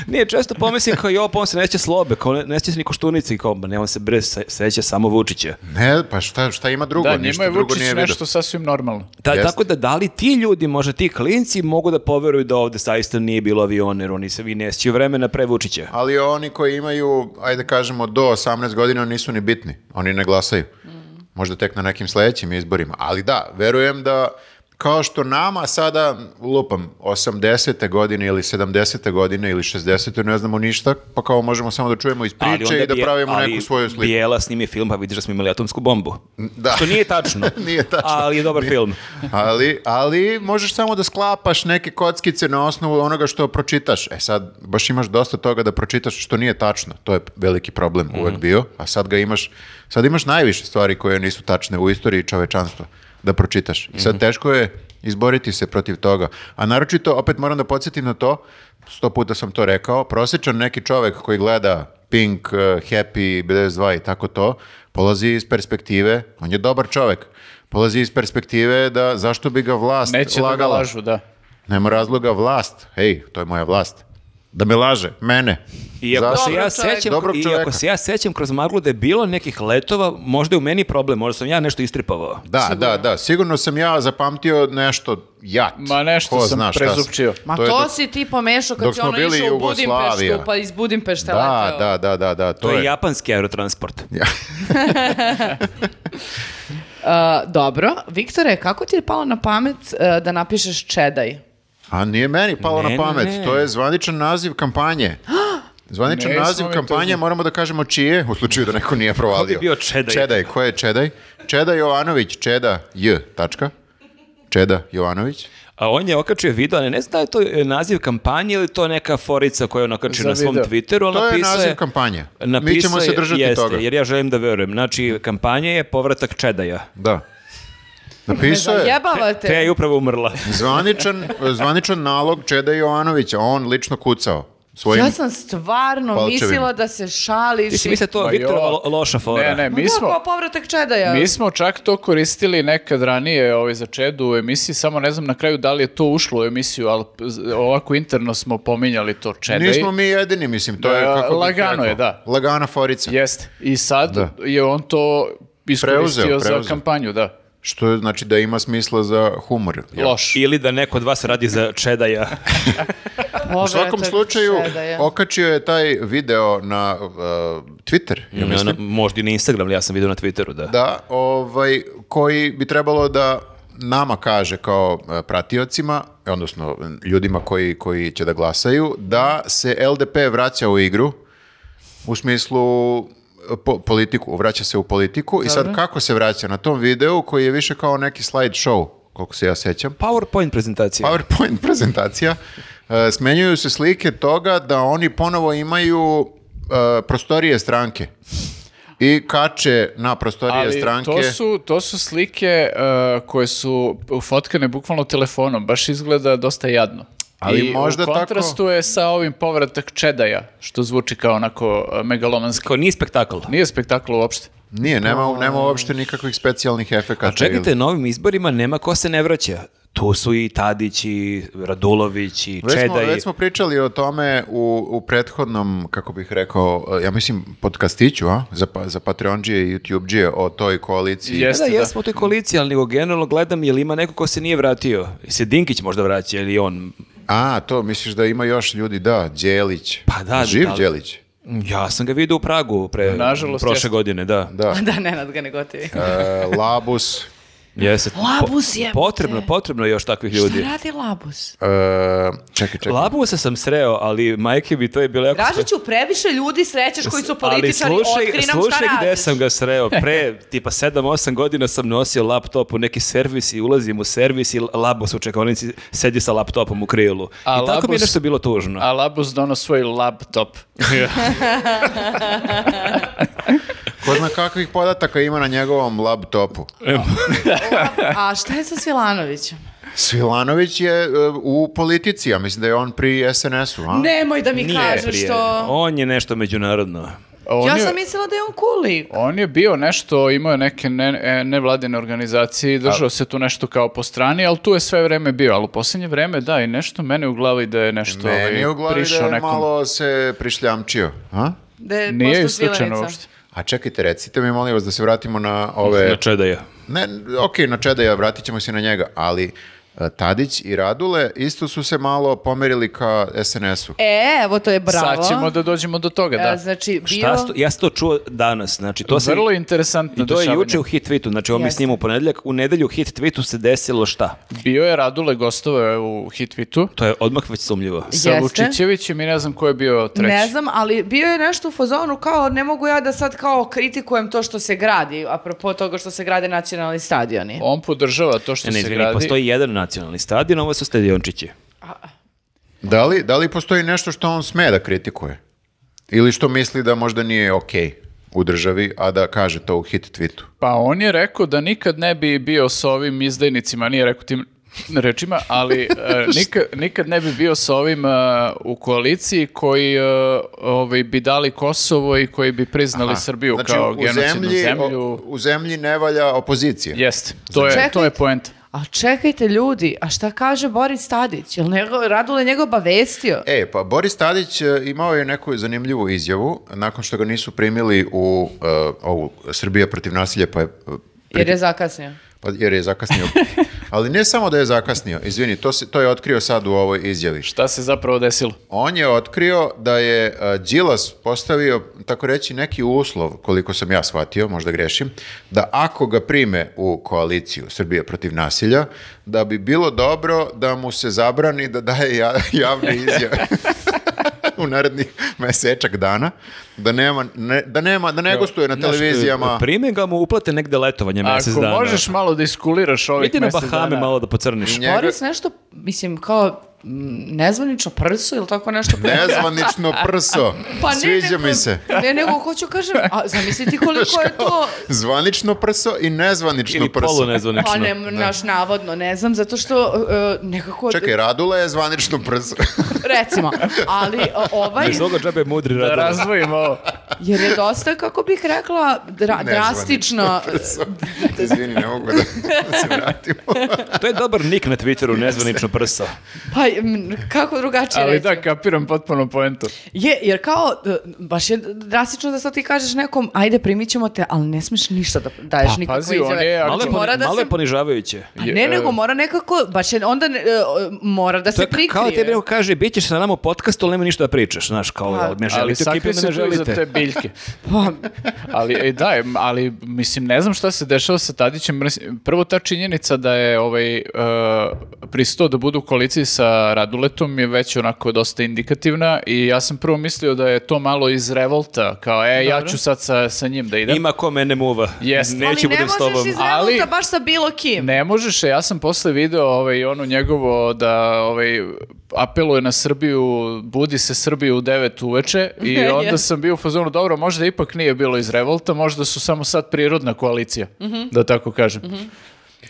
S3: Nije, često pomislim kao, jo, pa on se neće slobe, kao ne, neće se ni koštunici, kao, ba ne, on se bre se, seće samo Vučića.
S2: Ne, pa šta, šta ima drugo?
S4: Da, njima
S2: Ništa
S4: je
S2: drugo
S4: Vučić
S2: nije vidio.
S4: nešto sasvim normalno.
S3: Ta,
S2: Jeste.
S3: Tako da, da li ti ljudi, možda ti klinci, mogu da poveruju da ovde saista nije bilo avion, jer oni se vi nesću vremena pre Vučića.
S2: Ali oni koji imaju, ajde kažemo, do 18 godina nisu ni bitni. Oni ne glasaju. Možda tek na nekim sledećim izborima. Ali da, verujem da kao što nama sada, lupam, 80. godine ili 70. godine ili 60. ne znamo ništa, pa kao možemo samo da čujemo iz
S3: Ali onda
S2: priče i da
S3: Bije-
S2: pravimo
S3: ali
S2: neku svoju sliku.
S3: Bijela snimi film, pa vidiš da smo imali atomsku bombu.
S2: Da.
S3: Što nije tačno.
S2: <laughs> Nije tačno.
S3: Ali je dobar film.
S2: ali, ali možeš samo da sklapaš neke kockice na osnovu onoga što pročitaš. E sad, baš imaš dosta toga da pročitaš što nije tačno. To je veliki problem uvek bio, a sad ga imaš, sad imaš najviše stvari koje nisu tačne u istoriji čovečanstva da pročitaš. I sad teško je izboriti se protiv toga. A naročito, opet moram da podsjetim na to, sto puta sam to rekao, prosječan neki čovek koji gleda Pink, eh, Happy, BDS2 i tako to, polazi iz perspektive, on je dobar čovek, polazi iz perspektive da zašto bi ga vlast
S4: Neće da ga
S2: lagala.
S4: lažu, da.
S2: Nema razloga vlast. Hej, to je moja vlast. Da me laže, mene.
S3: Iako
S2: Zašto?
S3: se, ja
S1: Dobrog čoveka.
S3: sećam,
S2: Dobrog čoveka.
S3: iako se ja sećam kroz maglu da je bilo nekih letova, možda je u meni problem, možda sam ja nešto istripavao.
S2: Da, da, da. Sigurno sam ja zapamtio nešto jat.
S4: Ma nešto
S2: Ko
S4: sam
S2: zna šta sam.
S4: prezupčio.
S1: Ma
S2: To
S1: to,
S2: je dok-
S1: si ti pomešao kad
S2: dok
S1: si
S2: smo
S1: ono
S2: bili
S1: išao u
S2: Jugoslavija.
S1: Budimpeštu, pa iz Budimpešte
S2: Da,
S1: leteo.
S2: da, da, da, da.
S3: To, je japanski aerotransport.
S1: E, dobro, Viktore, kako ti je palo na pamet e, da napišeš čedaj?
S2: A nije meni palo
S3: Ne,
S2: na
S3: ne,
S2: pamet,
S3: ne.
S2: to je zvaničan naziv
S4: <gasps>
S2: kampanje. Zvaničan
S4: Ne,
S2: naziv
S4: smo mi to
S2: kampanje,
S4: znali.
S2: moramo da kažemo čije, u slučaju da neko nije provalio.
S3: Ko bi bio Čedaj?
S2: Čedaj, ko je Čedaj? Čeda Jovanović, Čeda J, tačka. Čeda Jovanović.
S3: A on je okačio video, ali ne znam da li je to e, naziv kampanje ili to neka forica koju on okačio
S4: Za
S3: na svom
S4: video.
S3: Twitteru, ali
S2: To je
S3: napisao
S2: naziv kampanje. Mi ćemo
S3: napisao
S2: se
S3: je-
S2: držati
S3: jeste,
S2: toga.
S3: jer ja želim da verujem. Znači, kampanja je povratak Čedaja.
S2: Da. Napisao je
S1: Zajebavate.
S3: Te je upravo umrla.
S2: zvaničan, zvaničan nalog Čeda Jovanovića, on lično kucao. Svojim...
S1: Ja sam stvarno
S2: palčevima.
S1: mislila da se šališ.
S3: Ti si mislio to
S2: Pa
S4: Ma
S3: Viktorova
S4: jo.
S3: lo- loša fora.
S4: Ne, ne,
S1: Mi
S4: mi smo,
S1: povratak čedaja.
S4: mi smo čak to koristili nekad ranije ovaj, za Čedu u emisiji, samo ne znam na kraju da li je to ušlo u emisiju, ali p- z- ovako interno smo pominjali to Čedaj.
S2: Nismo mi jedini, mislim, to je
S4: Da,
S2: kako bih
S4: lagano
S2: rekao,
S4: je, da.
S2: Lagana forica.
S4: Jeste. I sad
S2: Da.
S4: je on to iskoristio
S2: Preuzeo, preuzeo.
S4: za kampanju, da.
S2: Što je, znači da ima smisla za humor. jel?
S4: Loš.
S3: Ili da neko od vas radi za
S2: <laughs>
S3: Čedaja.
S2: U svakom slučaju, okačio je taj video na uh, Twitter, ja
S3: Na- na-
S2: mislim.
S3: ono, možda i na Instagram, ali ja sam vidio na Twitteru, da.
S2: Da, ovaj, koji bi trebalo da nama kaže kao uh, pratiocima, odnosno ljudima koji, koji će da glasaju, da se LDP vraća u igru u smislu uh, po- politiku, vraća se u politiku i sad kako se vraća na tom videu koji je više kao neki slide show, koliko se ja sećam,
S3: PowerPoint prezentacija.
S2: PowerPoint <laughs> prezentacija. E, Smenjuju se slike toga da oni ponovo imaju e, prostorije stranke. I kače na prostorije
S4: Ali
S2: stranke.
S4: to su, to su slike uh, koje su fotkane bukvalno telefonom, baš izgleda dosta jadno.
S2: Ali
S4: I
S2: možda
S4: u
S2: tako-
S4: kontrastu je sa ovim povratak Čedaja, što zvuči kao onako uh, megalomanski.
S3: Kao nije spektakl.
S4: Nije spektakl uopšte.
S2: Nije, nema, nema uopšte nikakvih specijalnih efekata.
S3: A čekajte,
S2: ili-
S3: na ovim izborima nema ko se ne vraća. Tu su i Tadić, i Radulović, i Pa
S2: Već smo,
S3: Čedaj.
S2: već smo pričali o tome u, u prethodnom, kako bih rekao, e, ja mislim, podcastiću, a? Za, pa- za Patreonđije i YouTubeđije o toj koaliciji.
S4: Jeste,
S3: da,
S4: da.
S3: jesmo u toj koaliciji, ali nego generalno gledam je li ima neko ko se nije vratio. I se Dinkić možda vraća ili on.
S2: A, to misliš da ima još ljudi, da, Đelić.
S3: Pa da,
S2: Živ
S3: da li-
S2: Đelić.
S3: Ja sam ga vidio u Pragu pre,
S4: Nažalost,
S3: prošle
S4: jeste.
S3: godine, da.
S2: Da.
S1: Da, Nenad ga ne gotivi.
S2: E, Labus.
S3: Jeste.
S1: Labus
S3: Po-
S1: je,
S3: Potrebno, potrebno je još takvih ljudi.
S1: Šta radi Labus?
S2: E, čekaj, čekaj.
S3: Labusa sam sreo, ali majke bi to je bilo jako...
S1: Dražiću, previše ljudi srećeš Znači, koji su
S3: Ali
S1: političari,
S3: slušaj,
S1: otkri nam šta
S3: slušaj gde
S1: radiš.
S3: sam ga sreo.
S1: <laughs>
S3: Pre, tipa 7-8 godina sam nosio laptop u neki servis i ulazim u servis i labos u čekonici sedi sa laptopom u krilu.
S4: A
S3: I tako mi je
S4: Labus-
S3: nešto bilo tužno.
S4: A Labus dono svoj
S3: <laughs>
S4: laptop.
S2: Ko zna kakvih podataka ima na njegovom laptopu.
S1: A šta je sa Svilanovićem?
S2: Svilanović je e, u politici, ja mislim da je on pri SNS-u, a?
S1: Nemoj da mi
S3: Nije
S1: kažeš
S3: E, prije.
S1: to.
S3: On je nešto međunarodno.
S4: On
S1: ja
S4: je-
S1: sam mislila da je on kuli.
S4: On je bio nešto, imao je neke ne, e, nevladine organizacije i držao se tu nešto kao po strani, ali tu je sve vreme bio. Ali u posljednje vreme, da, i nešto mene u glavi da je nešto
S2: Meni je
S4: ovaj,
S2: u glavi da
S4: prišao
S2: je
S4: nekom.
S2: malo se prišljamčio. A?
S1: Da je
S4: Nije
S1: postao
S4: isključeno
S1: svilenica.
S4: uopšte.
S2: A čekajte, recite mi, molim vas, da se vratimo na ove...
S3: Na čedaja.
S2: Ne, ok, na Čedaja, vratit ćemo se na njega, ali e, Tadić i Radule isto su se malo pomerili ka SNS-u.
S1: E, evo to je bravo.
S4: Sad ćemo da dođemo do toga,
S1: E,
S4: da.
S1: Znači, bio...
S3: Šta sto, ja sam to čuo danas, znači to se...
S4: Vrlo interesantno
S3: I to je
S4: dešavanje.
S3: juče u hit tweetu, znači on mi
S1: Jeste.
S3: snima u ponedjeljak, u nedelju u hit tweetu se desilo šta?
S4: Bio je Radule gostovao je u Hitvitu
S3: To je odmah već sumljivo.
S4: sa
S1: Jeste.
S4: Vučićevićem i ne znam ko je bio treći.
S1: Ne znam, ali bio je nešto u fazonu kao ne mogu ja da sad kao kritikujem to što se gradi, apropo toga što se grade nacionalni stadioni.
S4: On podržava to što
S3: E, Ne, ne,
S4: se
S3: izvini,
S4: gradi.
S3: postoji jedan nacionalni stadion, ovo su stadiončići.
S2: Da li, da li postoji nešto što on sme da kritikuje? Ili što misli da možda nije okej u državi, a da kaže to u hit tweetu?
S4: Pa on je rekao da nikad ne bi bio sa ovim izdajnicima, nije rekao tim rečima,
S2: <laughs>
S4: ali e, nikad, nikad ne bi bio sa ovim e, u koaliciji koji e, ovaj, bi dali Kosovo i koji bi priznali Srbiju
S2: Znači,
S4: kao
S2: u
S4: genocidnu
S2: zemlji,
S4: zemlju.
S2: o- u zemlji ne valja opozicija.
S4: Jeste, to je,
S2: Znači-
S1: Čekajte.
S4: to je poenta.
S1: A čekajte ljudi, a šta kaže Boris Tadić? Jel nego, Radule njega obavestio?
S2: E, pa Boris Tadić e, imao je neku zanimljivu izjavu nakon što ga nisu primili u e, ovu Srbija protiv nasilja, pa je e,
S1: Jer je zakasnio.
S2: Pa jer je zakasnio. Ali ne samo da je zakasnio, izvini, to, se, to je otkrio sad u ovoj izjavi.
S4: Šta se zapravo desilo?
S2: On je otkrio da je e, Đilas postavio, tako reći, neki uslov, koliko sam ja shvatio, možda grešim, da ako ga prime u koaliciju Srbije protiv nasilja, da bi bilo dobro da mu se zabrani da daje ja- javne
S1: <laughs>
S2: izjave. u narednih mesečak dana, da nema, ne, da nema, da ne gostuje na televizijama.
S3: e, Prime ga mu uplate negde letovanje mjesec
S4: Ako
S3: dana.
S4: možeš malo da iskuliraš ovih
S3: Idi na
S4: mjesec
S3: Bahame
S4: dana.
S3: malo da pocrniš.
S2: Nje- Njega-
S1: Boris nešto, mislim, kao mm, nezvanično prsu ili tako nešto.
S2: Nezvanično
S1: <laughs>
S2: prso.
S1: Pa
S2: Sviđa
S1: nego-
S2: mi se.
S1: Ne, nego hoću kažem, a zamisli ti koliko je to...
S2: Zvanično prso i nezvanično
S3: Ili
S2: prso.
S3: polu
S1: Pa ne,
S3: nezvanično.
S1: naš navodno, ne znam, zato što e, nekako...
S2: Čekaj, Radula je zvanično prso.
S1: Recimo, ali o, ovaj...
S3: Bez ovoga džabe mudri
S4: Da
S3: radar.
S4: razdvojimo
S2: <laughs>
S4: ovo.
S1: Jer je dosta, kako bih rekla, dra-
S2: Nezvanično <laughs>
S1: drastično.
S2: prso. Izvini, ne mogu da se vratimo.
S3: To je dobar nik na Twitteru, nezvanično prsa.
S1: Pa, m, kako drugačije
S4: Ali
S1: reći?
S4: da, kapiram potpuno poentu.
S1: Je, jer kao, d- baš je drastično da sad ti kažeš nekom, ajde primit ćemo te, ali ne smiješ ništa da daješ
S4: Pa,
S1: nikakve
S4: pazi, on
S1: izjave.
S4: je-
S1: Znači,
S3: Malo je, poni-
S1: mora da
S3: malo
S1: se...
S3: je ponižavajuće.
S1: Pa ne,
S4: Je,
S1: nego
S4: e,
S1: mora nekako, baš je, onda ne- e, e, mora da
S3: To
S1: se
S3: je kao
S1: prikrije.
S3: tebi neko kaže, bit ćeš sa nama u podcastu, ali nema ništa da pričaš, znaš, kao,
S1: Pa,
S3: jel, ne
S4: Ali
S3: želite u ekipi,
S4: sakri
S3: onda ne
S4: se tu iza
S3: želite.
S4: te biljke.
S3: <laughs>
S1: Pa,
S4: ali e, da, em, ali mislim ne znam šta se dešava sa Tadićem. Mrs- Prvo ta činjenica da je ovaj e, pristao da bude u koaliciji sa Raduletom je već onako dosta indikativna i ja sam prvo mislio da je to malo iz revolta, kao e ja ću sad sa, sa njim da idem.
S3: Ima ko mene muva.
S4: Jeste.
S3: Neću
S1: ali ne
S3: budem s tobom.
S1: možeš iz
S4: ali-
S1: revolta baš sa bilo kim.
S4: Ne možeš, ja sam posle video ovaj, ono njegovo da ovaj, apeluje na Srbiju, budi se Srbiju u 9 uveče i
S1: Yes.
S4: onda sam bio u fazonu, dobro, možda ipak nije bilo iz revolta, možda su samo sad prirodna koalicija, da tako kažem.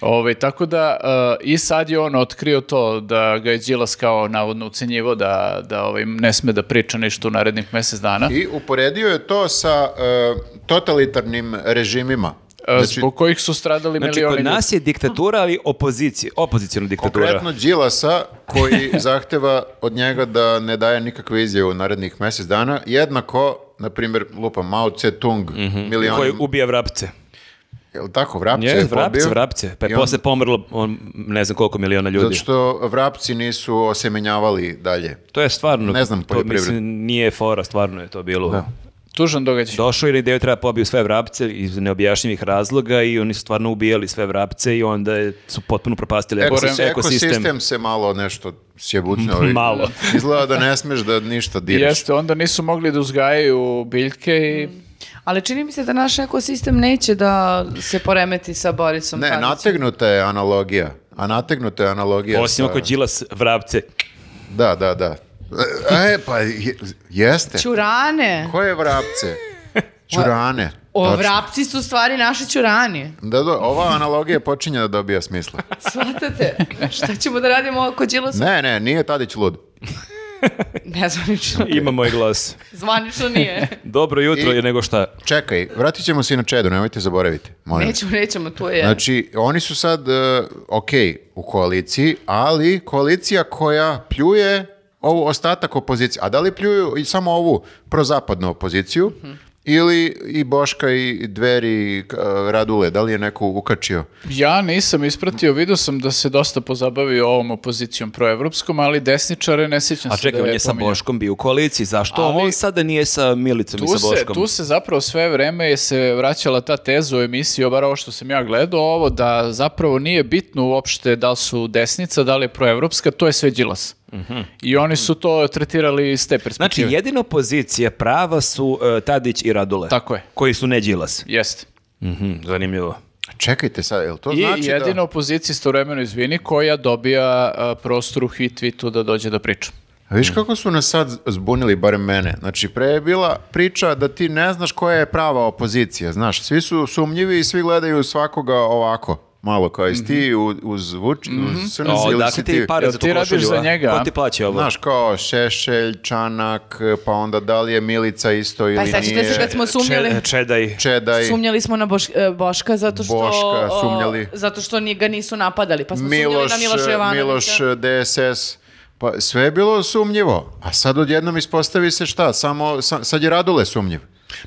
S4: Ovaj, tako da eh, i sad je on otkrio to da ga je Đilas kao navodno ucenjivo da, da ovaj, ne sme da priča ništa u narednih mjesec dana.
S2: I uporedio je to sa e, totalitarnim režimima.
S3: E,
S4: eh,
S2: Znači,
S4: zbog kojih su stradali
S3: Znači,
S4: milioni
S3: kod
S4: ljudi.
S3: nas je diktatura, ali opozicija, opozicijona diktatura.
S2: konkretno Đilasa,
S3: <laughs>
S2: koji zahteva od njega da ne daje nikakve izjave u narednih mjesec dana, jednako, na primjer, lupa Mao Tse Tung, milioni...
S3: Mhm. Koji ubija vrapce.
S2: Jel tako, vrapce
S3: Je,
S2: je
S3: vrapce,
S2: pobio?
S3: vrapce. Pa
S2: I
S3: je
S2: on-
S3: posle pomrlo on, ne znam koliko miliona ljudi.
S2: Zato što vrapci nisu osemenjavali dalje.
S3: To je stvarno,
S2: Ne znam,
S3: to
S2: poljoprivredu.
S3: mislim, nije fora, stvarno je to bilo.
S4: Tužan događaj.
S3: Došao je na ideju treba pobiju sve vrapce iz neobjašnjivih razloga i oni su stvarno ubijali sve vrapce i onda je- su potpuno propastili
S2: Ekos-
S3: ekosistem.
S2: ekosistem se malo nešto sjebucnao. i-
S3: <laughs> Malo.
S2: Izgleda da ne smeš da
S3: <laughs>
S2: ništa diraš.
S4: Jeste, onda nisu mogli da uzgajaju biljke i
S1: Ali čini mi se da naš ekosistem neće da se poremeti sa Borisom
S2: Ne,
S1: Tadićem.
S2: nategnuta je analogija. A nategnuta je analogija.
S3: Osim
S2: sa-
S3: ako Đilas vrapce.
S2: Da, da, da. E, pa je- jeste.
S1: Ćurane.
S2: Koje vrapce? Čurane.
S1: O,
S2: Točno.
S1: vrapci su u stvari naši ćurani.
S2: Da, da, ova analogija počinje da dobija smisla.
S1: Svatate, šta ćemo da radimo oko Đilasa?
S2: Ne, ne, nije Tadić lud.
S1: Nezvanično.
S3: Ima moj glas.
S1: Zvanično nije.
S3: Dobro jutro
S2: I-
S3: je nego šta.
S2: Čekaj, vratit ćemo se i na Čedu, nemojte zaboraviti. Molim. vas.
S1: Nećemo, nećemo, tu je.
S2: Pa Znači, oni su sad, e, ok, u koaliciji, ali koalicija koja pljuje ovu ostatak opozicije. A da li pljuju i samo ovu prozapadnu opoziciju? Ili i Boška i Dveri i e, Radule, da li je neko ukačio?
S4: Ja nisam ispratio, vidio sam da se dosta pozabavi ovom opozicijom proevropskom, ali desničare ne sjećam
S3: A
S4: se
S3: čekaj,
S4: da
S3: on
S4: je
S3: je sa
S4: pominjao.
S3: Boškom bio u koaliciji. Zašto
S4: Ali-
S3: on sada nije sa Milicom i
S4: Tu
S3: sa
S4: se,
S3: Boškom?
S4: tu se zapravo sve vreme je se vraćala ta teza u emisiji, obar ovo što sam ja gledao, ovo da zapravo nije bitno uopšte da li su desnica, da li je proevropska, to je sve Đilas. I oni su to tretirali iz te
S3: Mhm. Znači,
S4: perspektive.
S3: jedina opozicija prava su e, Tadić i Radule.
S4: Tako je.
S3: Koji su ne Đilas.
S4: Jeste.
S3: Mhm, zanimljivo.
S2: Čekajte sad, jel to
S4: I
S2: znači da-
S4: jedina opozicija istovremeno, izvini, koja dobija a, prostor u Hitvitu da dođe da priča.
S2: A
S3: Mm.
S2: Viš kako su nas sad zbunili, barem mene. Znači, pre je bila priča da ti ne znaš koja je prava opozicija, znaš. Svi su sumnjivi i svi gledaju svakoga ovako, malo kao jesi ti u- uz, Vuč, uz Crnca
S3: Mhm. O,
S2: ili
S3: dakle
S2: si
S3: ti pare
S4: Jel
S3: za tu
S4: ti radiš
S3: košulju,
S4: za
S3: a?
S4: njega,
S3: Ko
S4: a?
S3: ti plaća ovo?
S2: Znaš, kao Šešelj, Čanak, pa onda da li je Milica isto ili
S1: Pa sećate se
S2: nije,
S1: kad smo sumnjali...
S3: Če- čedaj.
S2: Čedaj,
S1: Sumnjali smo na Boš- e, Boška zato što
S2: Boška,
S1: o,
S2: sumnjali.
S1: zato što ni- ga nisu napadali, pa smo
S2: Miloš, e,
S1: sumnjali na Miloša Jovanovića.
S2: Miloš, DSS, pa sve je bilo sumnjivo. A sad odjednom ispostavi se šta, samo, sa- sad je Radule sumnjiv.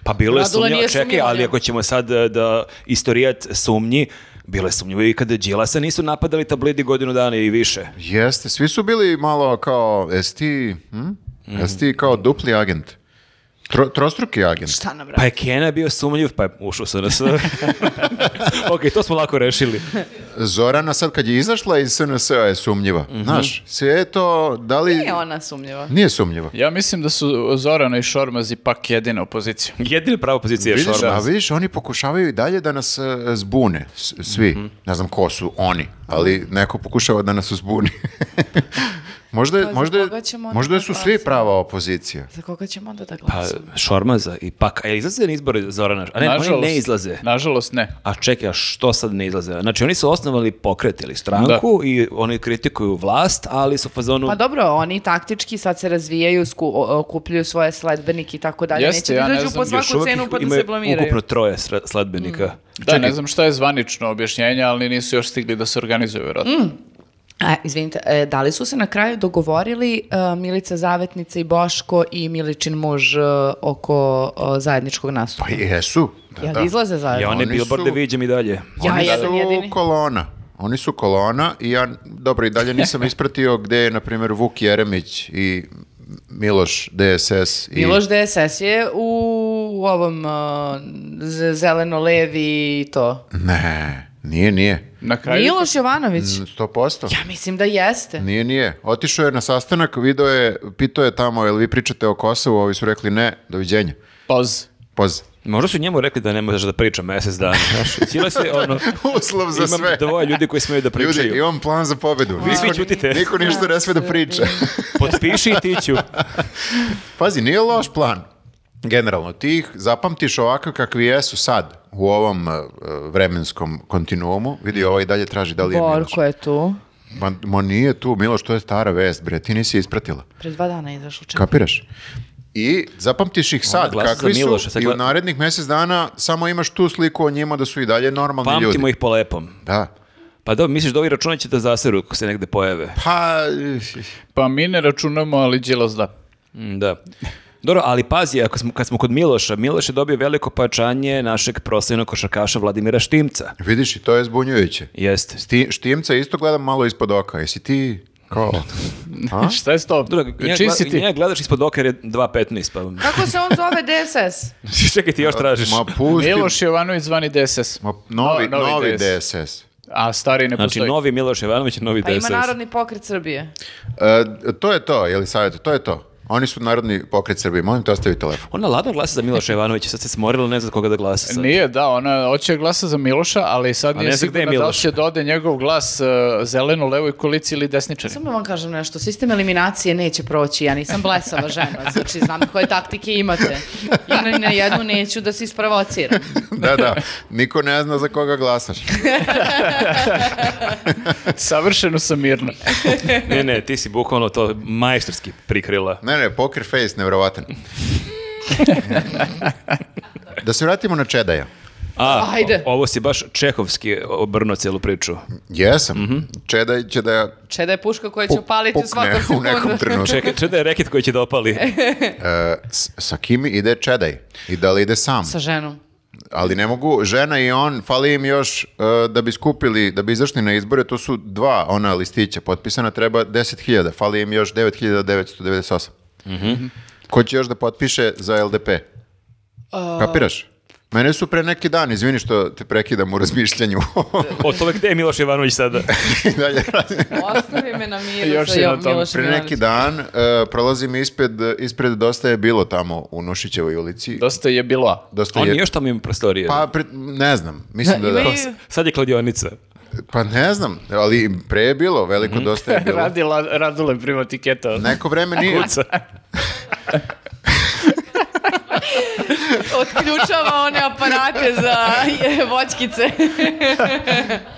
S3: Pa bilo je
S1: Radula
S3: sumnjivo,
S1: nije
S3: čekaj,
S1: sumnjiva,
S3: ali
S1: ne.
S3: ako ćemo sad e, da istorijat sumnji, bilo je sumnjivo i kada Đilasa nisu napadali tablidi godinu dana i više.
S2: Jeste, svi su bili malo kao, jesi ti, hm? Jesi ti kao dupli agent? Tro, trostruki agent?
S1: Šta nam
S3: Pa
S1: radi?
S3: je Kena bio sumnjiv, pa je ušao sa nas. <laughs> ok, to smo lako rešili.
S2: Zorana sad kad je izašla iz SNS-a je sumnjiva. Znaš, sve je to, da li...
S1: Nije ona sumnjiva.
S2: Nije sumnjiva.
S4: Ja mislim da su Zorana i Šormaz ipak jedina opozicija.
S3: Jedina prava pozicija je
S2: Vidiš, a
S3: Šormaz.
S2: vidiš, oni pokušavaju i dalje da nas e, zbune, s- svi. Ne znam ko su oni, ali neko pokušava da nas zbuni. <laughs> možda, je-
S1: Pa za
S2: možda, je-
S1: koga ćemo onda
S2: možda
S1: da
S2: su svi
S1: glasamo?
S2: prava opozicija.
S1: Za koga ćemo onda da
S3: Pa,
S1: glasamo?
S3: Šormaza i pak, a jel izlaze na izbore Zorana? A ne, oni ne izlaze.
S4: Nažalost ne.
S3: A čekaj, a što sad ne izlaze? Znači, oni su osnovali pokret ili stranku i oni kritikuju vlast, ali su u fazonu...
S1: Pa dobro, oni taktički sad se razvijaju, sku, o- okupljuju svoje sledbenike i tako dalje.
S4: Jeste,
S1: Neće da
S4: ja ne
S1: izađu
S4: znam,
S1: po
S3: još
S1: svaku
S3: uvek
S1: cenu
S3: ih
S1: pa da
S3: imaju
S1: se blamiraju. Mm.
S3: ukupno troje sra- sledbenika.
S4: Da, ne znam šta je zvanično objašnjenje, ali nisu još stigli da se organizuju, vjerojatno.
S1: A, izvinite, e, da li su se na kraju dogovorili e, Milica Zavetnica i Boško i Miličin muž e, oko e, zajedničkog nastupa?
S2: Pa jesu. Da,
S1: Jel
S2: da.
S1: izlaze
S3: Ja
S1: zajedno?
S3: one
S2: Oni
S3: billboarde
S2: su-
S3: viđem i dalje.
S1: Ja
S2: Oni
S1: jedan
S2: su
S1: jedini.
S2: kolona. Oni su kolona i ja, dobro, i dalje
S1: <laughs>
S2: nisam ispratio gde je, na primjer, Vuk Jeremić i Miloš DSS. I...
S1: Miloš DSS je u, u ovom e, z- zeleno-levi i to.
S2: Ne, nije, nije.
S4: Na kraju...
S1: Miloš Jovanović?
S2: Mm. 100%.
S1: Ja mislim da jeste.
S2: Nije, nije. Otišao je na sastanak, video je, pitao je tamo, jel vi pričate o Kosovu, ovi su rekli ne, doviđenja.
S4: Poz.
S2: Poz.
S3: Možda su njemu rekli da ne možeš da pričam mjesec dana. Znaš, <laughs> cijela se ono...
S2: <laughs> Uslov za
S3: Imam
S2: sve.
S3: dvoje ljudi koji smiju da pričaju.
S2: Ljudi, imam plan za pobedu.
S3: Vi svi
S1: <laughs>
S3: ćutite.
S2: Niko ništa ne sme da priča.
S3: <laughs> Potpiši i ti ću.
S2: Pazi, nije loš plan. Generalno, ti ih zapamtiš ovako kakvi jesu sad u ovom e, e, vremenskom kontinuumu. Vidi, ovo i dalje traži da li je Miloš.
S1: Borko je tu.
S2: Ma, ma nije tu, Miloš, to je stara vest, bre, ti nisi ispratila.
S1: Pred dva dana je izašao čak.
S2: Kapiraš? I zapamtiš ih sad
S3: glasa za
S2: kakvi su
S3: Miloša, sad
S2: i u
S3: gla-
S2: narednih mjesec dana samo imaš tu sliku o njima da su i dalje normalni
S3: Pamtimo
S2: ljudi.
S3: ih po lepom.
S2: Da.
S3: Pa da, misliš da ovi računa će da zaseru ako se negde pojave.
S2: Pa,
S4: Pa mi ne računamo, ali Đilas da.
S3: Mm, Da. Dobro, ali pazi, ako smo, kad smo kod Miloša, Miloš je dobio veliko pojačanje našeg proslavnog košarkaša Vladimira Štimca.
S2: vidiš i to je zbunjujuće.
S3: Jeste.
S2: Sti, štimca isto gledam malo ispod oka. Jesi ti kao... A?
S4: <laughs> Šta je s tobom?
S3: Druga,
S4: Čiji si ti?
S3: njega gledaš ispod oka jer je 2.15, pa
S1: Kako se on zove DSS?
S3: <laughs> čekaj ti još tražiš.
S2: Ma pusti,
S4: Miloš Jovanović zvani DSS.
S2: Ma, novi,
S4: No, novi
S2: novi
S4: DS.
S2: DSS.
S4: A stari ne
S3: Znači,
S4: postoji.
S3: novi Miloš Jovanović, novi
S1: A Pa ima
S3: DSS.
S1: Narodni pokret Srbije.
S2: E, to je to, je li savjet? To je to. Oni su narodni pokret Srbije. Molim te, ostavi
S4: <laughs>
S2: telefon.
S3: Ona ladno glasa za Miloša Ivanovića, sad se smorila, ne zna koga da glasa sad.
S4: Nije, da, ona hoće glasa za Miloša, ali sad
S3: A
S4: nije
S3: ne zna gde je
S4: sigurna da li
S3: Miloš.
S4: će dode njegov glas e, zeleno, levoj koalici ili desničari.
S1: Samo vam kažem nešto, sistem eliminacije neće proći, ja nisam blesava žena, znači znam koje taktike imate. I na, na jednu neću da se isprovociram.
S2: da, da. Niko ne zna za koga glasaš.
S4: <laughs> Savršeno sam mirno.
S3: Ne, <laughs> ne, ti si bukvalno to majstorski prikrila.
S2: Ne, ne, poker face,
S4: <laughs>
S2: nevjerovatan. da se vratimo na Čedaja.
S3: A,
S1: Ajde.
S3: o- ovo si baš čehovski obrnuo cijelu priču.
S2: Jesam.
S4: Mhm.
S2: Čedaj će da
S1: Čeda je puška koja će
S2: puk-
S1: upaliti u svakom
S2: pukne u
S1: sekundu.
S2: nekom trenutku.
S3: Čekaj, čekaj da je reket koji će
S1: <laughs>
S3: da opali.
S2: E, s- sa kim ide Čedaj? I da li ide sam?
S1: Sa ženom.
S2: Ali ne mogu, žena i on, fali im još e, da bi skupili, da bi izašli na izbore, to su dva ona listića potpisana, treba 10.000, fali im još 9.998.
S3: Mhm.
S2: Ko će još da potpiše za LDP? Kapiraš? Mene su pre neki dan, izvini što te prekidam u razmišljanju. <laughs>
S3: O tome gde je Miloš Ivanović sada?
S2: I dalje radim.
S1: Ostavi me na miru
S4: Još
S1: sa
S4: jednom
S1: Jovom
S4: tom,
S1: Milošem
S2: Pre neki
S1: Jovanovićem.
S2: dan e, prolazim ispred, ispred dosta je bilo tamo u Nušićevoj ulici.
S4: Dosta je bilo. a.
S2: Dosta
S3: On
S2: je...
S3: još tamo ima prostorije.
S2: Pa, pre- ne znam, mislim da, da.
S1: Ima i-
S3: Sad je kladionica.
S2: Pa ne znam, ali pre je bilo, veliko
S3: Mhm.
S2: dosta je
S3: <laughs>
S2: bilo.
S4: Radila, radule prima tiketa.
S2: Neko vreme nije.
S1: Otključava one aparate za je, voćkice.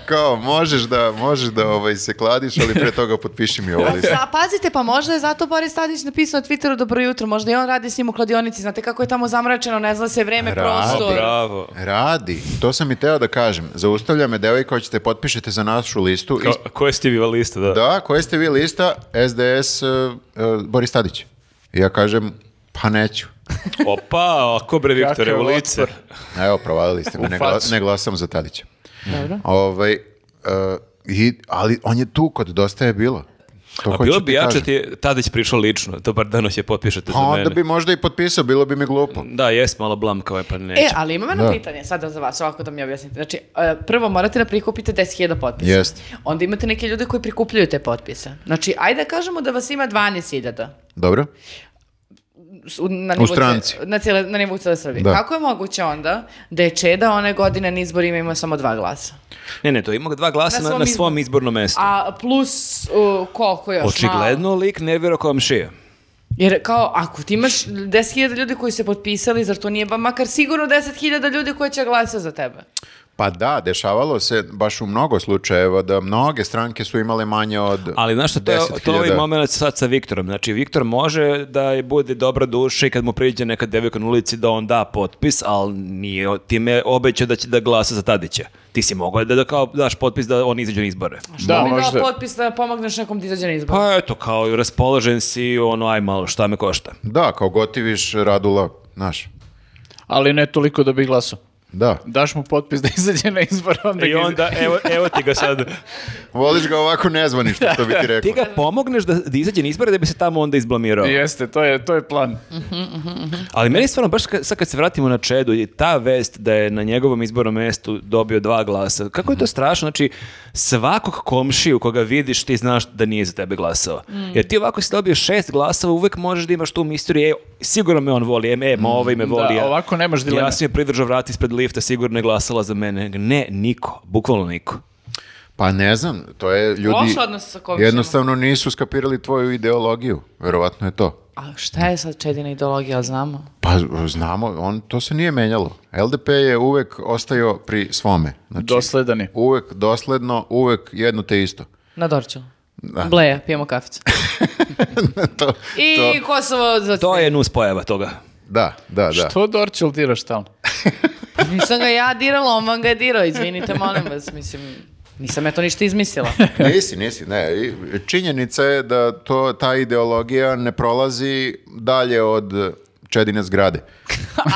S2: Kao, možeš da, možeš da ovaj, se kladiš, ali pre toga potpiši mi ovo listu.
S1: <laughs> A pazite, pa možda je zato Boris Tadić napisao na Twitteru dobro jutro, možda i on radi s njim u kladionici, znate kako je tamo zamračeno, ne zna se vreme,
S2: Ra-
S1: prostor.
S3: Bravo.
S2: Radi, to sam i teo da kažem. Zaustavlja me devojka, hoćete potpišete za našu listu.
S3: Ko,
S2: Is-
S3: ko je Stevie lista, da.
S2: Da, koje ste vi lista? SDS, e, e, Boris Tadić. I ja kažem, pa neću. <laughs>
S3: Opa, ako bre Viktore,
S4: Kakav
S3: u lice.
S4: otpor.
S2: Evo, provalili ste me, ne, gla-
S4: facu.
S2: ne glasam za Tadića.
S1: Dobro.
S2: Ovaj, e, i, ali on je tu kod dosta je bilo. To
S3: A
S2: Pa hoću
S3: bilo
S2: ti
S3: bi jače
S2: kažem.
S3: ti je Tadić prišao lično. Dobar dan, će potpišete
S2: Pa
S3: za mene.
S2: onda bi možda i potpisao, bilo bi mi glupo.
S3: Da, jes, malo blam kao je, pa neće.
S1: E, ali imam jedno
S2: Da.
S1: pitanje sada za vas, ovako da mi objasnite. Znači, e, prvo morate da prikupite 10.000 potpisa.
S2: Jeste.
S1: Onda imate neke ljude koji prikupljaju te potpise. Znači, ajde da kažemo da vas ima 12.000.
S2: Dobro?
S1: s- u- na nivou
S2: stranci.
S1: ce- Na, cijele, na nivou cijele Srbije.
S2: Da.
S1: Kako je moguće onda da je Čeda one godine na izborima imao samo dva glasa?
S3: Ne, ne, to ima dva glasa
S1: Na
S3: na,
S1: svom
S3: na svom izbornom mestu.
S1: A plus uh, koliko još? malo?
S3: Očigledno lik ne vjeruje komšije.
S1: Jer kao, ako ti imaš 10.000 ljudi koji su se potpisali, zar to nije ba makar sigurno 10.000 ljudi koji će glasati za tebe?
S2: Pa da, dešavalo se baš u mnogo slučajeva da mnoge stranke su imale manje od
S3: Ali znaš što, to je, to je ovaj
S2: 10.000.
S3: moment sad sa Viktorom. Znači, Viktor može da je bude dobra duša i kad mu priđe neka devojka na ulici da on da potpis, ali nije o- time obećao da će da glasa za Tadića. Ti si mogao da, da kao daš potpis da on izađe na izbore.
S4: Da,
S1: Bi dao
S4: možda.
S1: potpis da pomogneš nekom da izađe na izbor.
S3: Pa eto, kao i raspoložen si, ono, aj malo, šta me košta.
S2: Da, kao gotiviš Radula, znaš.
S4: Ali ne toliko da bi glasao.
S2: Da.
S4: Daš mu potpis da izađe na izbor, onda
S3: I
S4: ga
S3: onda, evo, evo ti ga sad.
S2: Voliš ga ovako nezvanično, što bi ti
S3: <laughs> Ti
S2: rekao.
S3: ga pomogneš da, da izađe na izbore da bi se tamo onda izblamirao.
S4: Jeste, to je, to je plan.
S3: Znači- Ali meni stvarno, baš ka- sad kad se vratimo na Čedu, je ta vest da je na njegovom izbornom mestu dobio dva glasa, kako
S4: Mhm.
S3: je to strašno? Znači, svakog komšiju koga vidiš, ti znaš da nije za tebe glasao.
S4: Mm.
S3: Jer ti ovako si dobio šest glasova, uvek možeš da imaš tu misteriju, e, sigurno me on voli, em, em, ovaj me voli.
S4: Mm, Da,
S3: a-
S4: ovako nemaš dileme.
S3: Ja sam je pridržao vrat ispred lifta, sigurno je glasala za mene. Ne, niko, bukvalno niko.
S2: Pa ne znam, to je ljudi...
S1: Loš odnos sa komšijama.
S2: Jednostavno nisu skapirali tvoju ideologiju, verovatno je to.
S1: A šta je sad Čedina ideologija, znamo?
S2: Pa znamo, on, to se nije menjalo. LDP je uvek ostajao pri svome. Znači,
S4: Dosledani.
S2: uvek dosledno, uvek jedno te isto.
S1: Na Dorču. Bleja, pijemo
S3: <laughs>
S1: kaficu.
S2: to,
S1: I Kosovo za
S3: To je nuspojava toga.
S2: da, da, da.
S4: Što Dorčel diraš stalno?
S1: Nisam ga ja dirala, on vam ga je dirao, izvinite, molim vas, mislim, nisam ja to ništa
S3: <laughs>
S1: izmislila. <laughs>
S2: Nisi, nisi, ne. I Činjenica je da to, ta ideologija ne prolazi dalje od Čedine zgrade.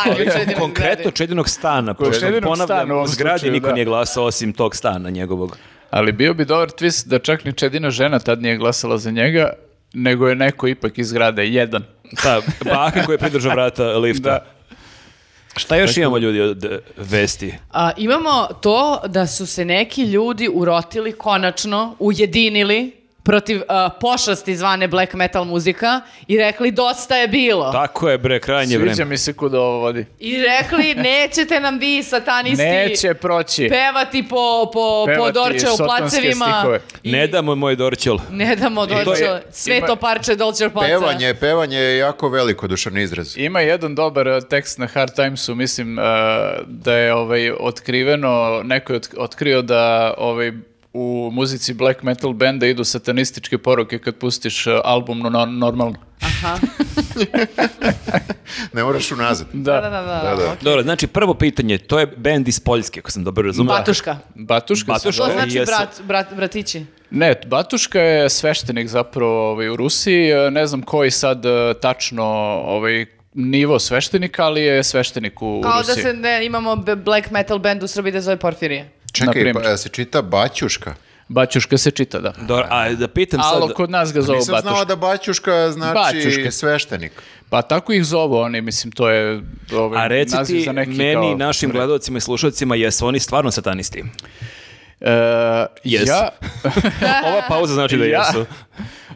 S1: Ali
S3: Konkretno Čedinog stana, pošto
S4: Čedinog stana u
S3: ponavljam, u
S4: ovom
S3: zgradi
S4: slučaju,
S3: niko
S4: da.
S3: nije glasao osim tog stana njegovog.
S4: Ali bio bi dobar twist da čak ni Čedina žena tad nije glasala za njega, nego je neko ipak iz grada, jedan.
S3: Ta Pa, baka koja je pridržao vrata lifta.
S4: Da.
S3: Šta još imamo ljudi od e, vesti?
S1: A, imamo to da su se neki ljudi urotili konačno, ujedinili protiv uh, pošasti zvane black metal muzika i rekli dosta je bilo.
S3: Tako je bre, krajnje
S4: Sviđa
S3: vreme.
S4: mi se kuda ovo vodi.
S1: I rekli nećete nam vi satanisti
S4: Neće proći.
S1: pevati po, po, po
S4: Pevati
S1: Dorčeu
S4: sotonske
S1: placevima.
S4: stihove.
S1: I
S3: Ne damo moj dorčel.
S1: Ne damo
S4: to
S1: Dorčeu.
S4: je-
S1: Sve
S4: ima-
S1: Pa to parče Dorčeu placa.
S2: Pevanje, pevanje je jako veliko dušan izraz.
S4: Ima jedan dobar eh, tekst na Hard Timesu, mislim eh, da je ovaj otkriveno, neko je otk- otkrio da ovaj u muzici black metal benda idu satanističke poruke kad pustiš eh, album no, no- normalno.
S1: Aha.
S2: Ne moraš unazad.
S1: Da, da, da.
S2: Da, da.
S3: Dobro, znači prvo pitanje, to je bend iz Poljske, ako sam dobro razumio.
S1: Batuška.
S4: Batuška, se
S3: Batuška.
S1: To
S3: Dobro,
S1: znači
S3: jesu.
S1: brat, brat, bratići.
S4: Ne, Batuška je sveštenik zapravo ovaj, u Rusiji, e, ne znam koji sad e, tačno ovaj, nivo sveštenika, ali je sveštenik u, u
S1: Kao da
S4: Rusiji.
S1: se ne, imamo b- black metal band u Srbiji da zove Porfirije.
S2: Čekaj,
S4: Naprimjer.
S2: pa, jel se čita Baćuška.
S4: Baćuška se čita, da.
S3: Dobro, a da pitam sad...
S4: Alo, kod nas ga zovu
S2: Nisam
S4: Batuška.
S2: znao da Baćuška znači
S4: Baćuška.
S2: sveštenik.
S4: Pa tako ih zovu oni, mislim, to je ovaj,
S3: A reci
S4: naziv
S3: ti
S4: za neki
S3: meni,
S4: kao-
S3: našim gledalcima i slušalcima, jesu oni stvarno
S4: <laughs>
S3: satanisti?
S4: E,
S3: Jesu.
S4: Ja,
S3: Ova pauza znači da
S4: Ja.
S3: jesu.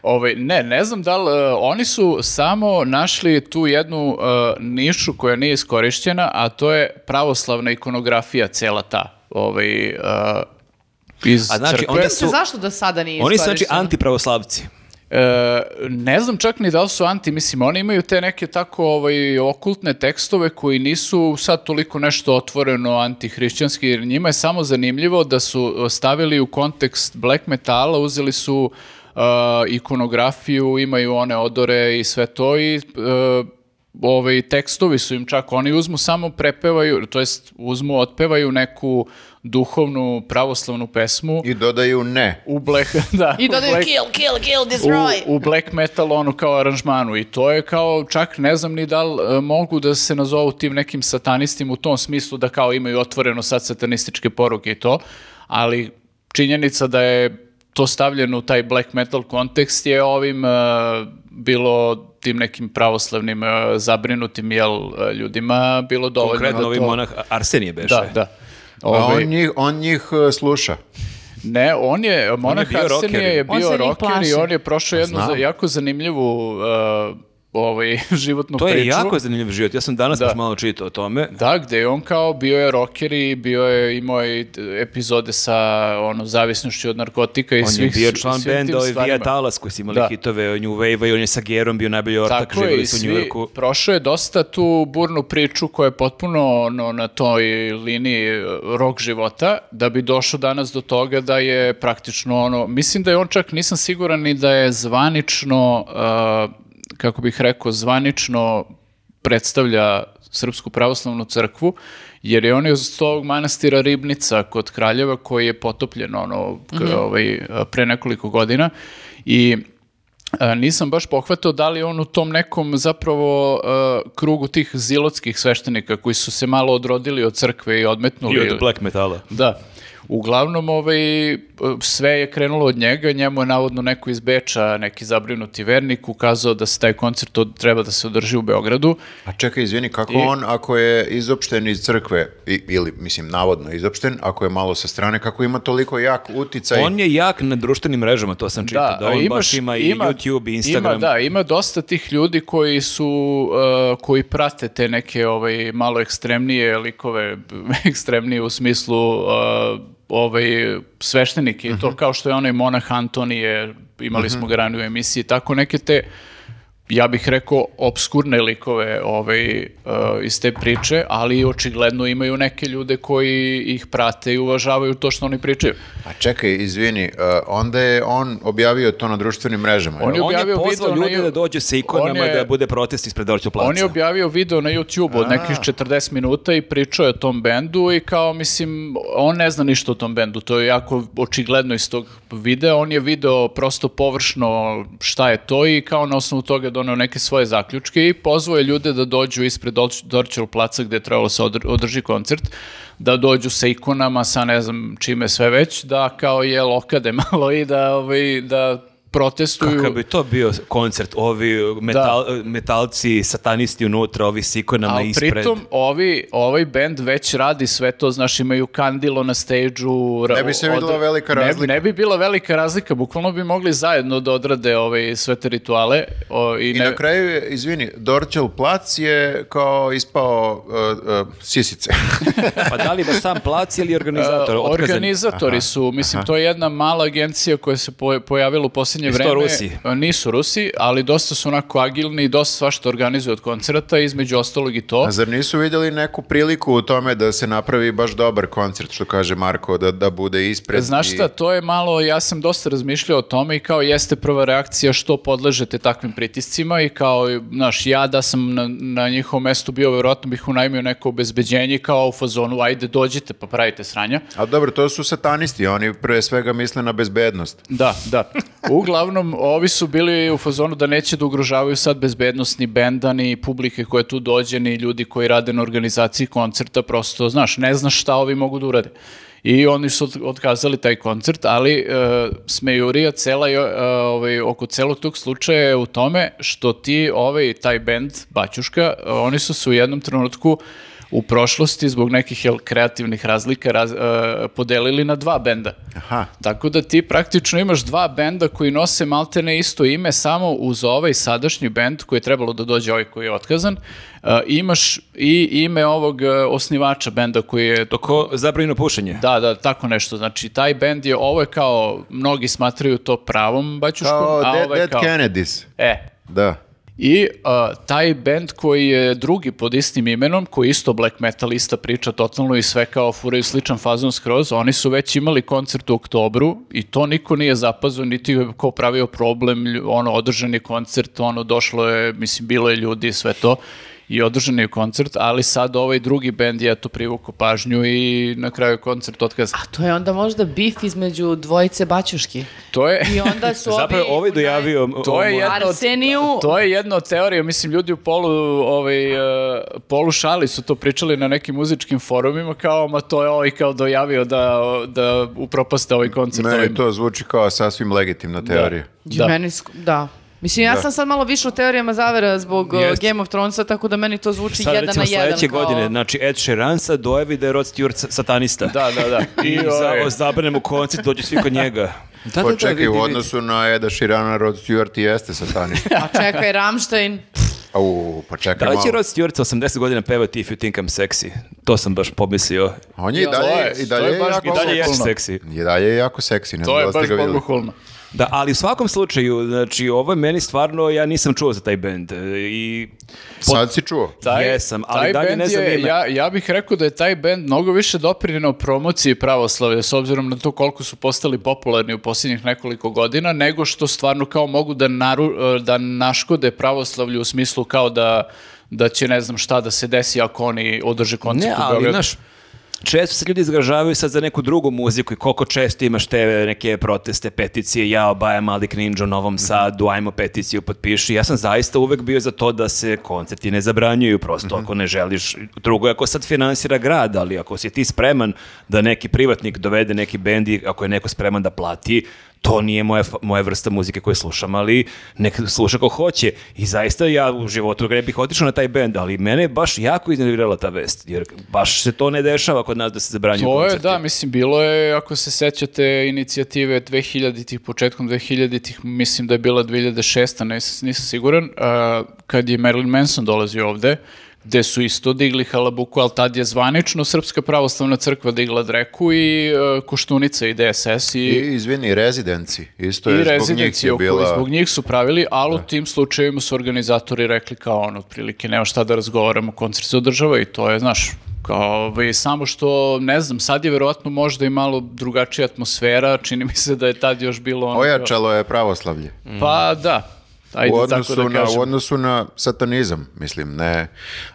S4: ovaj, ne, ne znam da li, e, oni su samo našli tu jednu e, nišu koja nije iskorišćena, a to je pravoslavna ikonografija, cela ta, ovaj, e, iz
S3: A znači,
S4: crkve.
S3: onda
S1: Mislim,
S3: Su-
S1: zašto do sada nije
S3: Oni su znači
S1: iskorišteno?
S3: antipravoslavci.
S4: E, ne znam čak ni da li su anti, mislim, oni imaju te neke tako ovaj, okultne tekstove koji nisu sad toliko nešto otvoreno antihrišćanski, jer njima je samo zanimljivo da su e, stavili u kontekst black metala, uzeli su e, ikonografiju, imaju one odore i sve to i e, ovaj, tekstovi su im čak, oni uzmu samo prepevaju, to jest uzmu, otpevaju neku duhovnu pravoslavnu pesmu
S2: I dodaju ne.
S4: u black, <laughs> da,
S1: I
S4: u
S1: dodaju
S4: black-
S1: kill, kill, kill, destroy.
S4: u, u black metal ono kao aranžmanu i to je kao čak ne znam ni da li e, mogu da se nazovu tim nekim satanistim u tom smislu da kao imaju otvoreno sad satanističke poruke i to, ali činjenica da je to stavljeno u taj black metal kontekst je ovim e, bilo tim nekim pravoslavnim e, zabrinutim jel, e, ljudima bilo dovoljno. da
S3: Konkretno ovim Pa
S4: to-
S3: monah Arsenije beše.
S4: Da, da.
S2: A
S4: Ovaj-
S2: on njih, on njih e, sluša.
S4: ne, on je, Monah
S3: bio rocker.
S4: Arsenije je
S1: On se
S4: bio
S1: njih
S4: roker
S1: plaši.
S4: i on je prošao jednu
S2: znam.
S4: za- jako zanimljivu uh, ovaj, <laughs> životnu
S3: To
S4: priču.
S3: je jako zanimljiv život. Ja sam danas
S4: Da.
S3: baš malo čitao o tome.
S4: Da, gde je on kao bio je roker i bio je imao je epizode sa ono zavisnošću od narkotika i
S3: On je
S4: svih
S3: bio član
S4: svim tim
S3: benda ovaj Via
S4: stvarima.
S3: Talas koji su imali
S4: Da.
S3: hitove New Wave-a i on je sa Gerom bio najbolji ortak,
S4: Tako je,
S3: živjeli
S4: i
S3: su u
S4: svi-
S3: Njujorku.
S4: prošao je dosta tu burnu priču koja je potpuno ono, na toj liniji e, rok života, da bi došao danas do toga da je praktično ono, mislim da je on čak, nisam siguran ni da je zvanično, e, kako bih rekao, zvanično predstavlja Srpsku pravoslavnu crkvu, jer je on iz tog manastira Ribnica kod Kraljeva koji je potopljen ono, k- ovaj, e, pre nekoliko godina i E, Nisam baš pohvatao da li je on u tom nekom zapravo e, krugu tih zilotskih sveštenika koji su se malo odrodili od crkve i odmetnuli.
S3: I od black metala.
S4: Da. Uglavnom, ovaj, e, sve je krenulo od njega, njemu je navodno neko iz Beča, neki zabrinuti vernik, ukazao da se taj koncert od- treba da se održi u Beogradu.
S2: A čekaj, izvini, kako on, ako je izopšten iz crkve, i- ili, mislim, navodno izopšten, ako je malo sa strane, kako ima toliko jak uticaj?
S3: On je jak na društvenim mrežama, to sam čitao. Da,
S4: a
S3: on
S4: imaš-
S3: baš ima i YouTube i Instagram.
S4: Ima, da, ima dosta tih ljudi koji su, uh, koji prate te neke ovaj, malo ekstremnije likove, <laughs> ekstremnije u smislu uh, ovaj, sveštenike i to kao što je onaj monah Antonije, imali smo ga ranije u emisiji, tako neke te ja bih rekao obskurne likove ovaj, uh, iz te priče, ali očigledno imaju neke ljude koji ih prate i uvažavaju to što oni pričaju.
S2: A Pa čekaj, izvini, e, onda je on objavio to na društvenim mrežama.
S4: On
S2: jel?
S4: je
S3: On je
S4: objavio
S3: pozvao
S4: video na
S3: ljude
S4: ju-
S3: da dođu sa ikonama
S4: on je-
S3: da bude protest ispred Dorću placa.
S4: On je objavio video na YouTube od nekih 40 minuta i pričao je o tom bendu i kao, mislim, on ne zna ništa o tom bendu, to je jako očigledno iz tog videa, on je video prosto površno šta je to i kao na osnovu toga doneo neke svoje zaključke i pozvao je ljude da dođu ispred Dorč- Dorčel placa gde je trebalo se odr- održi koncert, da dođu sa <laughs> ikonama, sa ne znam čime sve već, da kao je lokade malo i da, ovaj, da protestuju.
S3: Kakav bi to bio koncert, ovi metal, metalci, satanisti unutra, ovi s ikonama
S4: Ali
S3: ispred.
S4: pritom ovi, ovaj band već radi sve to, znaš imaju kandilo na stage-u. ra-
S2: Ne bi se videla velika
S4: ne-
S2: razlika.
S4: Ne, bi bila velika razlika, bukvalno bi mogli zajedno da odrade ovaj, sve te rituale. o, i
S2: I
S4: ne-
S2: na kraju, je, izvini, Dorčel plac je kao ispao uh, uh,
S4: <laughs>
S2: sisice.
S3: Pa da li baš sam plac ili organizator?
S4: E,
S3: Otkazan.
S4: Organizatori su, mislim, to je jedna mala agencija koja se po- pojavila u posljednje
S3: Jesu to
S4: vreme.
S3: Rusi?
S4: E, Nisu Rusi, ali dosta su onako agilni i dosta svašta organizuju od koncerta, između ostalog i to.
S2: A zar nisu vidjeli neku priliku u tome da se napravi baš dobar koncert, što kaže Marko, da, da bude ispred?
S4: Znaš
S2: i-
S4: šta, to je malo, ja sam dosta razmišljao o tome i kao jeste prva reakcija što podležete takvim pritiscima i kao, znaš, ja da sam na, na njihovom mestu bio, verovatno bih unajmio neko obezbeđenje kao u fazonu, ajde dođite pa pravite sranja.
S2: A dobro, to su satanisti, oni pre svega misle na bezbednost.
S4: Da, da. Uglavnom, ovi su bili u fazonu da neće da ugrožavaju sad bezbednost ni benda, ni publike koje tu dođe, ni ljudi koji rade na organizaciji koncerta, prosto, znaš, ne znaš šta ovi mogu da urade. I oni su od- otkazali taj koncert, ali e, smejurija cela, je, e, ovaj, oko celog tog slučaja je u tome što ti, ovaj, taj bend, Baćuška, e, oni su se u jednom trenutku u prošlosti zbog nekih jel, kreativnih razlika raz, e, podelili na dva benda.
S2: Aha.
S4: Tako da ti praktično imaš dva benda koji nose maltene isto ime, samo uz ovaj sadašnji bend koji je trebalo da dođe ovaj koji je otkazan, e, imaš i ime ovog e, osnivača benda koji je...
S3: To ko zabranjeno pušenje.
S4: Da, da, tako nešto. Znači, taj bend je, ovo je kao, mnogi smatraju to pravom baćuškom,
S2: Kao
S4: a
S2: Dead,
S4: ovo je
S2: Dead
S4: kao...
S2: Kennedys.
S4: E,
S2: Da.
S4: i a, taj band koji je drugi pod istim imenom, koji je isto black metalista priča totalno i sve kao furaju sličan fazon skroz, oni su već imali koncert u oktobru i to niko nije zapazio, niti je ko pravio problem, lju- ono, održan je koncert, ono, došlo je, mislim, bilo je ljudi i sve to i održan je koncert, ali sad ovaj drugi band je to privukao pažnju i na kraju je koncert otkazan.
S1: To je onda možda bif između dvojice baćuški.
S4: To je...
S1: I onda su ovi...
S3: <laughs> Zapravo ovaj
S1: u naj-
S3: dojavio...
S4: To je
S3: ovom-
S4: jedna od-
S1: Arseniju...
S4: To je jedna od teorija, mislim, ljudi u polu, ovaj, e, polu šali su to pričali na nekim muzičkim forumima, kao, ma to je ovaj kao dojavio da, da upropaste ovaj koncert.
S2: Meni
S4: ovim."
S2: to zvuči kao sasvim legitimna teorija.
S1: Da.
S4: Da.
S1: Znači, Meni, sk- da. Mislim, ja sam sad malo više u teorijama zavera zbog uh,
S3: Jest.
S1: Game of Thronesa, tako da meni to zvuči
S3: Sad
S1: jedan na
S3: recimo
S1: jedan.
S3: sledeće
S1: kao-
S3: godine, znači Ed Sheeran sad dojavi da je Rod Stewart sa- satanista.
S4: Da, da, da.
S3: I
S4: ovaj,
S3: za, zabranem u koncert, dođu svi kod
S2: <laughs>
S3: njega. Da, da, da,
S2: Počekaj,
S3: vidi,
S2: u
S3: vidi.
S2: odnosu na Eda Širana, Rod Stewart i jeste
S3: <laughs>
S2: satanista.
S1: A čekaj, Ramštajn.
S2: Au, pa čekaj
S3: Da li
S2: malo.
S3: će Rod Stewart sa 80 godina pevati If You Think I'm Sexy? To sam baš pomislio.
S2: On je i
S4: To je-
S2: dalje, i
S4: to
S2: dalje,
S4: je
S2: je
S4: baš-
S2: jako,
S3: I dalje jesi
S4: Okulno.
S3: seksi.
S2: i dalje je jako seksi. Ne
S4: e, to
S2: znam da
S4: je
S2: li ste
S4: baš
S2: ga videli.
S4: bogohulno.
S3: Da, ali u svakom slučaju, znači, ovo je meni stvarno, ja nisam čuo za taj band. e, I
S2: Sad si čuo.
S3: Jesam, ali
S4: taj
S3: dalje
S4: bend
S3: ne znam
S4: je-
S3: ime.
S4: Ja, ja bih rekao da je taj bend mnogo više doprinjeno promociji pravoslavlja s obzirom na to koliko su postali popularni u posljednjih nekoliko godina, nego što stvarno kao mogu da, naru, e, da naškode pravoslavlju u smislu kao da da će ne znam šta da se desi ako oni održe koncert
S3: ne,
S4: u
S3: ali,
S4: Beogradu.
S3: znaš, često se ljudi izgražavaju sad za neku drugu muziku i koliko često imaš te neke proteste, peticije, ja obajam Malik Ninja u
S4: Mhm.
S3: Novom Sadu, ajmo peticiju, potpiši. Ja sam zaista uvek bio za to da se koncerti ne zabranjuju, prosto
S4: Mhm.
S3: ako ne želiš. Drugo je ako sad finansira grad, ali ako si ti spreman da neki privatnik dovede neki bend i ako je neko spreman da plati, to nije moja, f- moja vrsta muzike koju slušam, ali nek sluša ko hoće. I zaista ja u životu ne bih otišao na taj bend, ali mene je baš jako iznervirala ta vest, jer baš se to ne dešava kod nas da se zabranjuju
S4: To je,
S3: koncerti.
S4: da, mislim, bilo je, ako se sećate inicijative 2000-ih, početkom 2000-ih, mislim da je bila 2006 ne, nisam siguran, a, kad je Marilyn Manson dolazio ovde, gde su isto digli halabuku, ali tad je zvanično Srpska pravoslavna crkva digla dreku i e, Koštunica i DSS
S2: I,
S4: i,
S2: izvini, rezidenci. Isto
S4: i
S2: je zbog njih
S4: rezidenci
S2: je
S4: oko-
S2: bila...
S4: zbog njih su pravili, ali u tim slučajevima su organizatori rekli kao ono, otprilike, nema šta da razgovaramo, koncert se održava i to je, znaš, kao, ovaj, samo što, ne znam, sad je verovatno možda i malo drugačija atmosfera, čini mi se da je tad još bilo ono...
S2: Ojačalo je pravoslavlje.
S4: Pa da, ajde
S2: u
S4: tako
S2: odnosu,
S4: da
S2: na,
S4: kažem.
S2: u odnosu na satanizam, mislim, ne.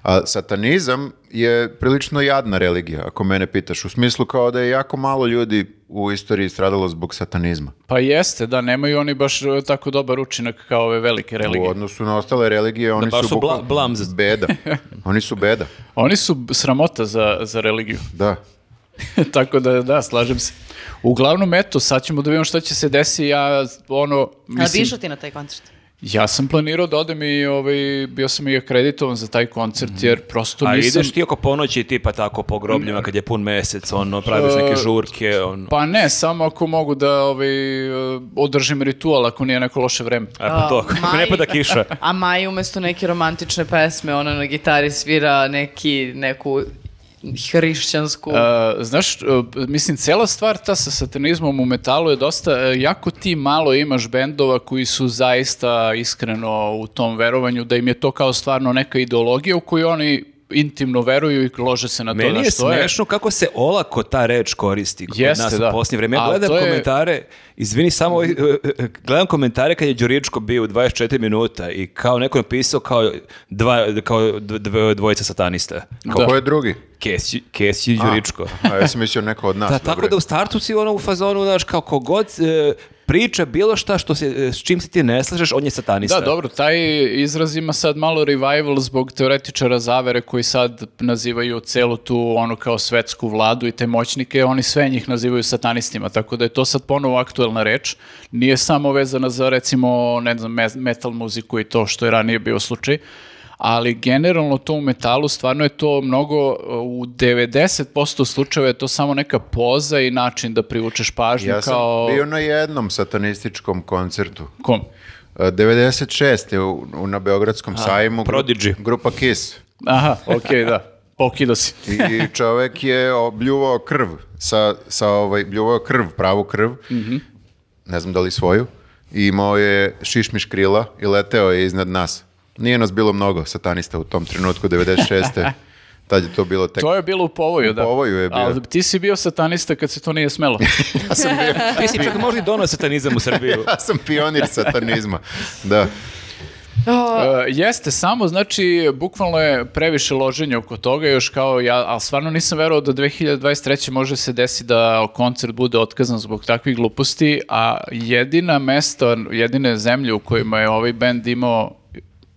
S2: A satanizam je prilično jadna religija, ako mene pitaš. U smislu kao da je jako malo ljudi u istoriji stradalo zbog satanizma.
S4: Pa jeste, da, nemaju oni baš e, tako dobar učinak kao ove velike religije.
S2: U odnosu na ostale religije, oni
S3: baš
S2: su
S3: su bla-
S2: bukvalno
S3: blamz. <laughs>
S2: beda. Oni su beda,
S4: Oni su b- sramota za, za religiju. <laughs>
S2: da.
S4: Tako da, da, slažem se. Uglavnom, eto, sad ćemo da vidimo šta će se desiti. Ja, ono,
S5: Ali bi
S4: mislim,
S5: išao ti na taj koncert?
S4: ja sam planirao da odem i ovaj, bio sam i akreditovan za taj koncert, jer prosto
S3: Mhm. A
S4: nisam...
S3: ideš ti oko ponoći tipa tako po grobljima kad je pun mesec, ono, praviš neke
S4: E,
S3: žurke, ono.
S4: Pa ne, samo ako mogu da ovaj, e, održim ritual, ako nije neko loše vreme.
S3: E, pa to, ako ne
S1: Maj-
S3: pada kiša.
S1: <laughs> A Maja umjesto neke romantične pesme, ona na gitari svira neki, neku hrišćansku...
S4: E, znaš, e, mislim, cela stvar ta sa satanizmom u metalu je dosta, e, jako ti malo imaš bendova koji su zaista iskreno u tom verovanju, da im je to kao stvarno neka ideologija u koju oni intimno veruju i lože se na to
S3: Meni
S4: na
S3: je
S4: što
S3: smešno kako se olako ta reč koristi kod
S4: Jeste,
S3: nas
S4: da.
S3: u posljednje vrijeme. Ja
S4: A
S3: gledam
S4: to je-
S3: komentare, izvini samo, ovaj, eh, eh, gledam komentare kad je Đuričko bio u 24 minuta i kao neko je pisao kao, dva, kao dv- dv- dvojica satanista.
S4: Da.
S2: Ko je drugi?
S3: Kesi, Kesi i Đuričko.
S2: A, ja sam mislio neko od nas.
S3: Da, tako
S2: dobro.
S3: da u startu si ono u fazonu, znaš, kao kogod eh, priča bilo šta što se, eh, s čim se ti ne slažeš, on je satanista.
S4: Da, dobro, taj izraz ima sad malo revival zbog teoretičara zavere koji sad nazivaju celu tu ono kao svetsku vladu i te moćnike, oni sve njih nazivaju satanistima, tako da je to sad ponovo aktuelna reč. Nije samo vezana za recimo, ne znam, me- metal muziku i to što je ranije bio slučaj, ali generalno to u metalu stvarno je to mnogo, u 90% slučajeva je to samo neka poza i način da privučeš pažnju
S2: Ja sam
S4: kao...
S2: bio na jednom satanističkom koncertu.
S4: Kom?
S2: E, 96. je u, u- na Beogradskom sajmu. gru-
S3: Prodigy.
S2: Grupa Kiss.
S4: Aha, okej, da. Pokido si.
S2: I- I čovek je obljuvao krv. Sa, sa ovaj, bljuvao je krv, pravu krv. Ne znam da li svoju. I imao je šišmiš krila i leteo je iznad nas. Nije nas bilo mnogo satanista u tom trenutku, 96. Tad je to bilo tek...
S4: To je bilo u povoju, da.
S2: povoju je bio.
S4: Ali ti si bio satanista kad se to nije smelo.
S2: <laughs> <laughs> Ja sam bio-
S3: Ti si čak možda i donao satanizam u Srbiju.
S2: ja sam pionir satanizma. Da.
S4: E, jeste, samo znači, bukvalno je previše loženja oko toga, još kao ja, ali stvarno nisam verovao da 2023. može se desiti da koncert bude otkazan zbog takvih gluposti, a jedina mesta, jedine zemlje u kojima je ovaj band imao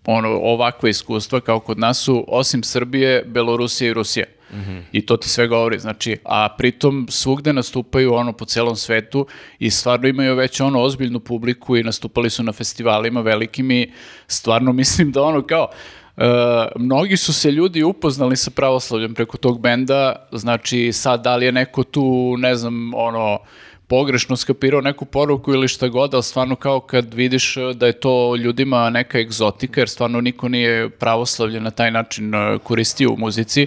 S4: ono, ovakve iskustva kao kod nas su, osim Srbije, Belorusija i Rusija. I to ti sve govori, znači, a pritom svugde nastupaju ono po celom svetu i stvarno imaju već ono ozbiljnu publiku i nastupali su na festivalima velikim i stvarno <laughs> mislim da ono kao, e, mnogi su se ljudi upoznali sa pravoslavljem preko tog benda, znači sad da li je neko tu, ne znam, ono, pogrešno skapirao neku poruku ili šta god, ali stvarno kao kad vidiš e, da je to ljudima neka egzotika, jer stvarno niko nije pravoslavlje na taj način e, koristio u muzici,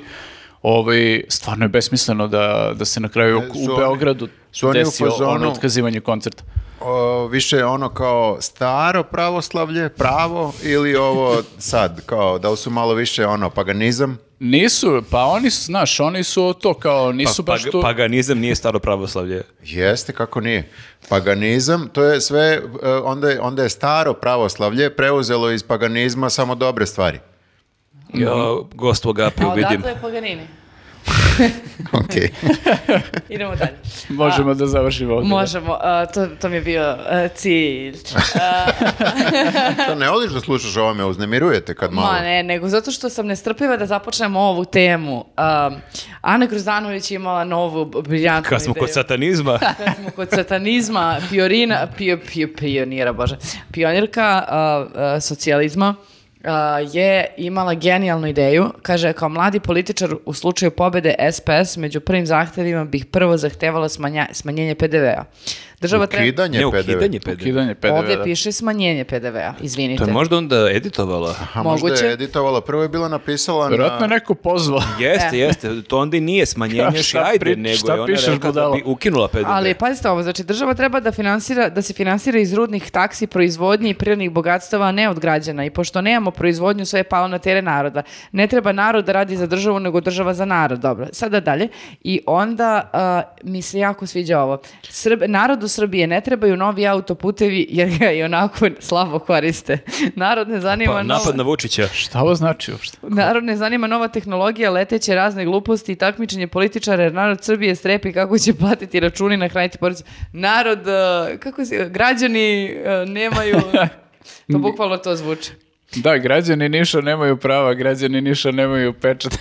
S4: ovaj, stvarno je besmisleno da, da se na kraju
S2: E, su
S4: u
S2: oni-
S4: Beogradu
S2: su oni u
S4: desio ono
S2: fazonu-
S4: otkazivanje koncerta.
S2: O, više ono kao staro pravoslavlje, pravo ili ovo sad, kao da li su malo više ono paganizam?
S4: Nisu, pa oni su, znaš, oni su to kao, nisu
S3: Pa-
S4: baš
S3: pag-
S4: tu...
S3: Paganizam nije staro pravoslavlje.
S2: Jeste, kako nije. Paganizam, to je sve, e, onda je, onda je staro pravoslavlje preuzelo iz paganizma samo dobre
S4: <laughs>
S2: stvari.
S3: Ja, gost u Agapi
S1: A
S3: vidim.
S1: odakle je
S3: <laughs>
S1: Paganini?
S2: Okej.
S1: Idemo dalje.
S4: Možemo da završimo ovdje.
S1: Možemo, a, to, to mi je bio a,
S3: <laughs>
S1: cilj. E, A,
S2: To ne voliš da slušaš ovo, me uznemirujete kad malo.
S1: Ma ne, nego zato što sam nestrpljiva da započnemo ovu temu. Um, Ana Grozanović je imala novu b- briljantnu
S3: Kad smo
S1: ideju.
S3: kod satanizma,
S1: Kad smo kod satanizma, piorina, pio, pio, pionira, bože, pionirka a, a, socijalizma a, je imala genijalnu ideju. Kaže, kao mladi političar u slučaju pobede SPS, među prvim zahtevima bih prvo zahtevala smanja, smanjenje PDV-a. Država treba...
S2: Ukidanje
S3: ne
S2: PDV.
S3: ukidanje PDV.
S4: Ukidanje PDV-a,
S1: Ovdje
S4: da.
S1: piše smanjenje PDV-a,
S3: To
S1: izvinite.
S3: je možda onda editovala.
S2: A možda
S1: Moguće.
S2: je editovala, prvo je bila napisala
S4: Vjerojatno
S2: na...
S4: je neko pozvao.
S3: Jeste, jeste, to onda i nije <laughs> smanjenje,
S4: Ka-
S3: još i
S4: šta
S3: ajde,
S4: pri-
S3: nego
S4: šta
S3: je ona
S4: pišeš,
S3: rekla da
S4: budalo?
S3: bi ukinula PDV.
S1: Ali pazite ovo, znači država treba da finansira, da se finansira iz rudnih taksi, proizvodnji i prirodnih bogatstava, a ne od građana. I pošto nemamo proizvodnju, sve je palo na tere naroda. Ne treba narod da radi za državu, nego država za narod. Dobro, sada dalje. I onda a, mi se jako sviđa ovo. Srb, narodu Srbije ne trebaju novi autoputevi, jer ga i onako slabo koriste. Narod ne zanima...
S3: Pa,
S1: novo-
S3: napad na Vučića.
S4: Šta ovo znači uopšte?
S1: Narod ne zanima nova tehnologija, leteće razne gluposti i takmičenje političara, jer narod Srbije strepi kako će platiti računi na hraniti porodicu. Narod, eh, kako se, građani eh, nemaju, to bukvalno to zvuči.
S4: <laughs> Da, građani Niša nemaju prava, građani Niša nemaju pečat.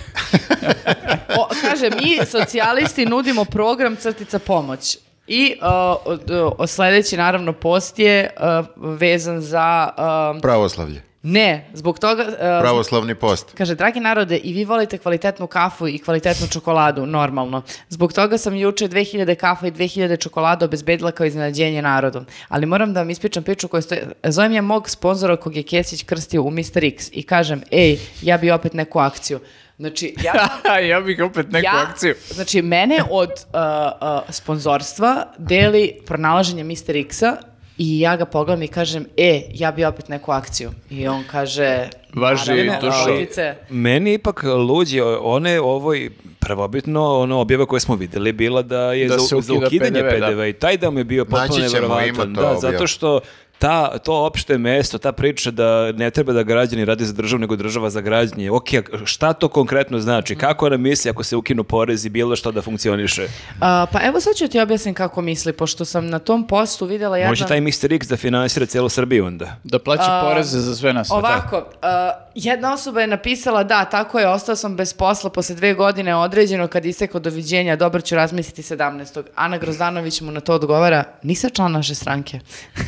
S1: O, kaže, mi socijalisti nudimo program crtica pomoć. I uh, uh, sljedeći, naravno, post je uh, vezan za... um,
S2: Pravoslavlje.
S1: ne, zbog toga... uh,
S2: Pravoslavni post.
S1: Kaže, dragi narode, i vi volite kvalitetnu kafu i kvalitetnu čokoladu, normalno. Zbog toga sam juče 2000 kafa i 2000 čokolada obezbedila kao iznenađenje narodu. Ali moram da vam ispričam priču koju stoje... Zovem ja mog sponzora kog je Kesić krstio u Mr. X i kažem, ej, ja bi opet neku akciju. Znači, ja
S4: <laughs> ja bih opet neku
S1: ja,
S4: akciju.
S1: Znači, mene od uh, uh, sponzorstva deli pronalaženje Mr. X-a i ja ga pogledam i kažem, e, ja bi opet neku akciju. I on kaže...
S4: Važi
S1: "Naravno,
S4: dušo."
S1: Lutice.
S3: Meni je ipak luđi, one ovoj prvobitno ono objava koje smo vidjeli bila da je
S4: Da
S3: za,
S4: se
S3: za
S4: ukida
S3: ukidanje
S4: PDV, da.
S3: PDV, i taj deo mi je bio potpuno
S2: Naći ćemo, ima
S3: nevjerovatan.
S2: to
S3: Da,
S2: objav.
S3: zato što ta, to opšte mesto, ta priča da ne treba da građani radi za državu, nego država za građanje. Ok, šta to konkretno znači? Kako ona misli ako se ukinu porezi, bilo što da funkcioniše?
S1: A, pa evo sad ću ti objasniti kako misli, pošto sam na tom postu vidjela jedan...
S3: Može taj Mr. X da finansira cijelu Srbiju onda?
S4: Da plaća poreze za sve nas.
S1: Ovako, a, jedna osoba je napisala da, tako je, ostao sam bez posla posle dve godine određeno kad isteko doviđenja, dobro ću razmisliti 17. Ana Grozdanović mu na to odgovara, nisam član naše
S2: <laughs>
S1: stranke. <laughs>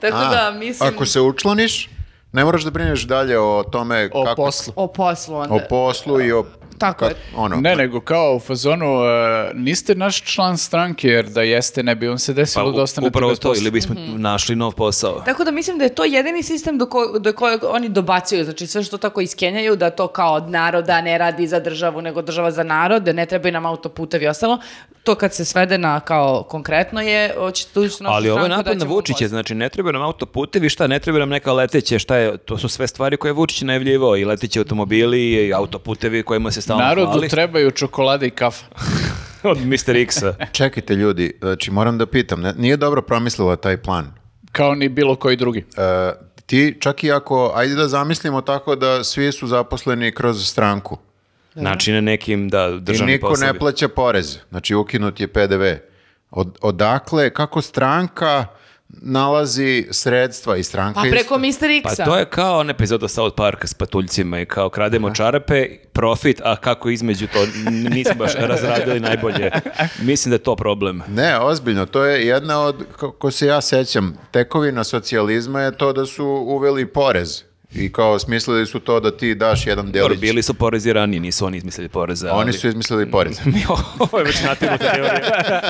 S1: tako
S2: A,
S1: da mislim
S2: Ako se učlaniš, ne moraš da brineš dalje o tome
S4: O
S2: kako...
S4: poslu.
S1: o poslu onda.
S2: O poslu i o...
S1: Tako je.
S2: ono,
S3: pa-
S4: Ne, nego kao u fazonu, e, niste naš član stranke, jer da jeste, ne bi vam se desilo da
S3: Pa u-
S4: ostanete
S3: upravo
S4: bez
S3: to,
S4: posla.
S3: ili bismo našli nov posao.
S1: Tako da mislim da je to jedini sistem do, ko- do kojeg oni dobacuju. Znači sve što tako iskenjaju da to kao od naroda ne radi za državu nego država za narod, da ne trebaju nam autoputevi i ostalo. To kad se svede na kao konkretno je, hoćete tući našu
S3: Ali ovo je
S1: stranku,
S3: napad na
S1: daćemo
S3: Vučića,
S1: posao.
S3: znači ne treba nam autoputevi, šta, ne treba nam neka leteće, šta je, to su sve stvari koje je Vučić najavljivao, i leteći automobili, i autoputevi kojima se stalno
S4: Narodu
S3: hvali.
S4: trebaju čokolade i kafa.
S3: <laughs> od Mr. X-a.
S2: Čekajte ljudi, znači moram da pitam, ne- nije dobro promislila taj plan.
S4: Kao ni bilo koji drugi.
S2: E, ti čak i ako, ajde da zamislimo tako da svi su zaposleni kroz stranku
S3: Znači na nekim, da,
S2: i
S3: državni
S2: niko
S3: poslovi.
S2: ne plaća porez, znači ukinut je PDV. Od, odakle, kako stranka nalazi sredstva i stranka...
S1: Pa
S2: i-
S1: preko Mr.
S3: Pa
S1: X-a.
S3: to je kao on epizoda South Parka s patuljcima i kao krademo čarape, profit, a kako između to n- nismo baš razradili najbolje. Mislim da je to problem.
S2: Ne, ozbiljno, to je jedna od, kako se ja sećam, tekovina socijalizma je to da su uveli porez i kao smislili su to da ti daš jedan
S3: Dobro,
S2: delić.
S3: bili su porezi ranije, nisu oni izmislili poreze.
S2: Oni
S3: ali- <laughs>
S2: su izmislili porez.
S3: Ovo je već nategnuta teorija.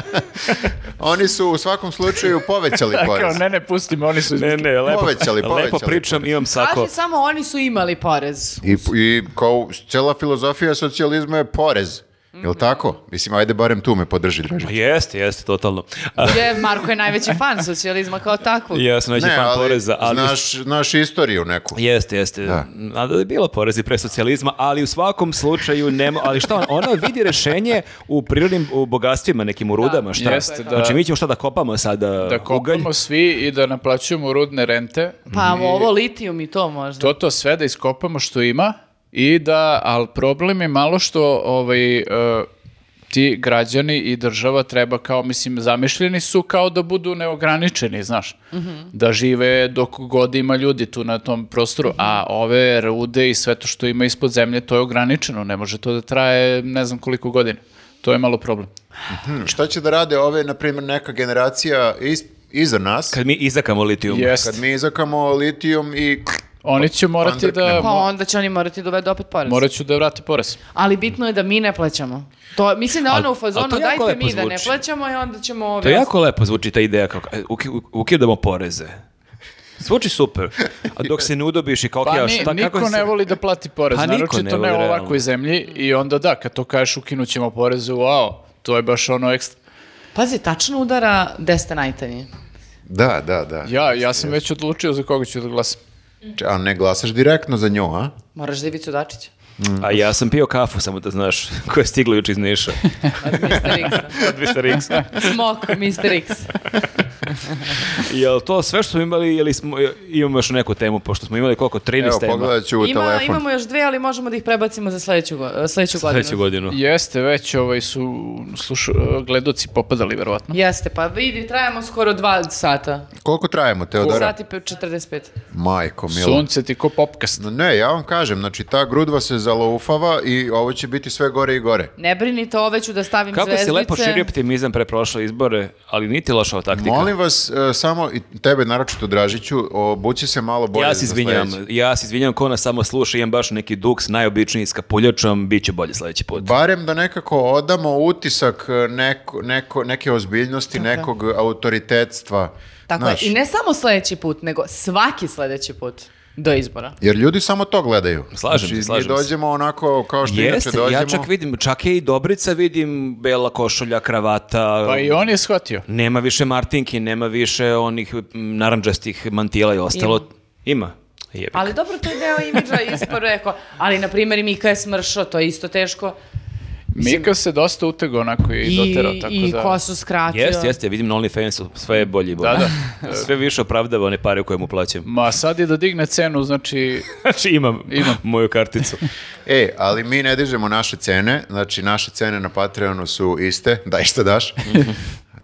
S2: Oni su u svakom slučaju povećali
S4: Kao,
S2: porez.
S4: ne, ne, pustimo, oni su...
S3: Ne, ne, lepo,
S2: Povećali,
S3: lepo
S2: povećali.
S3: pričam, imam sako.
S1: Kaže samo oni su imali porez.
S2: I, I kao cela filozofija socijalizma je porez. Jel tako? Mislim, ajde barem tu me podrži, Dražen.
S3: Ma Pa Jeste, jeste, totalno. A,
S1: Je, Marko je najveći fan socijalizma kao takvog.
S3: Ja sam najveći
S2: Ne,
S3: fan
S2: ali,
S3: poreza, ali...
S2: znaš, znaš istoriju neku.
S3: Jeste, jeste.
S2: Da.
S3: A da je bilo porezi pre socijalizma, ali u svakom slučaju nema, ali šta on, ona vidi rešenje u prirodnim u bogatstvima, nekim u rudama, šta?
S4: Jeste, da.
S3: Znači mi ćemo šta da kopamo sada
S4: Da
S3: ugalj?
S4: kopamo svi i da naplaćujemo rudne rente.
S1: Pa ovo litijum i to možda.
S4: To to sve da iskopamo što ima i da, ali problem je malo što ovaj, e, ti građani i država treba kao, mislim, zamišljeni su kao da budu neograničeni, znaš. Da žive dok god ima ljudi tu na tom prostoru, a ove rude i sve to što ima ispod zemlje, to je ograničeno, ne može to da traje ne znam koliko godina. To je malo problem.
S2: Hmm, Šta će da rade ove, na primjer, neka generacija is- iza nas, kad,
S3: Kad mi izakamo litijum.
S4: Jest.
S2: mi izakamo litijum i...
S4: Oni će morati da...
S1: Pa
S4: mo-
S1: onda će oni morati dovedu opet porez.
S4: morat ću da vrate porez.
S1: Ali bitno je da mi ne plaćamo. To, mislim da
S3: Al-
S1: ono u
S3: al
S1: fazonu
S3: to jako
S1: dajte
S3: lepo
S1: mi da ne
S3: zvuči.
S1: plaćamo i onda ćemo...
S3: To
S1: ove
S3: jako lepo zvuči ta ideja kako e, uki- u- ukidamo poreze. Zvuči super. A dok se ne udobiš i kao
S4: Pa
S3: ja,
S4: ni-
S3: šta, kako
S4: niko
S3: se-
S4: ne voli da plati porez,
S3: Pa niko ne
S4: naročito
S3: voli,
S4: ne u
S3: realno.
S4: ovakvoj zemlji i onda da, kad to kažeš ukinut ćemo poreze, wow, to je baš ono ekstra.
S1: Pazi, tačno udara gde ste najtanji.
S2: Da, da, da.
S4: Ja, ja sam već odlučio za koga ću da glasam.
S2: Č- A ne glasaš direktno za nju, a?
S1: Moraš da Ivicu Dačića.
S3: A ja sam pio kafu, samo da znaš, <laughs> koja je stigla juče iz Niša.
S1: Od Mr. X-a.
S3: Od Mr. X-a.
S1: Smok, Mr. X.
S3: <laughs> Jel to sve što smo imali ili smo, imamo još neku temu, pošto smo imali koliko, 13
S2: Evo,
S3: tema?
S2: pogledat ću u
S1: Ima,
S2: telefon.
S1: imamo još dve, ali možemo da ih prebacimo za sledeću, go- sledeću godinu.
S3: Sljedeću godinu.
S4: Jeste, već ovaj su slušu, gledoci popadali, verovatno.
S1: Jeste, pa vidi, trajamo skoro dva sata.
S2: Koliko trajemo,
S3: Pa
S2: Teodora?
S1: Sati pe- 45.
S2: Majko, milo.
S4: Sunce ti ko popkast.
S2: No Ne, ja vam kažem, znači ta grudva se zalaufava i ovo će biti sve gore i gore.
S1: Ne brinite, ove ću da stavim
S3: Kako
S1: zvezdice.
S3: si lepo širio optimizam pre prošle izbore, ali niti loša ova taktika.
S2: Molim vas, e, samo i tebe, naročito Dražiću, obuci se malo bolje.
S3: ja se
S2: za
S3: izvinjam,
S2: sledeći.
S3: ja se izvinjam ko nas samo sluša, imam baš neki duks najobičniji s kapuljačom, bit će bolje sledeći put.
S2: Barem da nekako odamo utisak e, neko, neko, neke ozbiljnosti, nekog autoritetstva.
S1: Tako
S2: znaš.
S1: je. I ne samo sledeći put, nego svaki sledeći put do izbora.
S2: Jer ljudi samo to gledaju. Znači,
S3: Slažem se,
S2: mi
S3: slažem se.
S2: dođemo onako kao što
S3: Jeste,
S2: inače dođemo.
S3: ja čak vidim, čak je i Dobrica vidim, bela košulja, kravata.
S4: Pa i on je shvatio.
S3: Nema više Martinki, nema više onih mm, narandžastih mantila i ostalo. Ima. Jebi ga.
S1: Ali dobro, to je deo imidža ispod rekao. Ali, na primjer, i Mika je smršao, to je isto teško.
S4: Mika se dosta utegao onako i,
S1: I,
S4: doterao, tako
S1: i
S4: da...
S1: kosu skratio.
S3: Jeste, jeste, vidim na OnlyFansu, sve je bolje i bolje.
S4: Da,
S3: <laughs> sve više opravdava one pare koje mu plaćam.
S4: Ma sad je da digne cenu, <laughs> znači...
S3: Znači imam, moju karticu.
S2: E, ali mi ne dižemo naše cene, znači naše cene na Patreonu su iste, <laughs> daj šta
S3: <laughs>
S2: daš.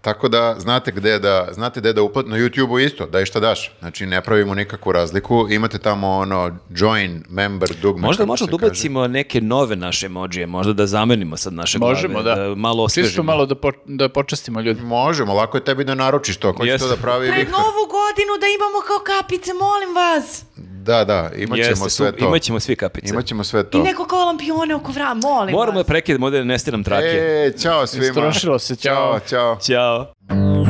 S2: Tako da znate gde da, znate gde da uplat, na YouTube-u isto, daj šta daš. Znači ne pravimo nikakvu razliku, imate tamo ono join member dugme.
S3: Možda
S2: kako
S3: možda
S2: se
S3: da
S2: kaže.
S3: ubacimo neke nove naše emođije, možda <laughs> da zamenimo sad naše
S4: Možemo,
S3: glave,
S4: da.
S3: malo osvežimo.
S4: Čisto malo da, po- da počastimo ljudi.
S2: Možemo, lako je tebi da naručiš to, ko će
S3: Jeste.
S2: to da pravi
S1: Pred
S2: Viktor.
S1: novu godinu da imamo kao kapice, molim vas.
S2: Da, da,
S3: Jeste,
S2: imaćemo sve
S3: su-
S2: to.
S3: Imaćemo svi kapice.
S2: Imaćemo sve
S1: I
S2: to.
S1: neko kao lampione oko vra, molim
S3: Moramo da
S1: vas.
S3: prekidemo ovde da ne stiram trake.
S2: E, čao svima.
S4: Istrošilo se, ćao.
S2: Ćao, ćao.
S3: Ćao.